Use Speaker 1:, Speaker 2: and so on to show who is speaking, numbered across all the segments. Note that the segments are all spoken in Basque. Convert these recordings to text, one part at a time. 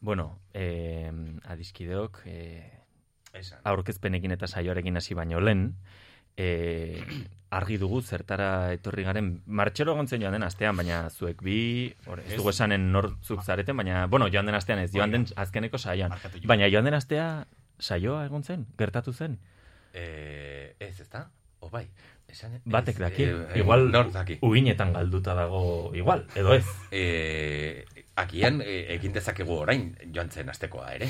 Speaker 1: Bueno, eh, adiskideok, eh,
Speaker 2: Esan.
Speaker 1: aurkezpenekin eta saioarekin hasi baino lehen, eh, argi dugu zertara etorri garen, martxelo gontzen joan den astean, baina zuek bi, hor, ez
Speaker 2: Ez.
Speaker 1: dugu esanen nortzuk zareten, baina, bueno, joan den astean ez, joan den azkeneko saioan.
Speaker 2: Barkatu, Jon.
Speaker 1: Baina joan den astea saioa egon zen, gertatu zen.
Speaker 2: Eh, ez, ez da? O bai, esan...
Speaker 1: Batek
Speaker 2: ez,
Speaker 1: daki,
Speaker 2: eh,
Speaker 1: igual
Speaker 2: nork daki.
Speaker 1: uinetan galduta dago, igual, edo ez.
Speaker 2: Eh, akian eh, egin dezakegu orain joan zen astekoa ere.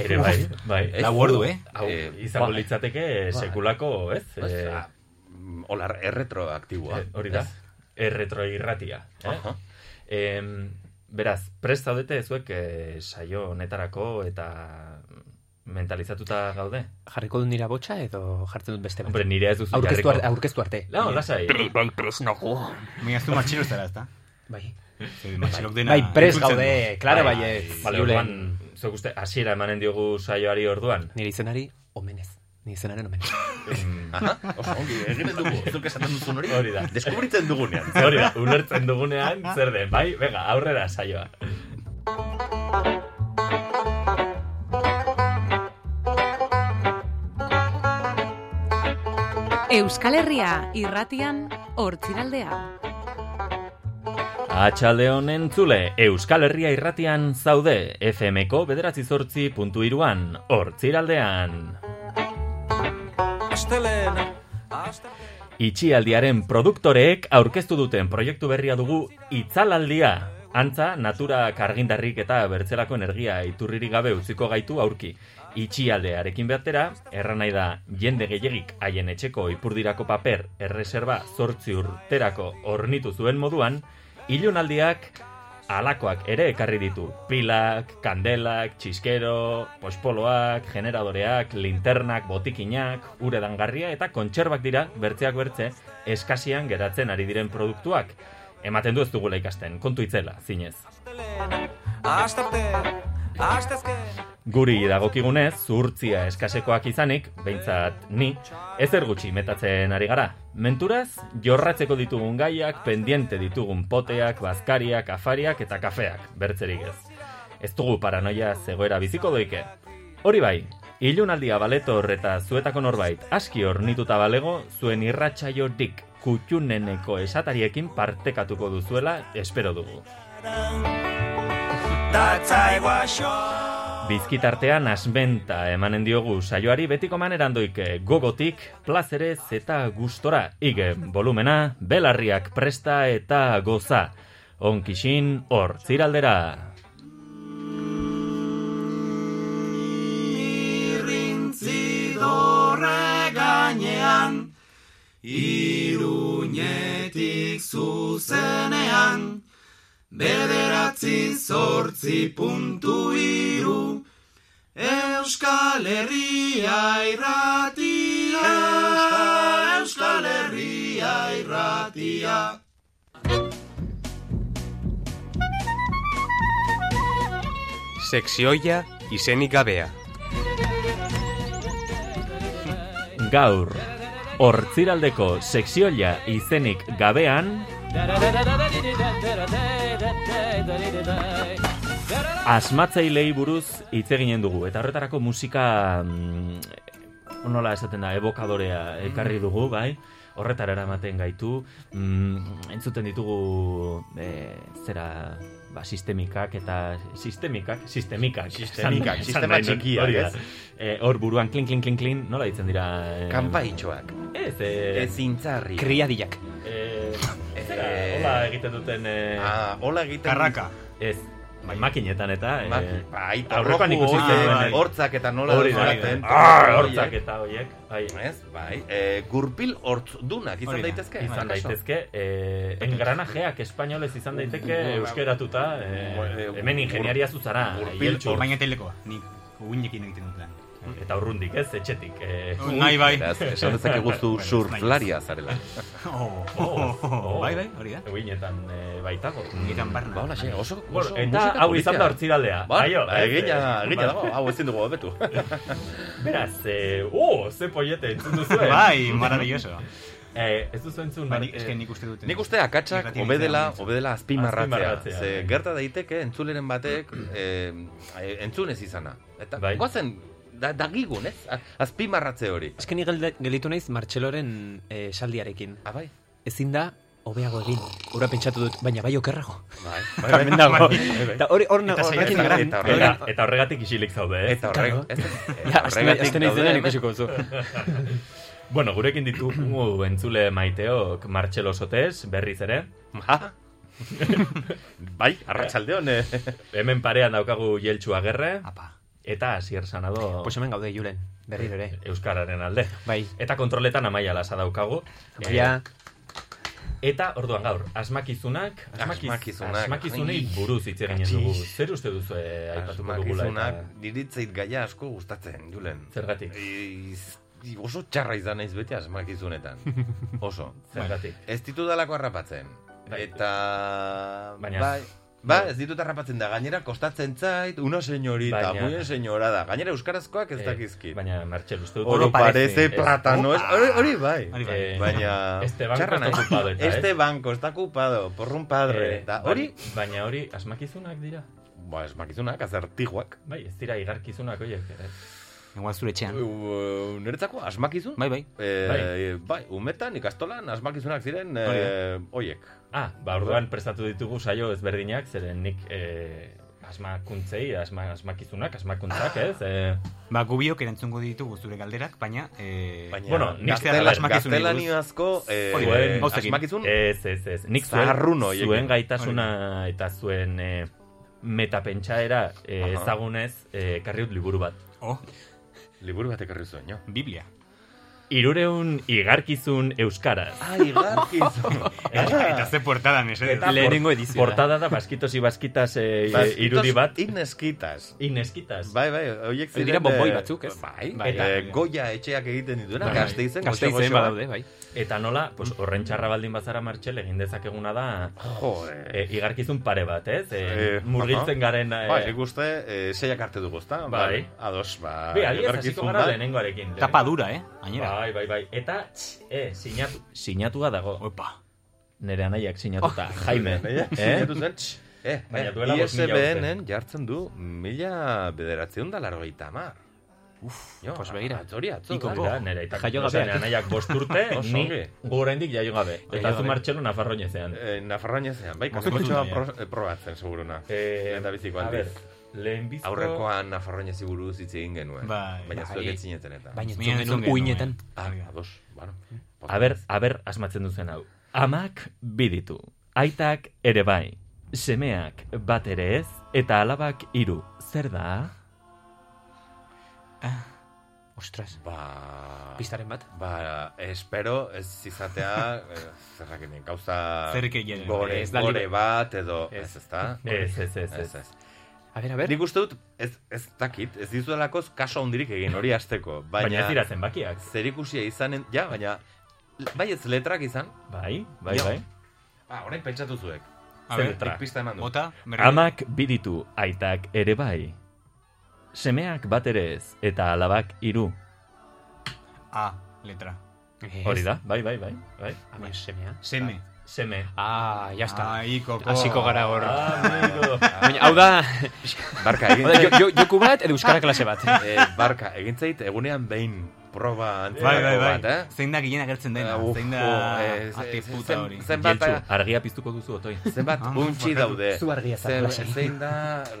Speaker 1: Ere bai, bai.
Speaker 2: Ez?
Speaker 3: Lau ordu, eh?
Speaker 1: Hau,
Speaker 2: Eh,
Speaker 1: izango
Speaker 2: ba-
Speaker 1: litzateke
Speaker 2: ba-
Speaker 1: sekulako, ez?
Speaker 2: Pues,
Speaker 1: Eh,
Speaker 2: ah, mm, Hola, erretroaktiboa.
Speaker 1: eh, hori da.
Speaker 2: ez?
Speaker 1: Erretro irratia. Eh?
Speaker 2: Aha.
Speaker 1: Em, beraz, prest zaudete zuek eh, saio honetarako eta mentalizatuta gaude?
Speaker 4: Jarriko dut nira botxa edo jartzen dut beste bat?
Speaker 1: Hombre, nire ez duzu
Speaker 4: aurkeztu, ar,
Speaker 1: jarriko.
Speaker 4: aurkeztu arte.
Speaker 1: Lau, lasai.
Speaker 3: Baina ez du matxero ez dara, ez da?
Speaker 4: Bai,
Speaker 3: Zer, matxilok dena...
Speaker 4: bai pres
Speaker 3: itzultzen
Speaker 4: gaude,
Speaker 3: du.
Speaker 4: klara
Speaker 1: Bai,
Speaker 4: bai
Speaker 1: Bale, orduan, zuek uste, hasiera emanen diogu saioari orduan.
Speaker 4: Nire izenari, omenez. Nire izenaren omenez.
Speaker 1: Em,
Speaker 2: Aha, oso ongi, egiten dugu, zuk esaten duzun hori.
Speaker 1: Hori da.
Speaker 2: Deskubritzen dugunean.
Speaker 1: Hori da, ulertzen dugunean, zer den, bai? Venga, aurrera saioa.
Speaker 5: Euskal Herria irratian hortziraldea.
Speaker 1: Atxalde honen zule, Euskal Herria irratian zaude, FMko bederatzi zortzi puntu iruan, hortziraldean. Itxialdiaren produktoreek aurkeztu duten proiektu berria dugu itzalaldia. Antza, natura kargindarrik eta bertzelako energia iturririk gabe utziko gaitu aurki. Itxialdearekin batera, erran nahi da jende gehiegik haien etxeko ipurdirako paper erreserba zortzi urterako ornitu zuen moduan, ilunaldiak alakoak ere ekarri ditu. Pilak, kandelak, txiskero, pospoloak, generadoreak, linternak, botikinak, uredangarria eta kontserbak dira bertzeak bertze eskasian geratzen ari diren produktuak. Ematen du ez dugula ikasten, kontu itzela, zinez. Guri dagokigunez, zuhurtzia eskasekoak izanik, behintzat ni, ezer gutxi metatzen ari gara. Menturaz, jorratzeko ditugun gaiak, pendiente ditugun poteak, bazkariak, afariak eta kafeak, bertzerik ez. Ez dugu paranoia zegoera biziko doike. Hori bai, ilunaldia baleto horreta zuetako norbait, aski hornituta balego, zuen irratsaio dik kutxuneneko esatariekin partekatuko duzuela espero dugu. Bizkitartean asmenta emanen diogu saioari betiko maneran doike gogotik, plazerez eta gustora. Igen, volumena, belarriak presta eta goza. Onkixin, hor, ziraldera.
Speaker 6: Sekzioia izenik gabea.
Speaker 1: Gaur, hortziraldeko sekzioia izenik gabean, asmatzailei buruz hitz eginen dugu eta horretarako musika mm, nola esaten da evokadorea ekarri
Speaker 2: Mm.
Speaker 1: dugu, bai? Horretara eramaten gaitu, mm, entzuten ditugu e, zera ba, sistemikak eta sistemikak, sistemikak,
Speaker 2: Sistemikak,
Speaker 1: esan-
Speaker 2: sistema
Speaker 1: esan nahi nuen,
Speaker 2: txikiak,
Speaker 1: hori da.
Speaker 2: ez?
Speaker 1: E, hor buruan klin, klin, klin, klin, nola ditzen dira? E,
Speaker 2: Kanpaitxoak.
Speaker 1: Ez, e,
Speaker 2: Ez intzarri.
Speaker 4: Kriadilak.
Speaker 1: e, zera,
Speaker 2: Eh,
Speaker 1: hola egiten duten... E,
Speaker 2: Ah, hola egiten...
Speaker 3: Karraka.
Speaker 1: Ez, bai, makinetan eta...
Speaker 2: Ma-
Speaker 1: E,
Speaker 2: Bai,
Speaker 1: aurrekoan
Speaker 2: aurrekoan
Speaker 1: ikusi bai. eh.
Speaker 3: zenuen.
Speaker 2: ah, Hortzak eta nola
Speaker 1: Hori da,
Speaker 2: dozaten.
Speaker 1: Arr, hortzak eta horiek, bai,
Speaker 2: Ez, bai. Eh, gurpil hortzudunak izan
Speaker 3: Hori da.
Speaker 2: daitezke?
Speaker 1: izan
Speaker 2: akaso?
Speaker 1: daitezke, eh, engranajeak espainolez izan daiteke euskeratuta, eh, hemen ingeniaria zuzara, eh,
Speaker 2: Gurpil
Speaker 1: Aieltxu.
Speaker 3: Baina telekoa, nik uinekin egiten dut lan.
Speaker 1: eta urrundik ez, etxetik. Eh,
Speaker 3: Nahi bai.
Speaker 2: Beraz, esan dezakegu zu
Speaker 3: Bueno, bai. ez
Speaker 2: surflaria zarela.
Speaker 3: Oh,
Speaker 1: oh, oh.
Speaker 3: Bai, bai, hori da.
Speaker 1: Uinetan eh, baitago.
Speaker 3: Iran barna.
Speaker 2: Ba, hola, xe, oso,
Speaker 1: Bueno,
Speaker 2: oso
Speaker 1: eta
Speaker 2: musika
Speaker 1: hau
Speaker 2: politia.
Speaker 1: izan da hortziraldea.
Speaker 2: Ba,
Speaker 1: Aio,
Speaker 2: ba,
Speaker 1: ez,
Speaker 2: egina,
Speaker 1: eh,
Speaker 2: egina
Speaker 1: ba,
Speaker 2: dago, hau ezin dugu hobetu.
Speaker 1: Beraz, eh, oh, ze poiete entzun duzuen.
Speaker 3: Bai, maravilloso.
Speaker 1: Eh, ez duzu entzun,
Speaker 3: Ba,
Speaker 1: Mar-
Speaker 3: Bai, nik, eske
Speaker 1: eh,
Speaker 3: nik uste dut.
Speaker 2: Nik uste akatsak
Speaker 3: Irratian
Speaker 2: obedela,
Speaker 3: hitzean.
Speaker 2: obedela azpimarratzea.
Speaker 1: Azpimarratzea,
Speaker 2: Ze
Speaker 1: bai.
Speaker 2: gerta daiteke entzuleren batek eh, entzun ez izana. Eta
Speaker 1: Bai.
Speaker 2: goazen, da, dagigun, ez? A- Azpimarratze hori.
Speaker 4: Eske ni gelde- gelditu naiz Martxeloren eh, esaldiarekin.
Speaker 2: Ah, bai.
Speaker 4: Ezin da, hobeago egin. Hora pentsatu dut, baina bai okerrago.
Speaker 2: Bai.
Speaker 4: Hemen dago.
Speaker 3: bai,
Speaker 4: Eta hori hor
Speaker 3: Eta saiatzen
Speaker 4: horrekin
Speaker 3: gara,
Speaker 4: horrekin-
Speaker 2: eta
Speaker 1: Eta,
Speaker 2: horregatik-
Speaker 1: eta horregatik isilik zaude, eh? ez?
Speaker 2: Eta horrek,
Speaker 4: Claro.
Speaker 2: ez, bai. ez,
Speaker 4: Ja, aste aste naiz denean
Speaker 2: daude hemen.
Speaker 4: ikusiko duzu.
Speaker 1: Bueno, gurekin ditugu entzule maiteok Martxelo Sotes, berriz ere.
Speaker 2: Ah. bai, arratsaldeon. Eh.
Speaker 1: Hemen parean daukagu Jeltxu Agerre
Speaker 3: Apa.
Speaker 1: eta Asier Sanado
Speaker 4: Pues hemen gaude Julen, berriro ere.
Speaker 1: Euskararen alde.
Speaker 4: Bai.
Speaker 1: Eta kontroletan amaia lasa daukagu. Eh,
Speaker 4: Maia,
Speaker 1: Eta orduan gaur, asmakizunak, asmakiz,
Speaker 2: Asmakizunak.
Speaker 1: asmakizunei
Speaker 2: Ai.
Speaker 1: buruz hitz eginen
Speaker 2: Katxis.
Speaker 1: dugu. Zer uste duzu eh, aipatuko dugula eta
Speaker 2: Asmakizunak diritzeit gaia asko gustatzen, Julen.
Speaker 1: zergatik?
Speaker 2: Iz- i- oso txarra izan naiz beti asmakizunetan. Oso. Bai,
Speaker 1: Zergatik.
Speaker 2: Ez ditu dalako harrapatzen.
Speaker 1: Bai.
Speaker 2: Eta...
Speaker 1: Baina-
Speaker 2: Bai, ba, ez ditut harrapatzen da. Gainera, kostatzen zait, una señorita,
Speaker 1: Baina-
Speaker 2: muy señora da. Gainera, euskarazkoak ez
Speaker 1: Eh,
Speaker 2: dakizkit.
Speaker 1: Baina, Martxel, uste dut...
Speaker 2: Oro
Speaker 4: Oro parece,
Speaker 2: parece,
Speaker 1: ez.
Speaker 2: plátano. es- Hori, hori bai.
Speaker 3: Hori bai.
Speaker 1: Eh,
Speaker 2: Baina...
Speaker 1: Este banco
Speaker 2: txarra
Speaker 1: está
Speaker 2: naiz.
Speaker 1: ocupado eta,
Speaker 2: Este
Speaker 1: eh?
Speaker 2: banco está ocupado por un padre.
Speaker 1: Eh,
Speaker 2: Eta
Speaker 1: bai-
Speaker 2: hori...
Speaker 1: Baina hori, asmakizunak dira.
Speaker 2: Ba, esmakizunak, azertiguak.
Speaker 1: Bai, ez dira igarkizunak horiek. eh.
Speaker 3: Igual zure etxean.
Speaker 2: U- Niretzako asmakizun?
Speaker 3: Bai, bai.
Speaker 2: Eh, bai. umetan, ikastolan, asmakizunak ziren
Speaker 3: Hori
Speaker 2: eh, oiek.
Speaker 1: Ah, ba, orduan prestatu ditugu saio ezberdinak, zeren nik eh, asmakuntzei, asma, asmakizunak, asmakuntzak, ez? Eh,
Speaker 3: Ba, gubiok erantzungo ditugu zure galderak, baina... Eh,
Speaker 2: Baina,
Speaker 1: Bueno, nik
Speaker 3: zehar
Speaker 2: gaztela,
Speaker 3: asmakizunei buruz.
Speaker 2: gaztelaniazko eh,
Speaker 1: Hori bai,
Speaker 2: eh,
Speaker 3: gauzekin.
Speaker 2: asmakizun
Speaker 1: Ez, ez, ez. Nik zuen,
Speaker 2: Zaharrun horiek.
Speaker 1: zuen gaitasuna eta zuen eh, metapentsaera eh,
Speaker 2: Aha.
Speaker 1: ezagunez eh, ekarri dut liburu bat.
Speaker 3: Oh,
Speaker 2: liburu bat ekarri zuen, jo.
Speaker 3: Biblia.
Speaker 1: Irureun igarkizun euskaraz.
Speaker 2: Ah, igarkizun.
Speaker 3: Eta ze portada, mesedez.
Speaker 2: Eta-
Speaker 4: lehenengo edizioa.
Speaker 1: Portada da baskitos y baskitas eh,
Speaker 2: Baskitos
Speaker 1: irudi bat.
Speaker 2: Igneskitas.
Speaker 1: Ineskitas.
Speaker 2: Bai, bai, oiek
Speaker 4: Hori
Speaker 2: ziren...
Speaker 4: dira bonboi
Speaker 2: eh,
Speaker 4: batzuk, ez?
Speaker 2: Bai,
Speaker 4: Bai,
Speaker 2: eta
Speaker 1: bai.
Speaker 2: goia etxeak egiten dituena,
Speaker 4: Bai.
Speaker 2: gazteizen,
Speaker 4: Gazteizen
Speaker 2: goxo-goxoak.
Speaker 4: badaude, bai.
Speaker 1: Eta nola, pues, horren txarra baldin bazara martxel egin dezakeguna da
Speaker 2: Joder.
Speaker 1: eh, igarkizun pare bat, ez? Eh,
Speaker 2: Eh,
Speaker 1: murgiltzen
Speaker 2: aha.
Speaker 1: garen... eh,
Speaker 2: Bai, nik uste, eh, seiak arte dugu, ezta?
Speaker 1: Bai.
Speaker 2: Ados, ba...
Speaker 1: Bi, adibidez, hasiko
Speaker 2: etorkizun
Speaker 1: gara
Speaker 2: bat.
Speaker 1: lehenengoarekin.
Speaker 3: Tapa dura, eh? Gainera.
Speaker 1: Bai, bai, bai. Eta, eh, sinatu, sinatua dago.
Speaker 3: Opa.
Speaker 1: Nere anaiak sinatuta, Jaime.
Speaker 2: Baina,
Speaker 1: eh?
Speaker 2: Oh. sinatu zen, tx, eh,
Speaker 1: Baina
Speaker 2: eh,
Speaker 1: duela bost mila
Speaker 2: ISBN-en jartzen du mila bederatzeun da largoita mar. Jo,
Speaker 4: pues begira.
Speaker 2: Atzori, atzo.
Speaker 1: Hori
Speaker 2: da.
Speaker 1: da, nere aitak.
Speaker 4: Jaio
Speaker 1: Osea,
Speaker 4: gabeak.
Speaker 1: nere anaiak bost urte,
Speaker 2: Oso
Speaker 1: ni
Speaker 2: ongi.
Speaker 1: gorendik jaio gabe. Eta
Speaker 4: gabe.
Speaker 1: zu martxelo nafarroinezean.
Speaker 2: Eh, Nafarroan ezean, bai,
Speaker 3: Moztu
Speaker 2: kakotxoa
Speaker 3: zuen,
Speaker 2: pro, eh, probatzen, seguruna.
Speaker 4: Eh,
Speaker 2: Lehen da biziko
Speaker 1: a ber,
Speaker 2: aldiz.
Speaker 1: lehenbizko...
Speaker 2: Aurrekoan Nafarroan ezi buruz hitz egin genuen.
Speaker 3: Bai.
Speaker 2: Baina
Speaker 4: Bai.
Speaker 2: zuek etzineten eta.
Speaker 4: Baina
Speaker 3: Ni
Speaker 4: entzun
Speaker 3: entzun
Speaker 4: genuen
Speaker 3: genuen.
Speaker 4: uinetan.
Speaker 2: Ah, ados, bueno. Pues,
Speaker 1: A ber, a ber, asmatzen duzen hau. Amak biditu, aitak ere bai, semeak bat ere ez, eta alabak hiru. Zer da?
Speaker 4: Ostras,
Speaker 2: Ba...
Speaker 4: pistaren bat.
Speaker 2: Ba, espero ez izatea, eh, zerrakin, gauza
Speaker 3: Zerrik egin.
Speaker 2: gore,
Speaker 4: Ez da
Speaker 2: gore
Speaker 4: libre.
Speaker 2: bat edo,
Speaker 1: Ez.
Speaker 2: ez ezta?
Speaker 1: Ez, ez, ez, ez.
Speaker 2: Ez, ez.
Speaker 4: A ber, a ber.
Speaker 2: Nik uste dut, ez, ez dakit, ez dizuelako kaso hondirik egin hori hasteko,
Speaker 1: Baina,
Speaker 2: baina,
Speaker 1: ez dira zenbakiak.
Speaker 2: zerikusia izanen, ja, baina, bai ez letrak izan,
Speaker 1: Bai, bai,
Speaker 2: Ja.
Speaker 1: bai.
Speaker 2: ba, orain pentsatu zuek,
Speaker 3: A ver,
Speaker 1: Tra.
Speaker 2: nik pista eman du.
Speaker 3: bota, berri.
Speaker 1: Amak biditu, aitak ere bai. Semeak bat ere ez, eta alabak hiru.
Speaker 3: A, letra.
Speaker 4: Ez.
Speaker 1: Hori da, bai, bai, bai. bai.
Speaker 4: Ama semea.
Speaker 3: Seme.
Speaker 1: Seme.
Speaker 4: Ah, ya está.
Speaker 3: Ai, koko.
Speaker 4: Hasiko gara hor.
Speaker 1: Ah, Amigo.
Speaker 4: Baina, hau da,
Speaker 2: Barka, egin
Speaker 4: hau da,
Speaker 2: zait,
Speaker 4: jo- jo- joku bat edo euskara klase bat.
Speaker 2: eh, barka, egin zait, egunean behin proba
Speaker 3: Bai, bai,
Speaker 2: antzerako
Speaker 3: bai.
Speaker 2: bat, eh?
Speaker 3: Zein da gehien agertzen dena.
Speaker 2: Eh, uf,
Speaker 3: Zein da
Speaker 2: jo, eh, ze-
Speaker 3: ate
Speaker 2: ze-
Speaker 3: puta
Speaker 2: zen-
Speaker 3: hori.
Speaker 2: Zenbat, eh?
Speaker 1: Jeltxu, argia piztuko duzu otoi.
Speaker 2: zenbat
Speaker 3: Ah,
Speaker 2: untxi
Speaker 3: barkatu.
Speaker 2: daude.
Speaker 4: Zu argia zara,
Speaker 2: Zer-
Speaker 4: lasai.
Speaker 2: zein da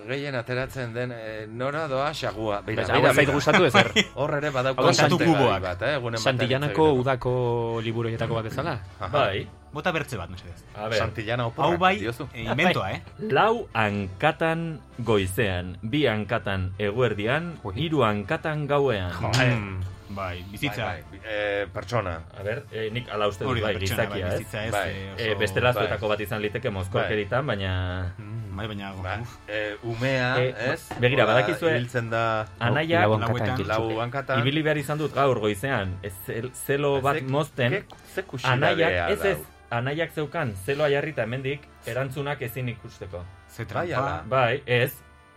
Speaker 2: gehien ateratzen den, eh, nora doa xagua. Beira,
Speaker 4: Baina,
Speaker 2: beira,
Speaker 4: hau zait
Speaker 2: beira.
Speaker 4: gustatu er. ezer.
Speaker 2: Hor ere badauko
Speaker 4: Hau da, santu
Speaker 2: kontentari
Speaker 3: kuboak.
Speaker 2: bat, eh, egunen batean
Speaker 4: Santillanako
Speaker 2: hitz egiteko.
Speaker 4: udako liburoietako bat bezala.
Speaker 2: Aha.
Speaker 1: Bai,
Speaker 3: Bota bertze bat, mesedez.
Speaker 1: a ber.
Speaker 2: Santillana oporra,
Speaker 3: Hau bai,
Speaker 2: diozu.
Speaker 3: eh, inventoa, eh?
Speaker 1: Lau hankatan goizean, bi hankatan eguerdian,
Speaker 4: Ui.
Speaker 1: hiru hankatan gauean.
Speaker 3: Mm, Bai, bizitza.
Speaker 2: Bai, bai. Eh, pertsona.
Speaker 1: A ber, eh, nik ala uste dut,
Speaker 3: Hori da,
Speaker 1: bai,
Speaker 3: pertsona, bai,
Speaker 1: gizakia, ez?
Speaker 3: bizitza ez.
Speaker 2: Bai.
Speaker 3: eh, oso- Bai.
Speaker 1: Eh, bestela zuetako bat izan liteke mozkorkeritan, baina
Speaker 3: Mm, Bai, baina...
Speaker 2: Ba,
Speaker 3: uf,
Speaker 2: eh, ba, umea,
Speaker 1: Eh,
Speaker 2: ez?
Speaker 1: begira, eh,
Speaker 2: Hora,
Speaker 1: badakizue-
Speaker 2: Ibiltzen da
Speaker 1: anaiak
Speaker 4: Lau hankatan
Speaker 3: Lauetan.
Speaker 4: jitsu.
Speaker 2: lau hankatan.
Speaker 1: ibili behar izan dut gaur goizean, ez zel- zelo bat
Speaker 2: Ba, Ze-
Speaker 1: mozten,
Speaker 2: ke- Ze kuxidadea
Speaker 1: anaiak, ez ez,
Speaker 2: dau.
Speaker 1: anaiak zeukan zeloa jarrita hemendik erantzunak ezin ikusteko.
Speaker 3: Ze
Speaker 2: Bai, ala.
Speaker 3: trampa.
Speaker 1: Bai, ez,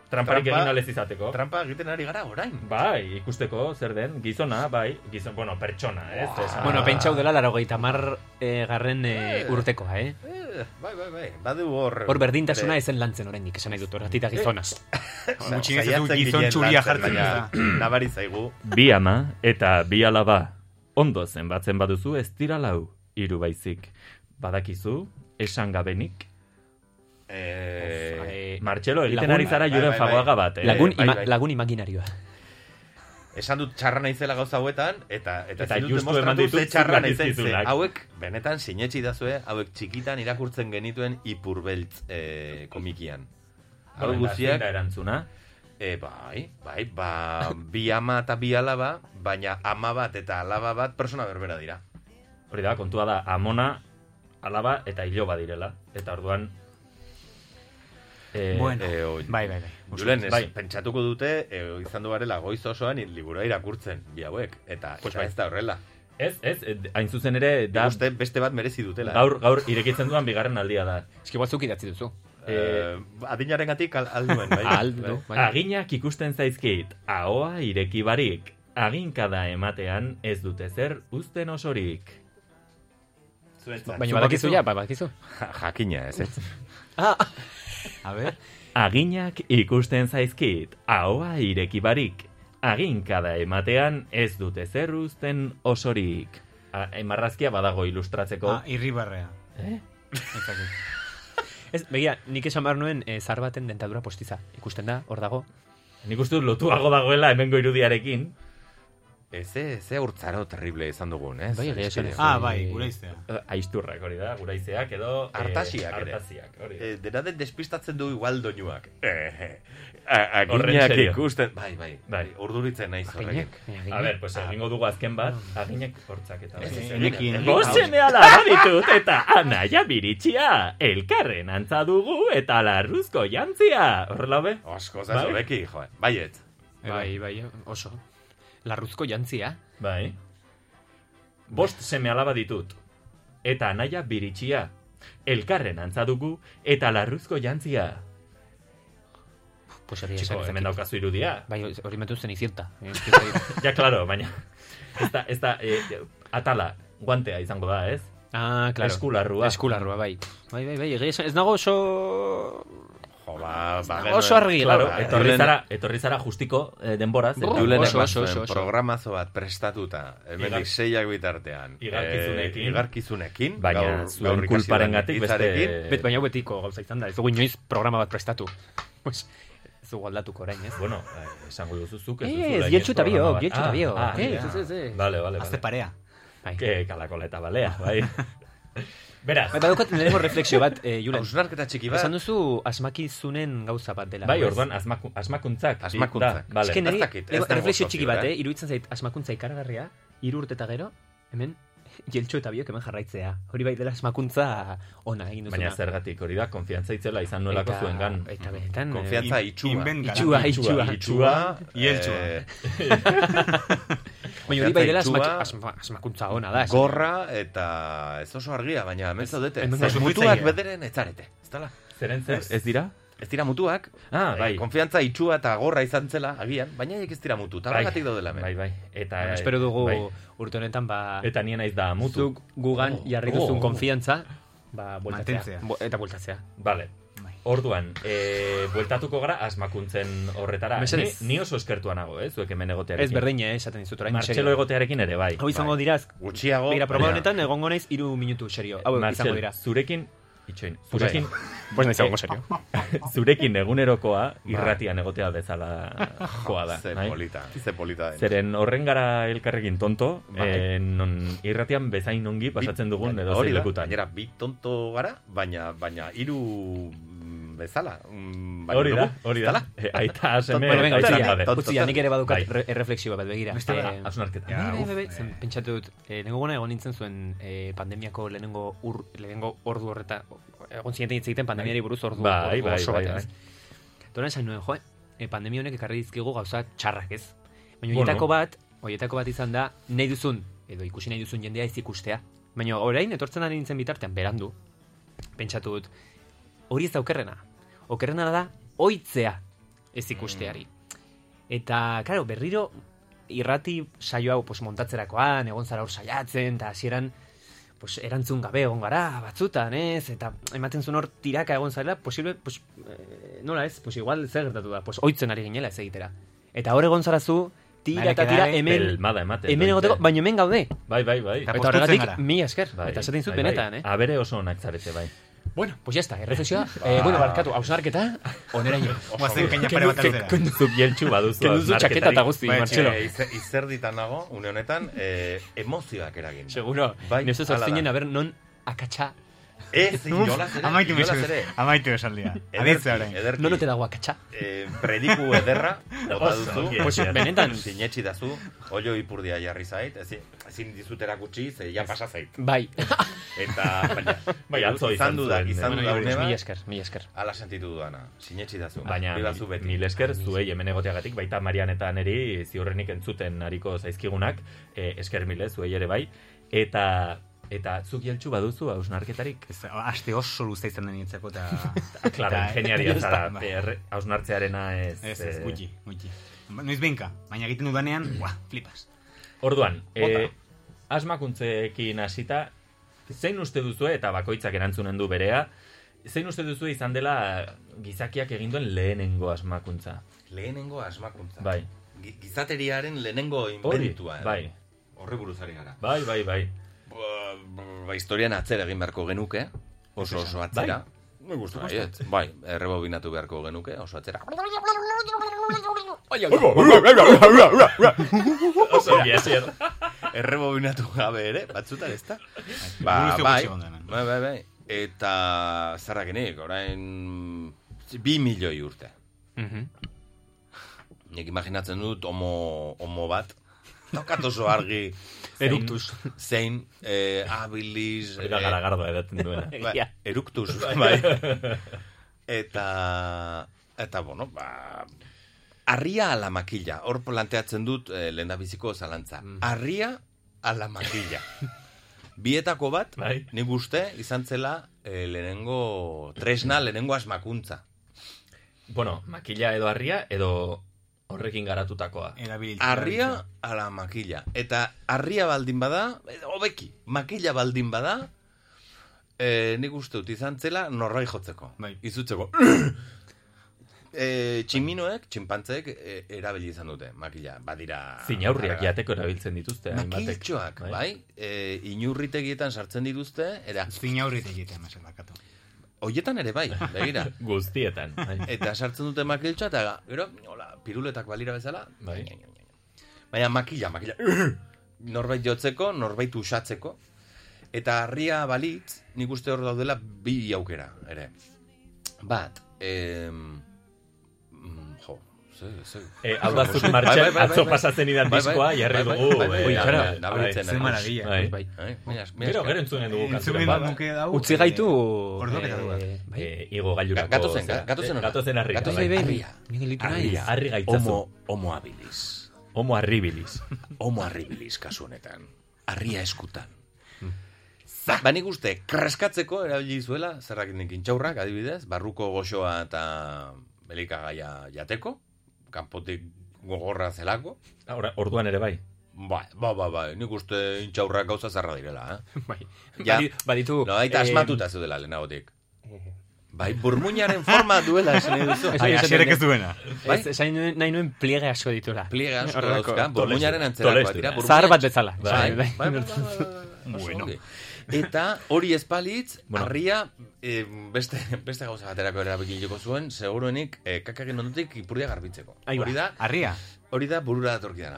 Speaker 1: Tramparik
Speaker 2: Trampa-
Speaker 1: egin alez izateko.
Speaker 2: Trampa egiten ari gara orain.
Speaker 1: Bai, ikusteko, zer den, gizona, bai, gizon, bueno, pertsona, ez? Esan-
Speaker 4: Bueno, pentsau dela laro mar eh, garren eh, urtekoa, eh?
Speaker 2: Eh, bai, bai, bai. Badu hor...
Speaker 4: Hor berdintasuna
Speaker 2: bere-
Speaker 4: ezen lantzen oraindik esan nahi dut, horatita gizonaz.
Speaker 2: Eh. sa-
Speaker 3: Gutxienez ez du
Speaker 2: saiatzen
Speaker 3: gizon
Speaker 2: ginen
Speaker 3: txuria jartzen,
Speaker 2: lantzen, baina Nabari zaigu.
Speaker 1: Bi ama eta bi alaba. Ondo zenbatzen baduzu ez dira lau, hiru baizik. Badakizu, esan gabenik,
Speaker 2: Eh,
Speaker 4: Eh,
Speaker 1: Martxelo egiten
Speaker 4: Lagun-
Speaker 1: ari zara
Speaker 2: bai,
Speaker 1: Julen
Speaker 2: bai, bai.
Speaker 1: Fagoaga bat, eh?
Speaker 4: lagun,
Speaker 2: bai,
Speaker 4: ima-
Speaker 2: bai.
Speaker 4: lagun imaginarioa.
Speaker 2: esan dut txarra naizela gauza hauetan, eta eta,
Speaker 1: Eta
Speaker 2: ezin dut
Speaker 1: justu
Speaker 2: demostratu
Speaker 1: eman ditut
Speaker 2: ze txarra
Speaker 1: zuk
Speaker 2: naizen, ze
Speaker 1: dakizkizunak.
Speaker 2: hauek benetan sinetsi dazue, hauek txikitan irakurtzen genituen ipurbeltz eh, komikian. Hau
Speaker 1: Bueno, Ba, eta zein
Speaker 2: guztiak,
Speaker 1: da erantzuna.
Speaker 2: eh, bai, bai, ba, bi ama eta bi alaba, baina ama bat eta alaba bat persona berbera dira.
Speaker 1: Hori da, kontua da, amona, alaba eta iloba direla. Eta orduan... Eh,
Speaker 3: Bueno.
Speaker 2: Eh, o-
Speaker 3: Bai, bai, bai.
Speaker 2: Julen, ez,
Speaker 1: Bai.
Speaker 2: pentsatuko dute, eh, izan du garela goiz osoan libura irakurtzen, bi hauek. Eta,
Speaker 1: Pues
Speaker 2: eta
Speaker 1: bai.
Speaker 2: ez da horrela.
Speaker 1: Ez, ez, eh, hain zuzen ere,
Speaker 2: Da,
Speaker 1: da,
Speaker 2: uste beste bat merezi dutela. eh.
Speaker 1: gaur, gaur irekitzen duan bigarren aldia da.
Speaker 4: Eski batzuk idatzi duzu.
Speaker 2: eh, adinaren gatik al, alduen, bai.
Speaker 4: Ahal du,
Speaker 2: Bai.
Speaker 4: baina-
Speaker 1: Aginak ikusten zaizkit, ahoa ireki barik. Aginkada ematean ez dute zer uzten osorik.
Speaker 2: Zuentzat.
Speaker 4: Baina badakizu ja, ba- badakizu.
Speaker 2: Ja, Jakina, ez ez.
Speaker 4: Ah,
Speaker 3: A ber,
Speaker 1: Aginak ikusten zaizkit, ahoa ireki barik. Aginkada ematean ez dute zer uzten osorik. A, emarrazkia badago ilustratzeko.
Speaker 3: ah, irribarrea.
Speaker 1: Eh?
Speaker 3: Ez dakit.
Speaker 4: ez, begira, nik esan behar nuen eh, zar baten dentadura postiza. Ikusten da, hor dago.
Speaker 1: Nik uste dut lotuago dagoela hemengo irudiarekin.
Speaker 2: Eze, ze urtzaro terrible izan dugun, ez?
Speaker 4: Bai, egia esan ez.
Speaker 3: Ah, bai, gure iztea.
Speaker 1: Eh, Aizturrak hori da, guraizeak edo... eh,
Speaker 2: Artasiak ere.
Speaker 1: artasiak, hori da.
Speaker 2: Eh, dena den despistatzen du igual doinuak. Eh,
Speaker 1: Horren
Speaker 2: aginak
Speaker 1: serio.
Speaker 2: ikusten... Bai, bai,
Speaker 1: Bai.
Speaker 2: bai. Urduritzen naiz horrekin.
Speaker 4: Aginak, aginak.
Speaker 1: A ber, pues egingo dugu azken bat,
Speaker 3: Ah.
Speaker 1: aginek hortzak eta
Speaker 2: Ez, ez,
Speaker 3: Honekin.
Speaker 2: egin-
Speaker 1: Bost seme alaba ditut eta anaia biritxia, elkarren antza dugu eta larruzko jantzia. Horrela be?
Speaker 2: Osko,
Speaker 1: Bai.
Speaker 2: zazo, beki, joan. Baiet.
Speaker 4: Bai, bai, oso. Larruzko jantzia.
Speaker 1: Bai. Bost seme alaba ditut eta anaia biritxia, elkarren antza dugu eta larruzko jantzia.
Speaker 4: Pues hori esan
Speaker 1: Txiko,
Speaker 4: ez
Speaker 1: hemen
Speaker 4: dakit.
Speaker 1: daukazu irudia.
Speaker 4: Bai, hori metu zen izienta. Ez dakit.
Speaker 1: Ja, claro, baina ez da, ez da, eh, atala, guantea izango da, Ba, ez?
Speaker 4: Ah, claro.
Speaker 1: Eskularrua.
Speaker 4: Eskularrua, bai. Bai, bai, bai, egia esan. Ez nago oso...
Speaker 2: Jo, ba, ba,
Speaker 4: Oso argi,
Speaker 1: Claro,
Speaker 4: Claro,
Speaker 1: etorri
Speaker 2: Julen-
Speaker 1: zara, etorri zara justiko eh, denboraz.
Speaker 4: Brr,
Speaker 1: eta-
Speaker 2: Julen
Speaker 4: oso,
Speaker 2: eman
Speaker 4: oso,
Speaker 2: zuen
Speaker 4: oso, oso.
Speaker 2: programazo bat prestatuta, hemen
Speaker 1: Igar-
Speaker 2: seiak bitartean.
Speaker 1: Igarkizunekin.
Speaker 2: Eh, igarkizunekin.
Speaker 1: Baina zuen
Speaker 2: ikasi dudan
Speaker 1: kulparengatik beste-
Speaker 2: hitzarekin.
Speaker 1: Eh.
Speaker 4: Bet, baina hau betiko gauza izan da. Ez dugu inoiz programa bat prestatu. Pues, ez dugu aldatuko orain, ez?
Speaker 1: Bueno, eh, esango duzu zuk ez
Speaker 4: Ez,
Speaker 1: duzu
Speaker 4: jetxu eta
Speaker 1: programa
Speaker 4: biok,
Speaker 1: bat.
Speaker 4: jetxu eta
Speaker 1: Ah,
Speaker 4: biok. Eh,
Speaker 1: ah,
Speaker 4: Ez,
Speaker 1: ja.
Speaker 4: ez, ez, ez.
Speaker 1: Vale, vale,
Speaker 3: Azte
Speaker 1: vale.
Speaker 3: parea.
Speaker 4: Bai.
Speaker 1: Que kalakola eta balea, bai. Beraz,
Speaker 4: Bai, badaukat lehenengo reflexio bat, eh, Julen.
Speaker 2: Hausnarketa txiki bat.
Speaker 4: Esan duzu asmakizunen gauza bat dela.
Speaker 1: bai,
Speaker 4: ez?
Speaker 1: orduan asmaku, asmakuntzak.
Speaker 2: Asmakuntzak.
Speaker 1: Da, vale.
Speaker 4: Eske niri,
Speaker 2: Ez dakit, ez
Speaker 4: lehenengo
Speaker 2: dago
Speaker 4: reflexio
Speaker 2: oso
Speaker 4: txiki
Speaker 2: ziur,
Speaker 4: bat,
Speaker 2: eh?
Speaker 4: eh? Iruditzen zait, asmakuntza ikaragarria, hiru urte eta gero, hemen, jeltxo eta biok hemen jarraitzea. Hori bai dela asmakuntza ona egin duzuna.
Speaker 1: Baina zergatik hori da, konfiantza itzela izan nuelako
Speaker 4: Eta-
Speaker 1: zuengan.
Speaker 4: Eta benetan... eh,
Speaker 2: Konfiantza itxua.
Speaker 3: Inbengara.
Speaker 4: Itxua, itxua.
Speaker 1: itxua,
Speaker 3: ieltsua.
Speaker 2: eh,
Speaker 4: Baina hori bai dela
Speaker 2: itxua,
Speaker 4: asmak- asma- asmakuntza ona da. esan.
Speaker 2: gorra eta ez oso argia, baina hemen zaudete.
Speaker 4: hemen
Speaker 2: Ze
Speaker 4: oso
Speaker 2: mutuak
Speaker 3: fritzailea.
Speaker 2: bederen etzarete. Ez dala?
Speaker 1: Zeren zer, ez dira?
Speaker 2: Ez dira mutuak.
Speaker 1: Ah,
Speaker 2: eh,
Speaker 1: bai.
Speaker 2: konfiantza itxua eta gorra izan zela, agian, baina haiek ez dira mutu. Eta horregatik daudela hemen.
Speaker 1: Bai, bai. Eta,
Speaker 4: Bueno, espero dugu
Speaker 1: bai.
Speaker 4: urte honetan, ba...
Speaker 1: Eta nien naiz da mutu.
Speaker 4: Zuk gugan
Speaker 1: Oh,
Speaker 4: jarri
Speaker 1: oh,
Speaker 4: duzun
Speaker 1: oh.
Speaker 4: konfiantza, ba, bueltatzea.
Speaker 3: Mantentzea.
Speaker 4: Bu- Eta bueltatzea.
Speaker 1: Vale.
Speaker 3: Bai.
Speaker 1: Orduan, e, bueltatuko gara asmakuntzen horretara. Ni,
Speaker 4: Mesedez.
Speaker 1: ni oso eskertua nago, eh, zuek hemen egotearekin.
Speaker 4: Ez berdina, eh, esaten dizut orain.
Speaker 1: Martxelo
Speaker 4: serio.
Speaker 1: egotearekin ere, bai.
Speaker 4: Hau izango dira,
Speaker 2: Gutxiago.
Speaker 4: Begira, proba
Speaker 2: baina-
Speaker 4: honetan egongo naiz hiru minutu, serio. Hau izango
Speaker 1: Martxel,
Speaker 4: dira.
Speaker 1: zurekin, itxoin, zurekin,
Speaker 4: Pues naiz
Speaker 1: egongo,
Speaker 4: serio.
Speaker 1: zurekin egunerokoa irratian egotea bezala joa da.
Speaker 2: Bai. Ze
Speaker 1: nahi?
Speaker 2: polita, ze polita. den.
Speaker 1: Zeren horren gara elkarrekin tonto,
Speaker 2: Bai.
Speaker 1: eh, non, irratian bezain ongi pasatzen dugun edo
Speaker 2: Hori
Speaker 1: zein
Speaker 2: da,
Speaker 1: lekutan.
Speaker 2: Gainera, bi tonto gara, baina, baina hiru mm, bezala. mm, baina
Speaker 1: Hori da,
Speaker 2: dugu.
Speaker 1: hori da. Eh, Aita, aseme,
Speaker 4: Bueno, venga,
Speaker 1: aita
Speaker 4: utzi
Speaker 2: utzia,
Speaker 4: ja,
Speaker 1: gabe.
Speaker 2: tot-
Speaker 4: utzi ja, nik ere badukat
Speaker 1: Bai.
Speaker 4: re- erreflexio bat, begira.
Speaker 3: Beste
Speaker 1: Ah,
Speaker 4: Eh,
Speaker 1: hausnarketa.
Speaker 3: Ja,
Speaker 4: Bai,
Speaker 3: uf,
Speaker 4: bai, bai, zen,
Speaker 3: eh.
Speaker 4: pentsatu dut, eh, lehenengo gona egon nintzen zuen eh, pandemiako lehenengo ur, lehenengo ordu horreta, egon zineten hitz egiten pandemiari buruz ordu,
Speaker 1: Bai,
Speaker 4: ordu
Speaker 1: bai,
Speaker 4: oso
Speaker 1: bai,
Speaker 4: batean,
Speaker 1: bai.
Speaker 4: ez? Eta orain esan nuen, jo, eh, pandemia honek ekarri dizkigu gauza txarrak, ez? Baina
Speaker 1: Bueno.
Speaker 4: horietako bat, horietako bat izan da, nahi duzun, edo ikusi nahi duzun jendea ez ikustea. Baina orain, etortzen ari nintzen bitartean, berandu, pentsatu dut, hori ez da okerrena. Okerrena da, oitzea. ez ikusteari. Eta, claro, berriro irrati saio hau pues, montatzerakoan, egon zara hor saiatzen, eta hasieran pues, erantzun gabe egon gara, batzutan, ez? Eta ematen zuen hor tiraka egon zarela, posible, pues, eh, nola ez, pues igual zer gertatu da, pues oitzen ari ginela ez egitera. Eta hor egon zara zu, tira eta tira,
Speaker 3: Barekadare,
Speaker 4: hemen,
Speaker 1: Pelmada ematen.
Speaker 4: hemen
Speaker 1: dointe.
Speaker 4: egoteko, baina hemen gaude.
Speaker 1: Bai, bai, bai.
Speaker 3: Eta
Speaker 4: Eta
Speaker 3: poztutzen
Speaker 4: horregatik,
Speaker 3: gara.
Speaker 4: mila esker.
Speaker 1: Bai,
Speaker 4: eta esaten zut
Speaker 1: bai, bai.
Speaker 4: benetan, eh?
Speaker 1: Abere oso onak zarete, bai.
Speaker 4: Bueno, pues ya está, erreflexioa.
Speaker 2: Ba.
Speaker 4: eh, bueno, barkatu, hausnarketa, onera jo.
Speaker 3: Guazen keina pare bat atzera.
Speaker 1: Zuk jeltxu baduzu.
Speaker 4: Kenduzu
Speaker 1: hausnarketarik.
Speaker 4: txaketa eta guzti,
Speaker 3: Bai,
Speaker 4: Martxelo.
Speaker 2: Eh, ize- izerditan nago, une honetan, eh, emozioak eragin.
Speaker 4: Seguro,
Speaker 2: Bai,
Speaker 4: nire zuz
Speaker 2: hala da.
Speaker 4: hartzen aber non akatsa,
Speaker 2: Ez, inolaz ere,
Speaker 3: Amaitu
Speaker 2: inolaz
Speaker 3: mesu,
Speaker 2: ere.
Speaker 3: amaitu esaldia.
Speaker 2: Ederki,
Speaker 3: Aditza orain.
Speaker 2: ederki.
Speaker 4: non ote dago akatsa.
Speaker 2: Eh, prediku ederra, dauka
Speaker 1: Oso
Speaker 2: duzu.
Speaker 1: ongi. Pues,
Speaker 4: benetan.
Speaker 2: Sinetxi dazu, olio ipurdia jarri zait, ezin, ezin dizut erakutsi, ze ja pasa zait.
Speaker 4: Bai,
Speaker 2: Eta, baina,
Speaker 1: Bai,
Speaker 2: baina,
Speaker 1: atzo izan
Speaker 2: izan dudak,
Speaker 1: zuen, eh.
Speaker 2: izan
Speaker 1: Bueno,
Speaker 2: dudak, une
Speaker 4: mila
Speaker 2: bat,
Speaker 4: esker, mila esker.
Speaker 2: ala sentitu dudana, sinetxi dazu.
Speaker 1: Baina,
Speaker 2: Bibazu
Speaker 1: mil,
Speaker 2: beti.
Speaker 1: mil esker zuei hemen egoteagatik, baita Marian eta neri ziurrenik entzuten ariko zaizkigunak, eh, esker mile zuei ere bai, eta eta zuk jeltxu baduzu hausnarketarik?
Speaker 3: Ez, Aste oso luze izan den nintzako eta...
Speaker 1: Klaro,
Speaker 3: eta-
Speaker 1: ingeniaria
Speaker 3: ez da,
Speaker 1: zara,
Speaker 3: ba.
Speaker 1: per- hausnartzearena ez...
Speaker 3: Ez, ez,
Speaker 1: eh,
Speaker 3: gutxi, gutxi. Ba, Noiz behinka, baina egiten dudanean, buah, flipas.
Speaker 1: Orduan,
Speaker 2: Bota.
Speaker 1: e, asmakuntzekin hasita, zein uste duzu eta bakoitzak erantzunen du berea, zein uste duzu izan dela gizakiak egin duen lehenengo asmakuntza?
Speaker 2: Lehenengo asmakuntza.
Speaker 1: Bai.
Speaker 2: Gi- Gizateriaren lehenengo inventua. eh?
Speaker 1: bai.
Speaker 2: Horri buruz ari gara.
Speaker 1: Bai, bai, bai.
Speaker 2: Ba, ba, historian atzera egin beharko genuke, oso oso atzera. Bai. gustu baiet. Bai, errebobinatu beharko genuke, oso atzera. Bai, bai,
Speaker 1: Oso ongi, hasier.
Speaker 2: Errebobinatu gabe ere, batzutan ez da.
Speaker 3: Buruz
Speaker 2: Ba,
Speaker 3: dugu
Speaker 2: bai,
Speaker 3: txegon da hemen.
Speaker 2: bai, bai, bai. Eta zarrakenik, orain bi milioi urte. Nik imaginatzen dut homo, homo bat. Tokat oso argi
Speaker 4: Eruptus.
Speaker 2: zein eh, abilis...
Speaker 1: Hori da
Speaker 2: eh,
Speaker 1: garagardoa edaten duena.
Speaker 2: Ba,
Speaker 4: Egia.
Speaker 2: eruktus, bai. eta, eta, bueno, ba, arria ala makila. Hor planteatzen dut eh, lehendabiziko zalantza. Arria ala makila. Bietako bat,
Speaker 1: Bai.
Speaker 2: nik uste, izan zela eh, lehenengo tresna, lehenengo asmakuntza.
Speaker 1: Bueno, makila edo harria edo horrekin garatutakoa.
Speaker 3: Erabiltzen.
Speaker 2: Arria ala makila. Eta arria baldin bada, eh, hobeki, makila baldin bada, eh, nik uste dut izan zela norrai jotzeko.
Speaker 3: Bai.
Speaker 2: Izutzeko. eh, tximinoek, txinpantzeek eh, erabili izan dute makila. Badira...
Speaker 1: Zinaurriak
Speaker 2: badira-
Speaker 1: jateko erabiltzen dituzte. hainbatek.
Speaker 2: Makiltxoak, bai? Eh, inurritegietan sartzen dituzte, era,
Speaker 3: Zin aurrit egiten, meset bakatu.
Speaker 2: hoietan ere bai, begira.
Speaker 1: Guztietan. Bai.
Speaker 2: Eta sartzen dute makiltxoa, eta gero, hola, piruletak balira bezala.
Speaker 1: Bai.
Speaker 2: Baina makila, makila. norbait jotzeko, norbait usatzeko. Eta harria balitz, nik uste hor daudela bi aukera, ere. Bat, em, mm, jo, ze, ze.
Speaker 1: E, hau da zuk
Speaker 2: Bai,
Speaker 1: martxan,
Speaker 2: bai, bai,
Speaker 1: atzo
Speaker 2: bai.
Speaker 1: pasatzen idan
Speaker 2: Bai, bai,
Speaker 1: diskoa,
Speaker 2: bai,
Speaker 1: jarri
Speaker 2: bai,
Speaker 1: dugu.
Speaker 2: bai, bai,
Speaker 1: eh,
Speaker 2: bai,
Speaker 1: jarri-
Speaker 2: bai, nabaritzen
Speaker 1: bai.
Speaker 3: Ze
Speaker 2: naiz.
Speaker 3: maragia.
Speaker 1: Bai.
Speaker 4: Bai.
Speaker 2: Eh, mila esker, mila
Speaker 1: Gero,
Speaker 2: esker.
Speaker 1: gero entzunen dugu kanturen
Speaker 3: Entzumen
Speaker 1: bat.
Speaker 3: nuke dau.
Speaker 4: Utzi gaitu...
Speaker 3: eh, Ordoketa duak.
Speaker 4: eh, Bai,
Speaker 1: Eh, igo gailurako.
Speaker 2: Gatozen,
Speaker 1: zera. Eh,
Speaker 2: gatozen ona.
Speaker 1: Gatozen harri.
Speaker 2: Gatozen
Speaker 1: bai.
Speaker 4: bai, bai,
Speaker 2: Harria.
Speaker 4: Ni gelditu
Speaker 1: Harri,
Speaker 4: naiz.
Speaker 1: harri gaitzazu.
Speaker 2: Homo, homo habilis.
Speaker 1: Homo harribilis.
Speaker 2: Homo arribilis kasu honetan. Arria eskutan. Za! Ba nik uste, kreskatzeko erabili zuela, zerrak nekin txaurrak, adibidez, barruko goxoa eta belikagaia jateko, kanpotik gogorra zelako.
Speaker 1: Ora- Orduan ere bai.
Speaker 2: Ba, ba, ba, ba, nik uste intxaurrak gauza zarra direla, eh?
Speaker 4: Bai.
Speaker 2: Ja.
Speaker 4: Badi- Baditu...
Speaker 2: No, aita
Speaker 4: eh,
Speaker 2: asmatuta zeudela lehenagotik. Bai, burmuñaren forma duela esan nahi duzu.
Speaker 4: Ez-
Speaker 3: Ai,
Speaker 4: esaten
Speaker 3: asierek
Speaker 4: dut.
Speaker 3: ez duena.
Speaker 2: Bai.
Speaker 4: Ez, esain nuen- nahi nuen pliege asko dituela.
Speaker 2: Pliega asko
Speaker 4: Horrelako-
Speaker 2: dauzka, burmuñaren antzerakoa dira. burmuina-
Speaker 4: Zahar bat bezala.
Speaker 2: Bai, bai,
Speaker 4: Bai.
Speaker 2: bai, bai, bai, bai.
Speaker 3: Bueno.
Speaker 2: Oso ongi. Eta hori espalitz,
Speaker 1: Bueno.
Speaker 2: harria eh, beste, beste gauza baterako erabikiliko zuen, seguruenik eh, kakaren ondotik ipurdia garbitzeko.
Speaker 4: Ahí ba.
Speaker 2: Hori da,
Speaker 3: Arria.
Speaker 2: hori da burura datorkidana.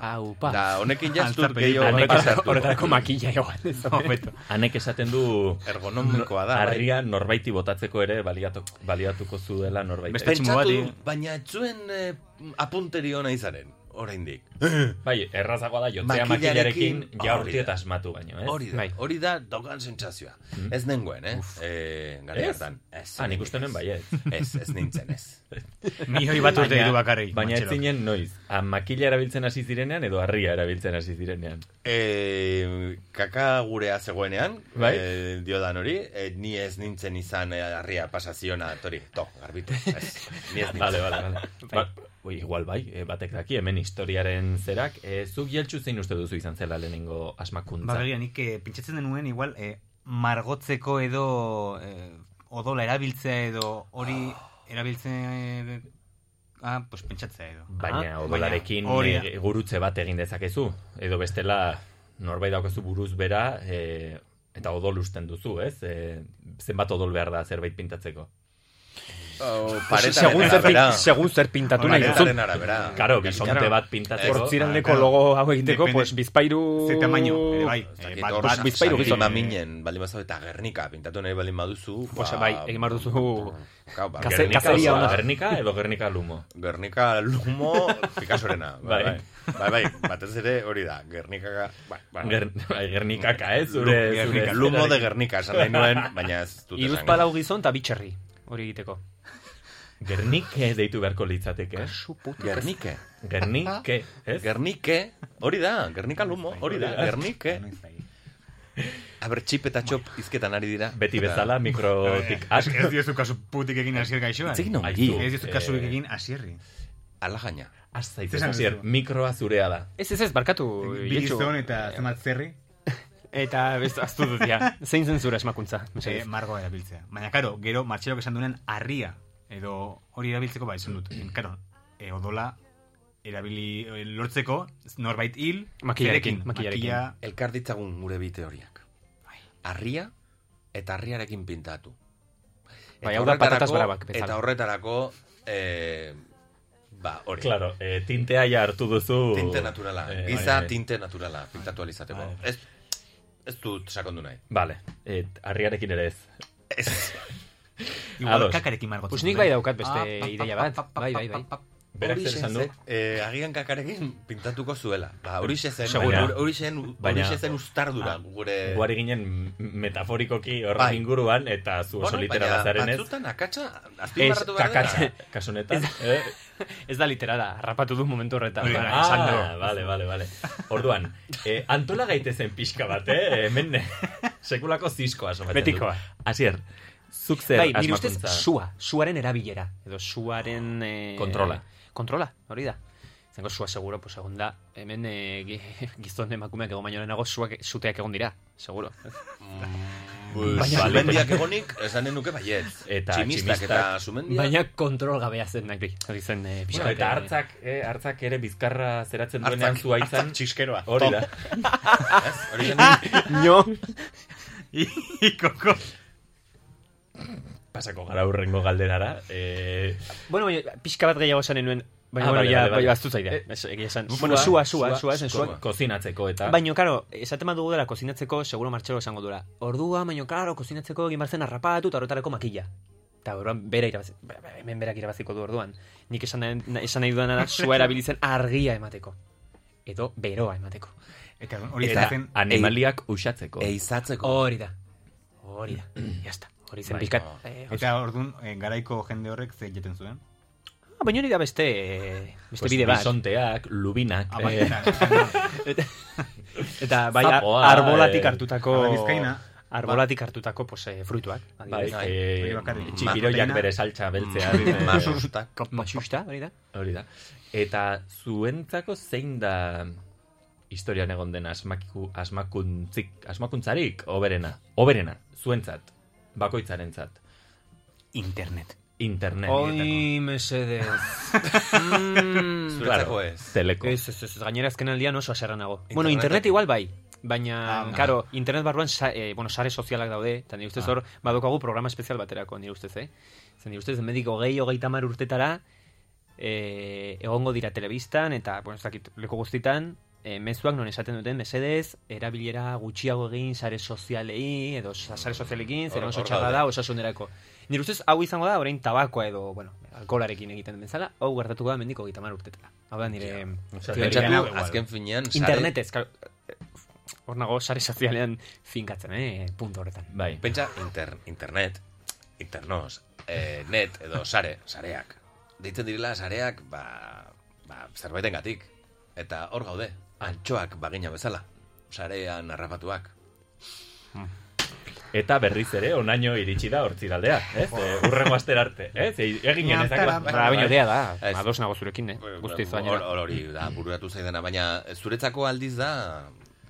Speaker 3: Ba,
Speaker 4: Aupa.
Speaker 2: Da, honekin jaztut
Speaker 3: Altza
Speaker 2: gehiago
Speaker 3: película.
Speaker 2: honekin
Speaker 4: Horretarako-
Speaker 2: sartuko.
Speaker 4: Horretarako makilla joan.
Speaker 3: Hobeto.
Speaker 1: Hanek esaten du
Speaker 2: Ergonomikoa da. bai.
Speaker 1: harria norbaiti botatzeko ere baliatuk, baliatuko zuela norbait.
Speaker 3: Beste-
Speaker 2: Pentsatu,
Speaker 3: Tximbo bati.
Speaker 2: baina etzuen eh, apunteri ona izaren. oraindik.
Speaker 1: Bai, errazagoa da jotzea
Speaker 2: Makilarekin,
Speaker 1: makilarekin jaurti
Speaker 2: hori da.
Speaker 1: eta asmatu baino, eh? ez?
Speaker 2: Hori da,
Speaker 4: Bai.
Speaker 2: hori da daukan sentsazioa. Ez nengoen, eh? E, gara
Speaker 1: Ez?
Speaker 2: hartan. Ez,
Speaker 1: Ah, nik uste nuen bai, ez.
Speaker 2: Ez, ez nintzen, ez.
Speaker 3: Milioi bat urte
Speaker 1: Baina-
Speaker 3: ditu bakarrik.
Speaker 1: Baina ez
Speaker 3: Mantxelok.
Speaker 1: zinen noiz, a, Ah, makila erabiltzen hasi zirenean edo harria erabiltzen hasi zirenean.
Speaker 2: E, kaka gurea zegoenean,
Speaker 1: Bai.
Speaker 2: e, diodan hori, e, ni ez nintzen izan e, harria pasaziona, tori, to, garbitu. Ez, ni ez nintzen.
Speaker 1: Bale, bale, bale. Ba, oi, igual bai, eh, batek daki, hemen historiaren zerak. Eh, zuk jeltsu zein uste duzu izan zela lehenengo asmakuntza?
Speaker 3: Ba, begira, nik eh, pentsatzen denuen, igual, eh, margotzeko edo eh, odola erabiltzea edo hori erabiltzea... eh, ah, pues pentsatzea edo.
Speaker 1: Baina
Speaker 3: Ah,
Speaker 1: odolarekin
Speaker 3: baina hori da.
Speaker 1: eh, gurutze bat egin dezakezu. Edo bestela norbait daukazu buruz bera e, eta odol usten duzu, ez? E, zenbat odol behar da zerbait pintatzeko?
Speaker 2: Oh,
Speaker 4: segun,
Speaker 2: paretaren
Speaker 4: zer, pin-
Speaker 2: arabera.
Speaker 4: segun zer pintatu nahi duzu.
Speaker 2: Paretaren arabera.
Speaker 1: Karo, bisonte bat pintatzeko.
Speaker 4: Hortziraldeko
Speaker 3: Ah, claro.
Speaker 4: logo hau egiteko,
Speaker 3: Depende.
Speaker 4: pues, bizpairu...
Speaker 3: Ze tamaño, ere bai.
Speaker 2: Ez
Speaker 3: Eh,
Speaker 2: dakit,
Speaker 3: bat,
Speaker 2: hor
Speaker 3: bat,
Speaker 4: bizpahiru
Speaker 2: San
Speaker 4: gizon.
Speaker 2: Klima minen, baldin bazabe, eta Gernika, pintatu nahi baldin baduzu.
Speaker 4: Pues, bai, egin behar duzu
Speaker 2: Kau, ba,
Speaker 4: kaze-
Speaker 1: eh,
Speaker 2: Gernika,
Speaker 1: Gernika,
Speaker 4: kazeria
Speaker 1: osoa,
Speaker 2: osoa.
Speaker 4: ona.
Speaker 1: Gernika edo Gernika lumo.
Speaker 2: Gernika Lumo Picassorena. Bai,
Speaker 1: Bai.
Speaker 2: bai. Bai, bai, batez ere hori da. Gernika, bai, bai.
Speaker 1: Ger, bai, Gernikaka, ez? Zure,
Speaker 2: Lu-
Speaker 1: zure-
Speaker 2: Gernika,
Speaker 1: zure-
Speaker 2: eh, Lumo de Gernika esan nahi nuen, baina ez dut esan.
Speaker 4: Iruzpalau gizon eta bitxerri hori egiteko.
Speaker 1: Gernike deitu beharko litzateke. eh?
Speaker 4: Kasu putu.
Speaker 2: Gernike.
Speaker 1: Gernike, ez?
Speaker 2: Ah?
Speaker 1: Bai,
Speaker 2: Gernike, hori da, Gernika Lumo, hori da, Gernike. Aber, txip eta txop izketan ari dira.
Speaker 1: Beti bezala mikrotik
Speaker 3: Ez
Speaker 1: ask.
Speaker 3: ez diozu kasu putik egin asier gaixoan.
Speaker 2: Itzik non,
Speaker 1: Aizu.
Speaker 3: Ez diozu kasu
Speaker 1: Eh,
Speaker 3: egin asierri.
Speaker 2: ala gaina.
Speaker 1: Az zaitez,
Speaker 3: Zesan
Speaker 1: hasier,
Speaker 3: duzu.
Speaker 1: mikroa zurea da.
Speaker 4: Ez, ez, ez, barkatu. Ietxu.
Speaker 3: Bilizon eta zemat zerri,
Speaker 4: Eta ez aztu dut, ja. Zein zen zure esmakuntza?
Speaker 3: eh,
Speaker 4: mesedez?
Speaker 3: margoa erabiltzea. Baina, karo, gero, martxelok esan duen harria, edo hori erabiltzeko ba, izan dut. Karo, eh, odola erabili eh, lortzeko, norbait hil,
Speaker 4: Makilarekin,
Speaker 3: zerekin,
Speaker 4: makilarekin.
Speaker 3: makila-
Speaker 2: Elkar ditzagun gure bi teoriak.
Speaker 1: Bai.
Speaker 2: Arria eta arriarekin pintatu.
Speaker 4: Bai, hau da patatas
Speaker 2: horretarako-
Speaker 4: bravak bezala.
Speaker 2: Eta horretarako, eh, ba, hori.
Speaker 1: Claro, eh, tintea ja hartu duzu...
Speaker 2: Tinte naturala.
Speaker 1: Eh,
Speaker 2: Giza
Speaker 1: bai, bai.
Speaker 2: tinte naturala pintatu alizateko. Ez, ez dut sakondu nahi.
Speaker 1: Vale, et, arriarekin ere ez.
Speaker 2: Ez.
Speaker 3: Igual
Speaker 1: Ados.
Speaker 3: kakarekin margotzen.
Speaker 4: Pues nik bai daukat
Speaker 2: Ah,
Speaker 4: beste ideia bat. Bai, bai, bai.
Speaker 1: eh. Berak zer esan du?
Speaker 2: Eh, agian kakarekin pintatuko zuela. Ba, hori xe zen,
Speaker 1: Seguro.
Speaker 2: hori- hori zen, hori
Speaker 1: Baina-
Speaker 2: xe zen ustardura
Speaker 1: Ah,
Speaker 2: gure...
Speaker 1: Guari ginen metaforikoki horren
Speaker 2: Bai.
Speaker 1: inguruan, eta zu oso
Speaker 2: Bueno,
Speaker 1: litera
Speaker 2: baina
Speaker 1: bazaren ez.
Speaker 2: Batzutan akatsa, azpimarratu behar dela.
Speaker 1: kakatza, kasu honetan. eh?
Speaker 4: Ez da literala, rapatu du momentu horretan.
Speaker 3: Hori da,
Speaker 4: Bara, esan du.
Speaker 1: Ah, vale, vale, vale. Orduan, eh, antola gaitezen pixka bat, eh? Hemen sekulako ziskoa somatzen du.
Speaker 4: Betikoa.
Speaker 1: Asier, zuk zer
Speaker 4: bai, nire ustez,
Speaker 1: asmakuntza-
Speaker 4: sua, suaren erabilera. Edo suaren... Eh,
Speaker 1: Kontrola.
Speaker 4: Kontrola, hori da. Zengo sua seguro, pues egon da, hemen eh, gi- gizon emakumeak egon baino lehenago suak, suteak egon dira, seguro.
Speaker 2: Mm, Pues,
Speaker 1: Baina-
Speaker 2: sumendiak egonik, esanen nuke baietz.
Speaker 1: Eta
Speaker 2: tximistak eta
Speaker 1: tximistak.
Speaker 2: sumendiak.
Speaker 4: Baina kontrol gabea zen nahi, hori zen eh,
Speaker 1: Bueno,
Speaker 4: pixkat,
Speaker 1: eta
Speaker 4: eh,
Speaker 1: hartzak, eh, hartzak ere bizkarra zeratzen duenean
Speaker 2: hartzak,
Speaker 1: zu aitzan.
Speaker 2: hartzak txiskeroa.
Speaker 1: Hori da.
Speaker 2: Ez, Hori zen,
Speaker 4: Nio,
Speaker 3: Ikoko.
Speaker 1: Pasako gara hurrengo galderara. Eh,
Speaker 4: bueno, baina, pixka bat gehiago esan nuen, baina,
Speaker 1: Ah,
Speaker 4: bueno,
Speaker 1: bale,
Speaker 4: ja,
Speaker 1: bale, bale.
Speaker 4: bai, baztu zaidea.
Speaker 1: Eh,
Speaker 4: Ez, egia esan. Bueno, sua, sua, sua, esan sua.
Speaker 1: Kozinatzeko eta...
Speaker 4: Baina, karo, esaten bat dugu dela kozinatzeko, seguro martxelo esango dura. Ordua, baina, karo, kozinatzeko egin barzen arrapatu eta horretarako makila. Eta orduan bera irabazi, be- be- hemen berak irabaziko du orduan. Nik esan nahi, na- esan nahi dudana da, sua erabilitzen argia emateko. Edo beroa emateko.
Speaker 3: Eta hori
Speaker 1: eta
Speaker 3: zen,
Speaker 1: animaliak usatzeko.
Speaker 2: eizatzeko.
Speaker 4: Hori da. Hori da. Jasta. Hori zen
Speaker 1: Bai.
Speaker 4: pizkat. eh, hori-
Speaker 3: eta ordun garaiko jende horrek ze jaten zuen.
Speaker 4: Ah, Baina hori da beste, eh, beste
Speaker 1: Pues,
Speaker 4: bide bat.
Speaker 1: Bisonteak, lubinak...
Speaker 3: Ah, bai,
Speaker 1: eh,
Speaker 3: eta-
Speaker 4: Eta bai, ar-
Speaker 1: Zapoa,
Speaker 4: arbolatik
Speaker 1: eh,
Speaker 4: hartutako...
Speaker 3: ala, bizkaina.
Speaker 4: Arbolatik hartutako, pues, eh, fruituak.
Speaker 1: Ba. Bai,
Speaker 4: adibidez.
Speaker 1: eh,
Speaker 3: Hori bakarrik.
Speaker 1: txipiroiak
Speaker 3: Proteina.
Speaker 1: bere saltza beltzea. eh,
Speaker 2: Masustak.
Speaker 4: Matxusta, hori da?
Speaker 1: Hori da. Eta zuentzako zein da historian egon den asmakiku, asmakuntzik, asmakuntzarik oberena. Oberena, zuentzat, bakoitzarentzat,
Speaker 3: Internet.
Speaker 1: internet.
Speaker 4: Oi, mesedez. mm,
Speaker 2: Zuretzako ez.
Speaker 1: Teleko.
Speaker 4: ez, ez, ez, gainera azken aldian oso aserra nago. Bueno,
Speaker 2: Internet-
Speaker 4: internet igual bai, baina,
Speaker 3: Ah,
Speaker 4: karo, internet barruan, sa, eh, bueno, sare sozialak daude, eta nire ustez hor, badokagu programa espezial baterako, nire ustez, eh? Zer nire ustez, hemendik hogei, hogeita mar urtetara, eh, egongo dira telebistan, eta, bueno, ez dakit, leko guztitan, e, mezuak non esaten duten mesedez, erabilera gutxiago egin sare sozialei edo sa- sare sozialekin, zer
Speaker 2: Hor-
Speaker 4: oso
Speaker 2: hor
Speaker 4: txarra
Speaker 2: gaude.
Speaker 4: da osasunerako. Nire ustez hau izango da orain tabakoa edo, bueno, alkolarekin egiten den bezala, hau gertatuko da mendiko 30 urtetara. Hau da nire
Speaker 1: Osea,
Speaker 4: teoria.
Speaker 1: pentsatu-
Speaker 2: Pentsatu,
Speaker 1: igual.
Speaker 2: azken finean... sare-
Speaker 4: internetez, claro, eh, hor nago sare sozialean finkatzen, eh, punto horretan.
Speaker 1: Bai.
Speaker 2: Pentsa, inter, internet, internos, eh, net, edo sare, sareak. Deitzen direla sareak, ba, ba zerbaiten gatik. Eta hor gaude,
Speaker 1: Ah.
Speaker 2: antxoak bagina bezala. Sarean harrapatuak.
Speaker 1: Hmm. Eta berriz ere, onaino iritsi da hortziraldea, ez? E, urrengo aster arte, ez? E, egin genezakoa.
Speaker 3: Bai,
Speaker 4: Ba, baina dea da,
Speaker 2: Ez.
Speaker 4: ados nago zurekin, eh? Guztiz
Speaker 2: Hor-
Speaker 4: baina.
Speaker 2: hor Hori da, bururatu zaidana, baina zuretzako aldiz da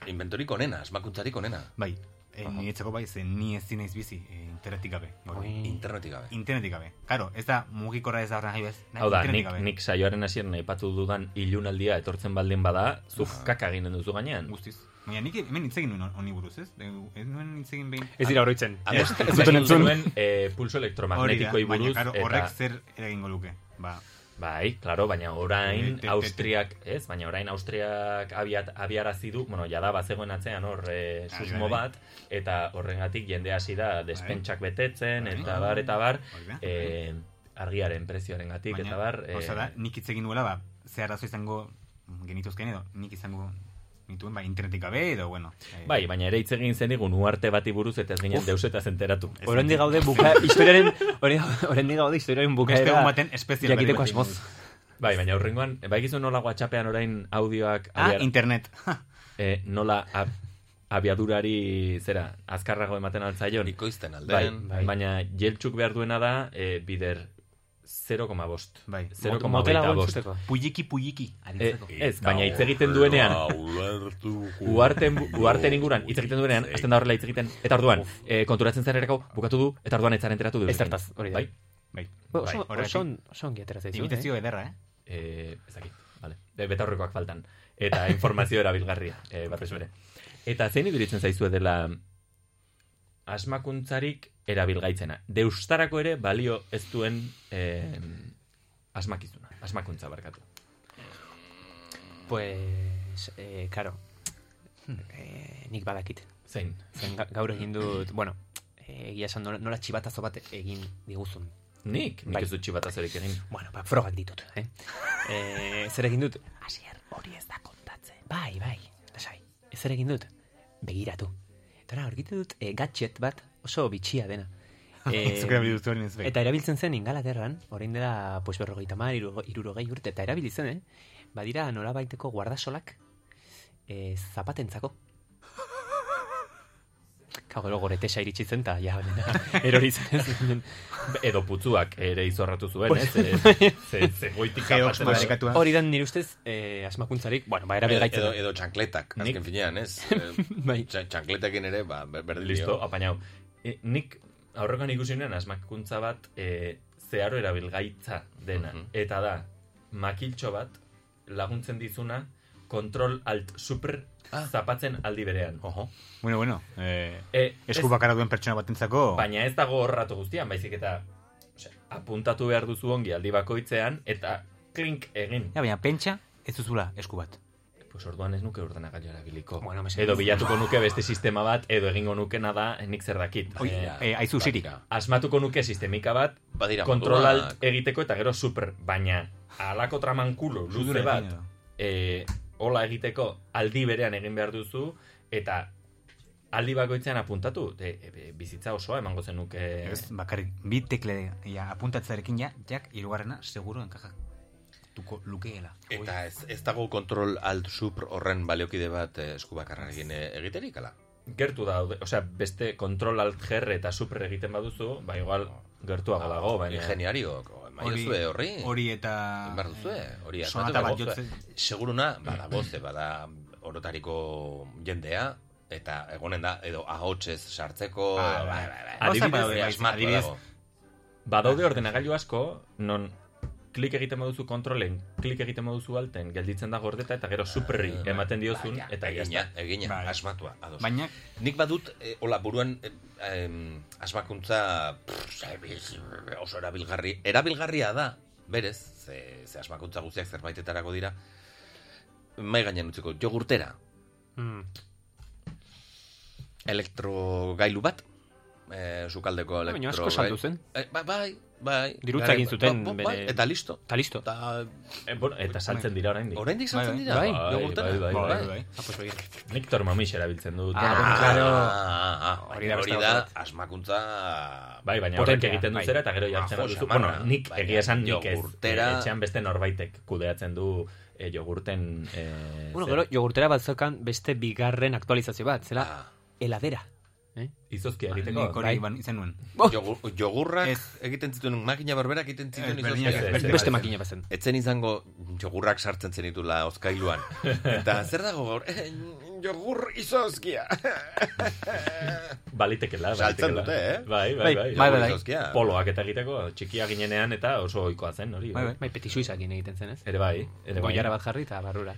Speaker 2: inventorik onena, esmakuntzarik onena.
Speaker 3: Bai, e, niretzako bai, zen ni ez zinaiz bizi, e, internetik gabe. gaur.
Speaker 4: Ui.
Speaker 2: Internetik gabe.
Speaker 3: Internetik gabe. Claro, ez da mugikorra ez da horren jaibez.
Speaker 1: Hau da, nik, nik saioaren hasieran aipatu dudan ilunaldia etortzen baldin bada, zuk kaka eginen duzu gainean.
Speaker 3: Guztiz. Baina nik hemen hitz egin nuen honi buruz, ez? E, Ez nuen hitz egin behin.
Speaker 4: Ez dira oroitzen.
Speaker 2: Adostu-
Speaker 4: Ez duten entzun.
Speaker 1: Zuen eh, pulso elektromagnetikoei buruz,
Speaker 3: baina claro,
Speaker 1: eta...
Speaker 3: horrek zer eragingo luke. Ba,
Speaker 1: Bai, claro, baina orain
Speaker 3: Te- te- te-
Speaker 1: Austriak, ez? Baina orain Austriak abiat, abiarazi du, bueno, jada bazegoen atzean hor eh, susmo
Speaker 3: bai, bai.
Speaker 1: bat, eta horrengatik jende hasi da despentsak betetzen,
Speaker 3: Bai.
Speaker 1: eta bar, eta bar,
Speaker 3: Hori da.
Speaker 1: eh, argiaren prezioaren gatik,
Speaker 3: baina,
Speaker 1: eta bar... eh,
Speaker 3: gauza da, nik hitz egin nuela, ba, ze arazo izango genituzken edo, nik izango nituen, ba, internetik gabe edo, bueno. eh,
Speaker 1: Bai, baina ere hitz egin zenigun uarte bati buruz eta ez ginen deusetaz enteratu.
Speaker 4: Oraindik gaude buka historiaren oraindik gaude historiaren
Speaker 3: Beste
Speaker 4: bukaera.
Speaker 3: egun baten espezial berri
Speaker 4: jakiteko
Speaker 3: bat
Speaker 4: asmoz.
Speaker 3: egin
Speaker 1: Bai, baina horrengoan, bai gizu nola WhatsAppean orain audioak
Speaker 3: Ah,
Speaker 1: abiar-
Speaker 3: internet.
Speaker 1: eh, nola ab, abiadurari zera, azkarrago ematen altzaion.
Speaker 2: Bikoizten
Speaker 1: Bai,
Speaker 2: aldean.
Speaker 1: bai, baina jeltxuk behar duena da eh, bider 0,5.
Speaker 3: Bai,
Speaker 4: Motela
Speaker 1: 0,5.
Speaker 4: goitzuteko.
Speaker 3: pujiki, pujiki,
Speaker 4: E,
Speaker 1: Eh,
Speaker 3: aritzeko.
Speaker 1: ez, baina hitz egiten duenean, uarten, uarten inguran hitz egiten duenean, hasten da horrela hitz egiten, eta orduan, eh, konturatzen zarerako bukatu du, eta orduan etzaren enteratu du.
Speaker 4: Ezertaz, hori da.
Speaker 1: Bai,
Speaker 3: bai.
Speaker 4: Ba, Oso
Speaker 3: horregatik.
Speaker 4: oso on- oso ongi atera zaizu.
Speaker 3: Imitazio
Speaker 4: eh?
Speaker 3: ederra, eh?
Speaker 1: eh, ez dakit, vale. E, betaurrekoak faltan. Eta informazio erabilgarria, eh, batez bere. Eta zein iduritzen zaizue dela asmakuntzarik erabilgaitzena. Deustarako ere balio ez duen eh, asmakizuna, asmakuntza barkatu.
Speaker 4: Pues eh claro.
Speaker 1: Hmm.
Speaker 4: Eh, nik badakit.
Speaker 1: Zein?
Speaker 4: Zen ga- gaur egin dut, bueno, eh, egia esan nola, nola txibatazo bat egin diguzun.
Speaker 1: Nik? Nik
Speaker 4: Bai.
Speaker 1: ez dut txibatazorik egin.
Speaker 4: Bueno, ba, frogak ditut, eh? eh zer egin dut? Asier, hori ez da kontatzen. Bai, bai, lasai. Zer egin dut? Begiratu. Eta ora, aurkitu dut eh, gadget bat oso bitxia dena. Eh,
Speaker 3: Zuk erabili duzu hori ez bai. behin.
Speaker 4: Eta erabiltzen zen Ingalaterran, orain dela pues, berrogeita mar, iruro- irurogei urte, eta erabili zen, eh? Badira nolabaiteko guardasolak eh, zapatentzako. Kago, gero gore tesa iritsi zen, eta ja, dena, erori zen ez.
Speaker 1: Edo putzuak ere izorratu zuen, ez? Ze, ze, ze goitik
Speaker 3: Geox
Speaker 1: apatzen ari.
Speaker 3: marrikatua.
Speaker 4: bai. Hori dan nire ustez eh, asmakuntzarik, bueno, ba,
Speaker 2: Edo,
Speaker 4: erabilgaitzen.
Speaker 2: edo, edo txankletak, azken
Speaker 1: Nik-
Speaker 2: finean, ez? Eh,
Speaker 4: Bai.
Speaker 2: txa- Txankletekin ere, ba, ber- berdin
Speaker 1: Listo,
Speaker 2: dio.
Speaker 1: apainau. E, nik aurrekan ikusi nuen asmakuntza bat e, zeharo erabilgaitza dena.
Speaker 2: Mhm.
Speaker 1: Eta da, makiltxo bat laguntzen dizuna kontrol alt super
Speaker 2: Ah.
Speaker 1: zapatzen aldi berean.
Speaker 2: Oho.
Speaker 3: Bueno, bueno, eh,
Speaker 1: E, ez-
Speaker 3: esku bakarra duen pertsona batentzako.
Speaker 1: baina ez dago horratu guztian, baizik eta osea, apuntatu behar duzu ongi aldi bakoitzean eta klink egin.
Speaker 3: Ja, baina pentsa, ez duzula esku bat.
Speaker 1: Pues orduan ez nuke ordenagailua erabiliko.
Speaker 4: Bueno, mesedez.
Speaker 1: edo bilatuko nuke beste sistema bat, edo egingo nukena da, nik zer dakit.
Speaker 3: Oi,
Speaker 1: Eh,
Speaker 3: eh, aizu siri.
Speaker 2: badira.
Speaker 1: asmatuko nuke sistemika bat,
Speaker 2: Badira
Speaker 1: kontrol
Speaker 2: moduak.
Speaker 1: alt egiteko eta gero super, baina alako tramankulo luze
Speaker 3: Zure
Speaker 1: bat
Speaker 3: edo.
Speaker 1: e, hola egiteko aldi berean egin behar duzu eta aldi bakoitzean apuntatu e, e, e, bizitza osoa emango zenuke
Speaker 3: Ez, bakarrik, bi tekle ja, apuntatzarekin ja, jak, irugarrena, seguro enkajak tuko lukeela.
Speaker 2: Eta ez, ez dago kontrol alt supr horren baliokide bat eh, esku bakarrarekin eh, egiterik, ala?
Speaker 1: gertu daude, osea beste kontrol alt ger eta super egiten baduzu, ba igual gertuago dago, baina
Speaker 2: Ah, Ingeniariok, emaiozue horri.
Speaker 3: Hori eta...
Speaker 2: Egin behar duzue, hori asmatu
Speaker 3: Sonata bat
Speaker 2: behar duzue.
Speaker 3: jotzen.
Speaker 2: Seguruna, ba,
Speaker 3: Ba,
Speaker 2: bada goze, bada orotariko jendea, eta egonen da, edo ahotsez sartzeko...
Speaker 3: Ah, bai, bai, bai.
Speaker 1: Gauzak
Speaker 2: Adibidez,
Speaker 1: badaude,
Speaker 2: ea,
Speaker 3: bai,
Speaker 2: asmatua
Speaker 3: adibidez.
Speaker 2: ba, dago.
Speaker 1: badaude ordenagailu asko non klik egiten baduzu kontrolen, klik egiten baduzu alten, gelditzen da gordeta eta gero superri ematen diozun
Speaker 2: Baina,
Speaker 1: eta ja
Speaker 2: Ah, egina,
Speaker 1: está.
Speaker 2: egina,
Speaker 3: Bai.
Speaker 2: asmatua, ados.
Speaker 3: Baina,
Speaker 2: Nik badut, eh, hola, buruan eh, em, asmakuntza pff, zabiz, oso erabilgarri, erabilgarria da, berez, ze, ze asmakuntza guztiak zerbaitetarako dira, mai gainen utziko, jogurtera.
Speaker 4: Mm.
Speaker 2: Elektrogailu bat, eh, sukaldeko
Speaker 4: Ah, Baina
Speaker 2: elektrogailu.
Speaker 4: asko saldu zen.
Speaker 2: Eh, ba- bai, bai.
Speaker 4: Dirutza
Speaker 2: Garai-
Speaker 4: egin zuten
Speaker 2: ba- ba-
Speaker 4: bere-
Speaker 2: Eta listo.
Speaker 4: Eta listo.
Speaker 2: Eta
Speaker 1: Eh, bueno, eta saltzen dira oraindik.
Speaker 2: oraindik
Speaker 3: Bai,
Speaker 2: saltzen
Speaker 3: bai.
Speaker 2: dira.
Speaker 4: Bai.
Speaker 2: jogurtera.
Speaker 1: Bai, bai,
Speaker 3: Bai, bai.
Speaker 4: Ah, pues, oye.
Speaker 1: Nik tormamix erabiltzen dut.
Speaker 2: Ah,
Speaker 3: bueno, claro.
Speaker 2: ah, ah,
Speaker 4: Hori da
Speaker 2: hori
Speaker 4: beste
Speaker 2: da,
Speaker 4: bat.
Speaker 2: asmakuntza...
Speaker 1: Bai, baina
Speaker 4: Potentea,
Speaker 1: horrek egiten du
Speaker 4: bai.
Speaker 1: zera eta gero jartzen
Speaker 2: Ah, jo,
Speaker 1: duzu.
Speaker 2: xamarra.
Speaker 1: Bueno, nik
Speaker 2: Baina
Speaker 1: egia esan nik ez.
Speaker 2: jogurtera-
Speaker 1: Eh, Etxean beste norbaitek kudeatzen du eh, jogurten... Eh,
Speaker 4: Bueno,
Speaker 1: zera.
Speaker 4: gero, jogurtera bat zeukan beste bigarren aktualizazio bat, zela,
Speaker 2: Ah.
Speaker 4: heladera. Eh?
Speaker 1: Izozkia egiteko. bai.
Speaker 3: Nik hori ban- izan nuen.
Speaker 2: Jogur, jogurrak
Speaker 3: Ez.
Speaker 2: egiten zituen makina berberak egiten
Speaker 3: Ez,
Speaker 2: zituen
Speaker 3: berdinak,
Speaker 1: ez,
Speaker 2: izozkiak.
Speaker 1: beste
Speaker 4: Beste
Speaker 1: bat.
Speaker 4: makina bat zen.
Speaker 2: Etzen izango jogurrak sartzen zenitula ozkailuan. Eta zer dago gaur? Eh, jogur izozkia.
Speaker 1: Balitekela,
Speaker 2: Saltzen
Speaker 1: balitekela.
Speaker 2: dute, eh?
Speaker 1: Bai, bai, bai.
Speaker 2: Jogur
Speaker 3: bai.
Speaker 2: izozkia.
Speaker 1: Poloak eta egiteko, txikia ginenean eta oso ohikoa zen, hori.
Speaker 3: Bai, bai.
Speaker 4: Bai, peti suizakin egiten zen, ez?
Speaker 1: Ere bai, ere bai.
Speaker 4: Goiara bat jarri eta barrura.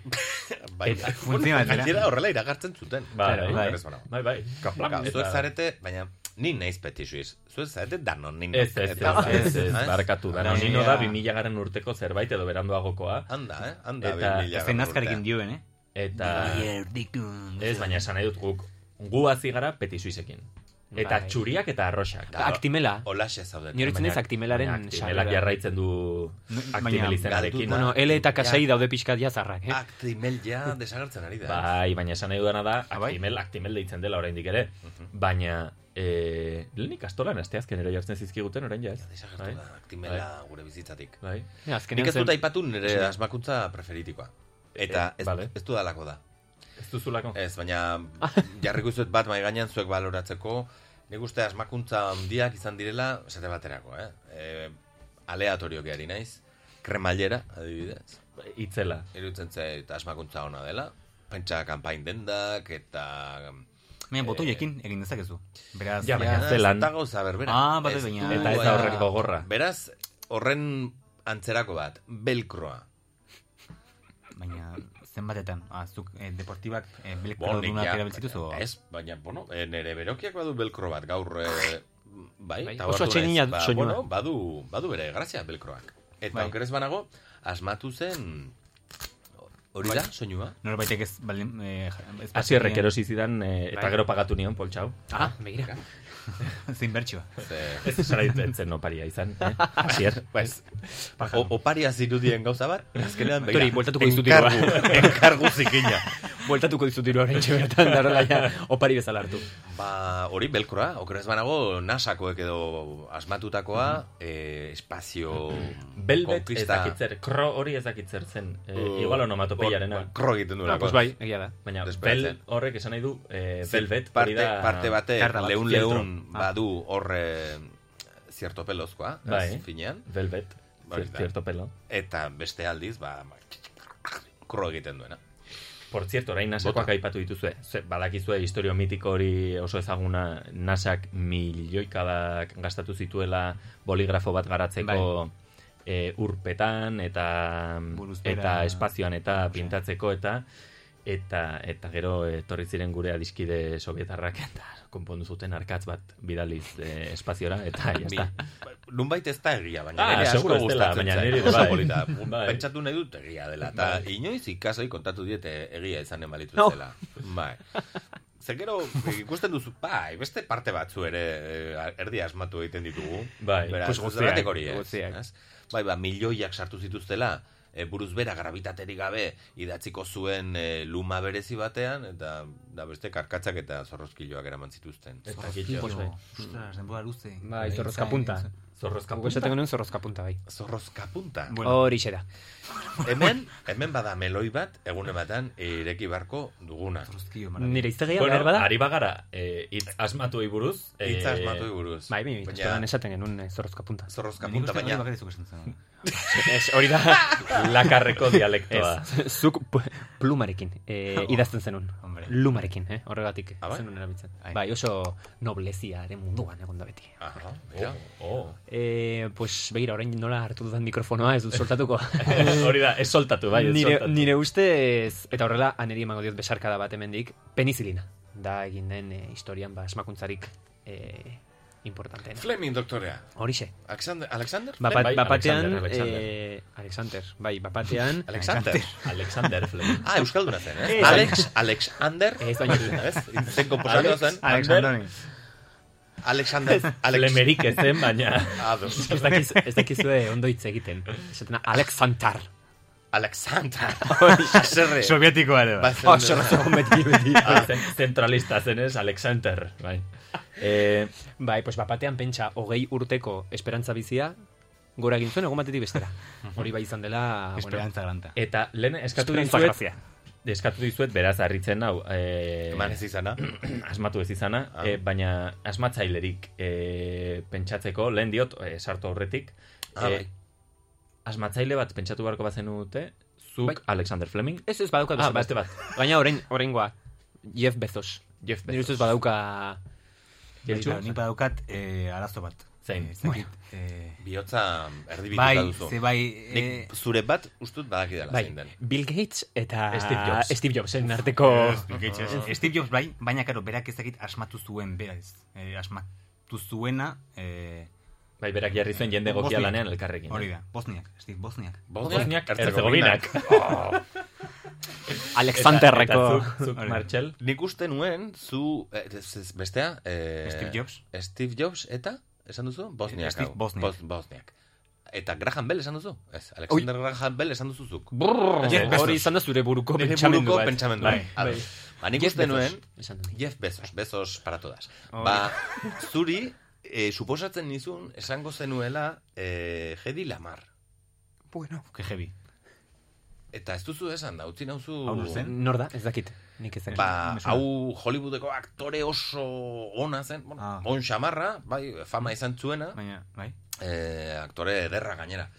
Speaker 2: Bai,
Speaker 1: Eta
Speaker 3: funtzionatzen da.
Speaker 2: Gainera horrela iragartzen zuten.
Speaker 1: Bai,
Speaker 4: Claro,
Speaker 1: bai.
Speaker 2: bai.
Speaker 1: Bai, bai.
Speaker 2: Plaka,
Speaker 1: Eta-
Speaker 2: Zuek zarete, baina ni naiz peti suiz. Zuek zarete danonin.
Speaker 1: Ez, ez, ez,
Speaker 2: Eta-
Speaker 1: ez, ez,
Speaker 2: Eh?
Speaker 1: barkatu. Danonino
Speaker 3: Danonina.
Speaker 1: da 2000 garen urteko zerbait edo beranduagokoa.
Speaker 2: Anda, eh? Anda,
Speaker 1: Eta-
Speaker 2: bi mila Bai,
Speaker 3: Ez da
Speaker 2: garrun
Speaker 3: nazkarekin
Speaker 2: urtean.
Speaker 3: dioen, eh?
Speaker 1: Eta... Ez, baina esan nahi dut guk. Gu hazi gara peti suizekin. Eta
Speaker 4: Bai.
Speaker 1: txuriak eta arroxak.
Speaker 2: Da,
Speaker 4: Aktimela.
Speaker 2: Olaxe zaudete.
Speaker 4: Nire
Speaker 1: Baina-
Speaker 4: ez aktimelaren
Speaker 1: baina Aktimelak
Speaker 4: sarrera.
Speaker 1: jarraitzen du
Speaker 3: Baina-
Speaker 1: aktimel izenarekin.
Speaker 2: galdu-
Speaker 4: Bueno, L eta
Speaker 2: Ja.
Speaker 4: kasei daude pixkat ja zarrak, eh?
Speaker 2: Aktimel ja desagertzen ari da. eh?
Speaker 1: Bai, baina esan nahi dudana da,
Speaker 3: bai?
Speaker 1: aktimel, aktimel deitzen dela oraindik ere.
Speaker 2: Mhm.
Speaker 1: Baina, e, lehenik astolan asteazkenero jartzen zizkiguten orain ja ez.
Speaker 2: Desagertu
Speaker 1: Bai,
Speaker 2: da, aktimela gure bizitzatik.
Speaker 1: bai.
Speaker 4: Ja,
Speaker 2: Nik
Speaker 4: azkenean
Speaker 2: ez dut
Speaker 4: zen...
Speaker 2: aipatu nire asmakuntza preferitikoa. Ah, Eta
Speaker 1: Eh,
Speaker 2: ez,
Speaker 1: vale.
Speaker 2: ez dudalako da.
Speaker 1: Ez Ah. duzulako.
Speaker 2: Ez, baina jarriko izuet bat mai gainean zuek baloratzeko. Nik uste asmakuntza handiak izan direla esate baterako, eh? E, aleatorioke ari naiz. Kremailera, adibidez.
Speaker 1: Itzela.
Speaker 2: Irutzen zait asmakuntza ona dela. Pentsa kanpain dendak eta... mm,
Speaker 3: Baina botoiekin egin dezakezu. Beraz,
Speaker 1: Eh, Ja, baina
Speaker 2: Ja,
Speaker 1: zelan.
Speaker 2: ez da gauza berbera.
Speaker 3: Ah, bai,
Speaker 2: Ez
Speaker 3: baina-
Speaker 2: du,
Speaker 1: Eta ez da
Speaker 2: eh,
Speaker 1: horrek gogorra.
Speaker 2: Beraz, horren antzerako bat, belkroa.
Speaker 3: baina zenbatetan. Ah, zuk eh, deportibak eh,
Speaker 2: Bo, nik
Speaker 3: belkrodunak
Speaker 2: ja-
Speaker 3: erabiltzituzu. ba?
Speaker 2: Ez, baina, bueno, eh, nere berokiak badu belkro bat, gaur... eh, bai,
Speaker 4: Bai,
Speaker 2: eta
Speaker 4: oso
Speaker 2: oso
Speaker 4: atsegina
Speaker 2: ba,
Speaker 4: soinua.
Speaker 2: bueno, badu, badu bere grazia belkroak. Eta
Speaker 3: Bai.
Speaker 2: bai. banago, asmatu zen... Hori
Speaker 4: Bai.
Speaker 2: da, soinua?
Speaker 3: Norbaitek ez... Balin, eh, ja- ez
Speaker 1: Asierrek
Speaker 3: bazekien
Speaker 1: erosi zidan eh, eta
Speaker 4: Bai.
Speaker 1: gero pagatu nion poltsau.
Speaker 4: Ah, begira.
Speaker 3: Zein bertxua.
Speaker 2: Ze,
Speaker 1: Ez zara ditzen oparia izan, eh? Asier.
Speaker 2: Pues, o, oparia zirudien gauza bat, azkenean
Speaker 4: Tori, bueltatuko dizut dirua.
Speaker 2: enkargu,
Speaker 1: eh?
Speaker 2: enkargu zikina.
Speaker 4: Bueltatuko dizut diru horrein bertan, darola ja, opari bezala hartu.
Speaker 2: Ba, hori belkroa, oker ez banago NASAkoek edo asmatutakoa, eh, espazio
Speaker 1: Belbet ez dakitzer, kro hori ez dakitzer zen. Eh,
Speaker 2: Uh,
Speaker 1: igual onomatopeiarena.
Speaker 2: Kro egiten
Speaker 4: Ah,
Speaker 2: duelako.
Speaker 4: pues bai, egia da.
Speaker 1: Baina bel
Speaker 2: Desperatzen.
Speaker 1: horrek esan nahi du, eh,
Speaker 2: Ze
Speaker 1: belbet hori
Speaker 2: parte,
Speaker 1: da...
Speaker 2: parte bate,
Speaker 3: karta bat,
Speaker 2: lehun
Speaker 3: filtro.
Speaker 2: lehun
Speaker 3: Ah.
Speaker 2: badu eh, horre zierto pelozkoa,
Speaker 1: Bai.
Speaker 2: ez, finean.
Speaker 1: Velvet,
Speaker 2: Hori
Speaker 1: cier-
Speaker 2: da.
Speaker 1: cierto pelo.
Speaker 2: Eta beste aldiz, ba, kro egiten duena.
Speaker 1: Por cierto, orain nasakoak
Speaker 2: Bota.
Speaker 1: aipatu dituzue. Ze, badakizue historio mitiko hori oso ezaguna nasak milioikadak gastatu zituela boligrafo bat garatzeko
Speaker 2: Bai.
Speaker 1: eh, urpetan eta
Speaker 3: Buruzbera.
Speaker 1: eta espazioan eta pintatzeko eta eta eta gero etorri ziren gure adiskide sovietarrak eta konpondu zuten arkatz bat bidaliz eh, espaziora eta ja
Speaker 2: Mi-
Speaker 1: está.
Speaker 2: Nonbait ba, ez da egia, baina
Speaker 1: Ah,
Speaker 2: nire asko
Speaker 1: seguro ez dela,
Speaker 2: gustatzen
Speaker 1: baina
Speaker 2: zait.
Speaker 1: niri ere
Speaker 2: Oso
Speaker 1: bai.
Speaker 2: polita.
Speaker 1: Bai.
Speaker 2: Pentsatu nahi dut egia dela. Eta inoiz ikasoi kontatu diet egia izan emalitu
Speaker 4: No.
Speaker 2: zela. Bai. Ze gero ikusten duzu, bai, beste parte batzu ere eh, erdi asmatu egiten ditugu.
Speaker 1: Bai,
Speaker 2: Beraz,
Speaker 1: pues
Speaker 2: ez
Speaker 1: guztiak,
Speaker 2: zergatik hori ez,
Speaker 4: guztiak.
Speaker 2: ez? Bai, ba, milioiak sartu zituztela, e, buruz bera grabitaterik gabe idatziko zuen eh, luma berezi batean, eta da beste karkatzak eta zorrozkiloak eraman zituzten.
Speaker 1: Ez dakit, jo.
Speaker 3: Ostras, denbora Bai. luze.
Speaker 4: Bai, zorrozka punta.
Speaker 1: Zorrozka
Speaker 4: Guk esaten genuen zorrozka punta, bai.
Speaker 2: Zorrozka punta.
Speaker 3: Bueno,
Speaker 4: Hori da.
Speaker 2: Hemen, hemen bada meloi bat, egun ematen
Speaker 1: eh,
Speaker 2: ireki barko duguna.
Speaker 3: Zorrozkio,
Speaker 4: Nire iztegia
Speaker 1: Bueno,
Speaker 4: behar bada?
Speaker 1: ari bagara, eh, hitz asmatuei buruz. eh,
Speaker 2: Hitz asmatu buruz.
Speaker 4: Bai, bai, bai,
Speaker 2: baina,
Speaker 4: esaten genuen eh, zorrozka punta.
Speaker 2: zorrozka
Speaker 3: Nik
Speaker 2: punta,
Speaker 3: uste baina...
Speaker 2: baina
Speaker 3: bakarrizuk esan zen.
Speaker 4: Ez, hori da,
Speaker 1: Lakarreko dialektoa.
Speaker 4: ez, zuk p- plumarekin eh, idazten zenun.
Speaker 3: Hombre.
Speaker 4: Lumarekin, eh, horregatik
Speaker 2: Ah, bai?
Speaker 4: zenun erabiltzen.
Speaker 3: Ai.
Speaker 4: Bai, oso nobleziaren munduan egon da beti.
Speaker 2: Aha,
Speaker 1: Oh,
Speaker 2: mira.
Speaker 1: oh.
Speaker 4: Eh, pues, begira, orain nola hartu dudan mikrofonoa ez dut soltatuko.
Speaker 1: Hori da, ez soltatu, bai, ez
Speaker 4: nire,
Speaker 1: soltatu.
Speaker 4: nire ustez, eta horrela, aneri emango diot besarkada bat hemendik, penizilina. Da egin den eh, historian, ba, esmakuntzarik eh, importanteena.
Speaker 2: Fleming doktorea.
Speaker 4: Horixe. Ba,
Speaker 2: Alexander? Alexander?
Speaker 4: Bapat,
Speaker 1: Bai,
Speaker 4: bapatean,
Speaker 1: Alexander, Alexander.
Speaker 4: eh, Alexander, bai, bapatean,
Speaker 2: Alexander.
Speaker 1: Alexander Fleming.
Speaker 2: Ah, Euskalduna zen, eh?
Speaker 4: Ez.
Speaker 2: Alex, Alexander.
Speaker 4: Ez, baina-
Speaker 2: Ez, zen komposatu zen.
Speaker 3: Alexandroni.
Speaker 2: Alexander. Alex. Ah,
Speaker 1: Flemerik ez zen, baina...
Speaker 2: Ados.
Speaker 4: ez dakiz, ez dakizue ondo hitz egiten. Esatena Alexantar.
Speaker 2: Alexander. Zerre.
Speaker 3: Sovietikoa ere. bai.
Speaker 4: Oso razo Oh, beti beti.
Speaker 1: Zen- Zentralista zenez, Alexander. Bai. Eh,
Speaker 4: Bai, pues bapatean pentsa, hogei urteko esperantza bizia, gora egin zuen egun batetik bestera. Hori bai izan dela...
Speaker 3: Esperantza granta.
Speaker 1: eta lehen eskatu
Speaker 4: Esperantza
Speaker 1: dizuet...
Speaker 4: grazia.
Speaker 1: Eskatu dizuet, beraz, harritzen hau. Eh,
Speaker 2: Eman ez izana.
Speaker 1: asmatu ez izana,
Speaker 2: Ah.
Speaker 1: eh, baina asmatzailerik eh, pentsatzeko, lehen diot, eh, sartu aurretik, eh,
Speaker 2: Ah, bai.
Speaker 1: asmatzaile bat pentsatu beharko bazenu dute, zuk
Speaker 4: Bai.
Speaker 1: Alexander Fleming,
Speaker 4: Ez ez badauka
Speaker 1: ah,
Speaker 4: beste
Speaker 1: beste bat,
Speaker 4: Gaina orain, oraingoa, Jeff Bezos.
Speaker 1: Jeff
Speaker 4: Nire ustez
Speaker 1: Bezos.
Speaker 4: badauka...
Speaker 1: Jeltsu?
Speaker 3: Bai, Nik badaukat eh, arazo bat.
Speaker 1: Zein?
Speaker 3: Eh, ez dakit, eh,
Speaker 2: Biotza erdibituta
Speaker 3: Bai,
Speaker 2: duzu.
Speaker 3: ze bai... eh,
Speaker 2: Nik zure bat ustut badaki dela
Speaker 4: Bai,
Speaker 2: zein den.
Speaker 4: Bill Gates eta
Speaker 1: Steve Jobs.
Speaker 4: Steve Jobsen arteko...
Speaker 3: Eh, Steve Jobs bai, baina karo, berak ez dakit asmatu zuen, beraz. Eh, asmatu zuena... Eh,
Speaker 1: bai, berak jarri zuen jende gokia
Speaker 3: Bosniak.
Speaker 1: lanean elkarrekin. eh?
Speaker 3: Hori da, Bosniak, Steve Bosniak.
Speaker 1: Bosniak,
Speaker 2: Herzegovinak.
Speaker 4: Alexanderreko...
Speaker 1: Eta- eta Zuk, zuk
Speaker 3: Hori da.
Speaker 1: Martxel,
Speaker 2: Nik uste nuen, zu, eh, ez- ez- bestea? Eh,
Speaker 3: Steve Jobs.
Speaker 2: Steve Jobs, eta, esan duzu? Bosniak.
Speaker 3: Steve
Speaker 2: hau.
Speaker 3: Bosniak.
Speaker 2: Bos- Bosniak. Eta Graham Bell esan duzu? Ez, Alexander Graham Bell esan duzu zuk.
Speaker 4: Brrrr,
Speaker 2: Jeff Bezos.
Speaker 4: hori izan da zure buruko
Speaker 2: Nire
Speaker 4: pentsamendu
Speaker 2: buruko
Speaker 4: bat.
Speaker 2: pentsamendu.
Speaker 4: Bai,
Speaker 2: Ado.
Speaker 4: bai.
Speaker 2: Ba, nik
Speaker 4: Jeff
Speaker 2: uste
Speaker 4: Bezos,
Speaker 2: nuen,
Speaker 4: esan dut.
Speaker 2: Jeff Bezos, Bezos para todas. Ba, zuri, eh, suposatzen nizun, esango zenuela, eh, Hedi Lamar.
Speaker 3: Bueno. Que heavy.
Speaker 2: Eta ez duzu esan da, utzi nauzu...
Speaker 3: Hau zen?
Speaker 4: Nor da, ez dakit. Nik ez dakit.
Speaker 2: Ba,
Speaker 3: Me suena.
Speaker 2: hau Hollywoodeko aktore oso ona zen, bueno,
Speaker 3: Ah.
Speaker 2: bon xamarra, bai, fama izan zuena,
Speaker 3: Baina, bai.
Speaker 2: eh, aktore ederra gainera.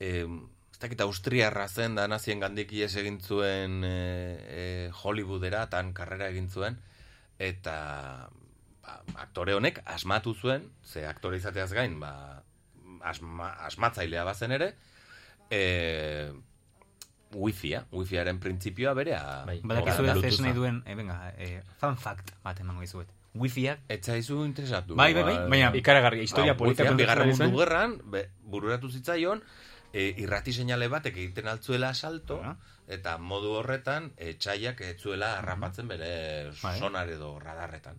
Speaker 2: Eh, ez dakit austriarra zen, da nazien gandik ies egin zuen eh, eh, Hollywoodera, tan karrera egin zuen, eta ba, aktore honek asmatu zuen, ze aktore izateaz gain, ba, asma, asmatzailea bazen ere, eh, wifia, wifiaren printzipioa berea.
Speaker 1: Bai.
Speaker 3: Badakizu ez
Speaker 1: Bluetootha.
Speaker 3: ez nahi duen, eh, venga, eh, fun fact bat emango izuet. Wifiak,
Speaker 2: Etzaizu interesatu.
Speaker 3: Bai, bai, bai, baina
Speaker 4: Ikaragarria, historia
Speaker 1: Ah,
Speaker 2: Ba,
Speaker 4: polita
Speaker 2: Wifian
Speaker 4: kontatzen ari
Speaker 2: bigarren
Speaker 4: zen.
Speaker 2: mundu gerran, be, bururatu zitzaion, e, irrati seinale batek egiten altzuela salto,
Speaker 3: Aha.
Speaker 2: eta modu horretan, e, txaiak ez zuela harrapatzen bere
Speaker 3: Bai.
Speaker 2: sonar edo radarretan.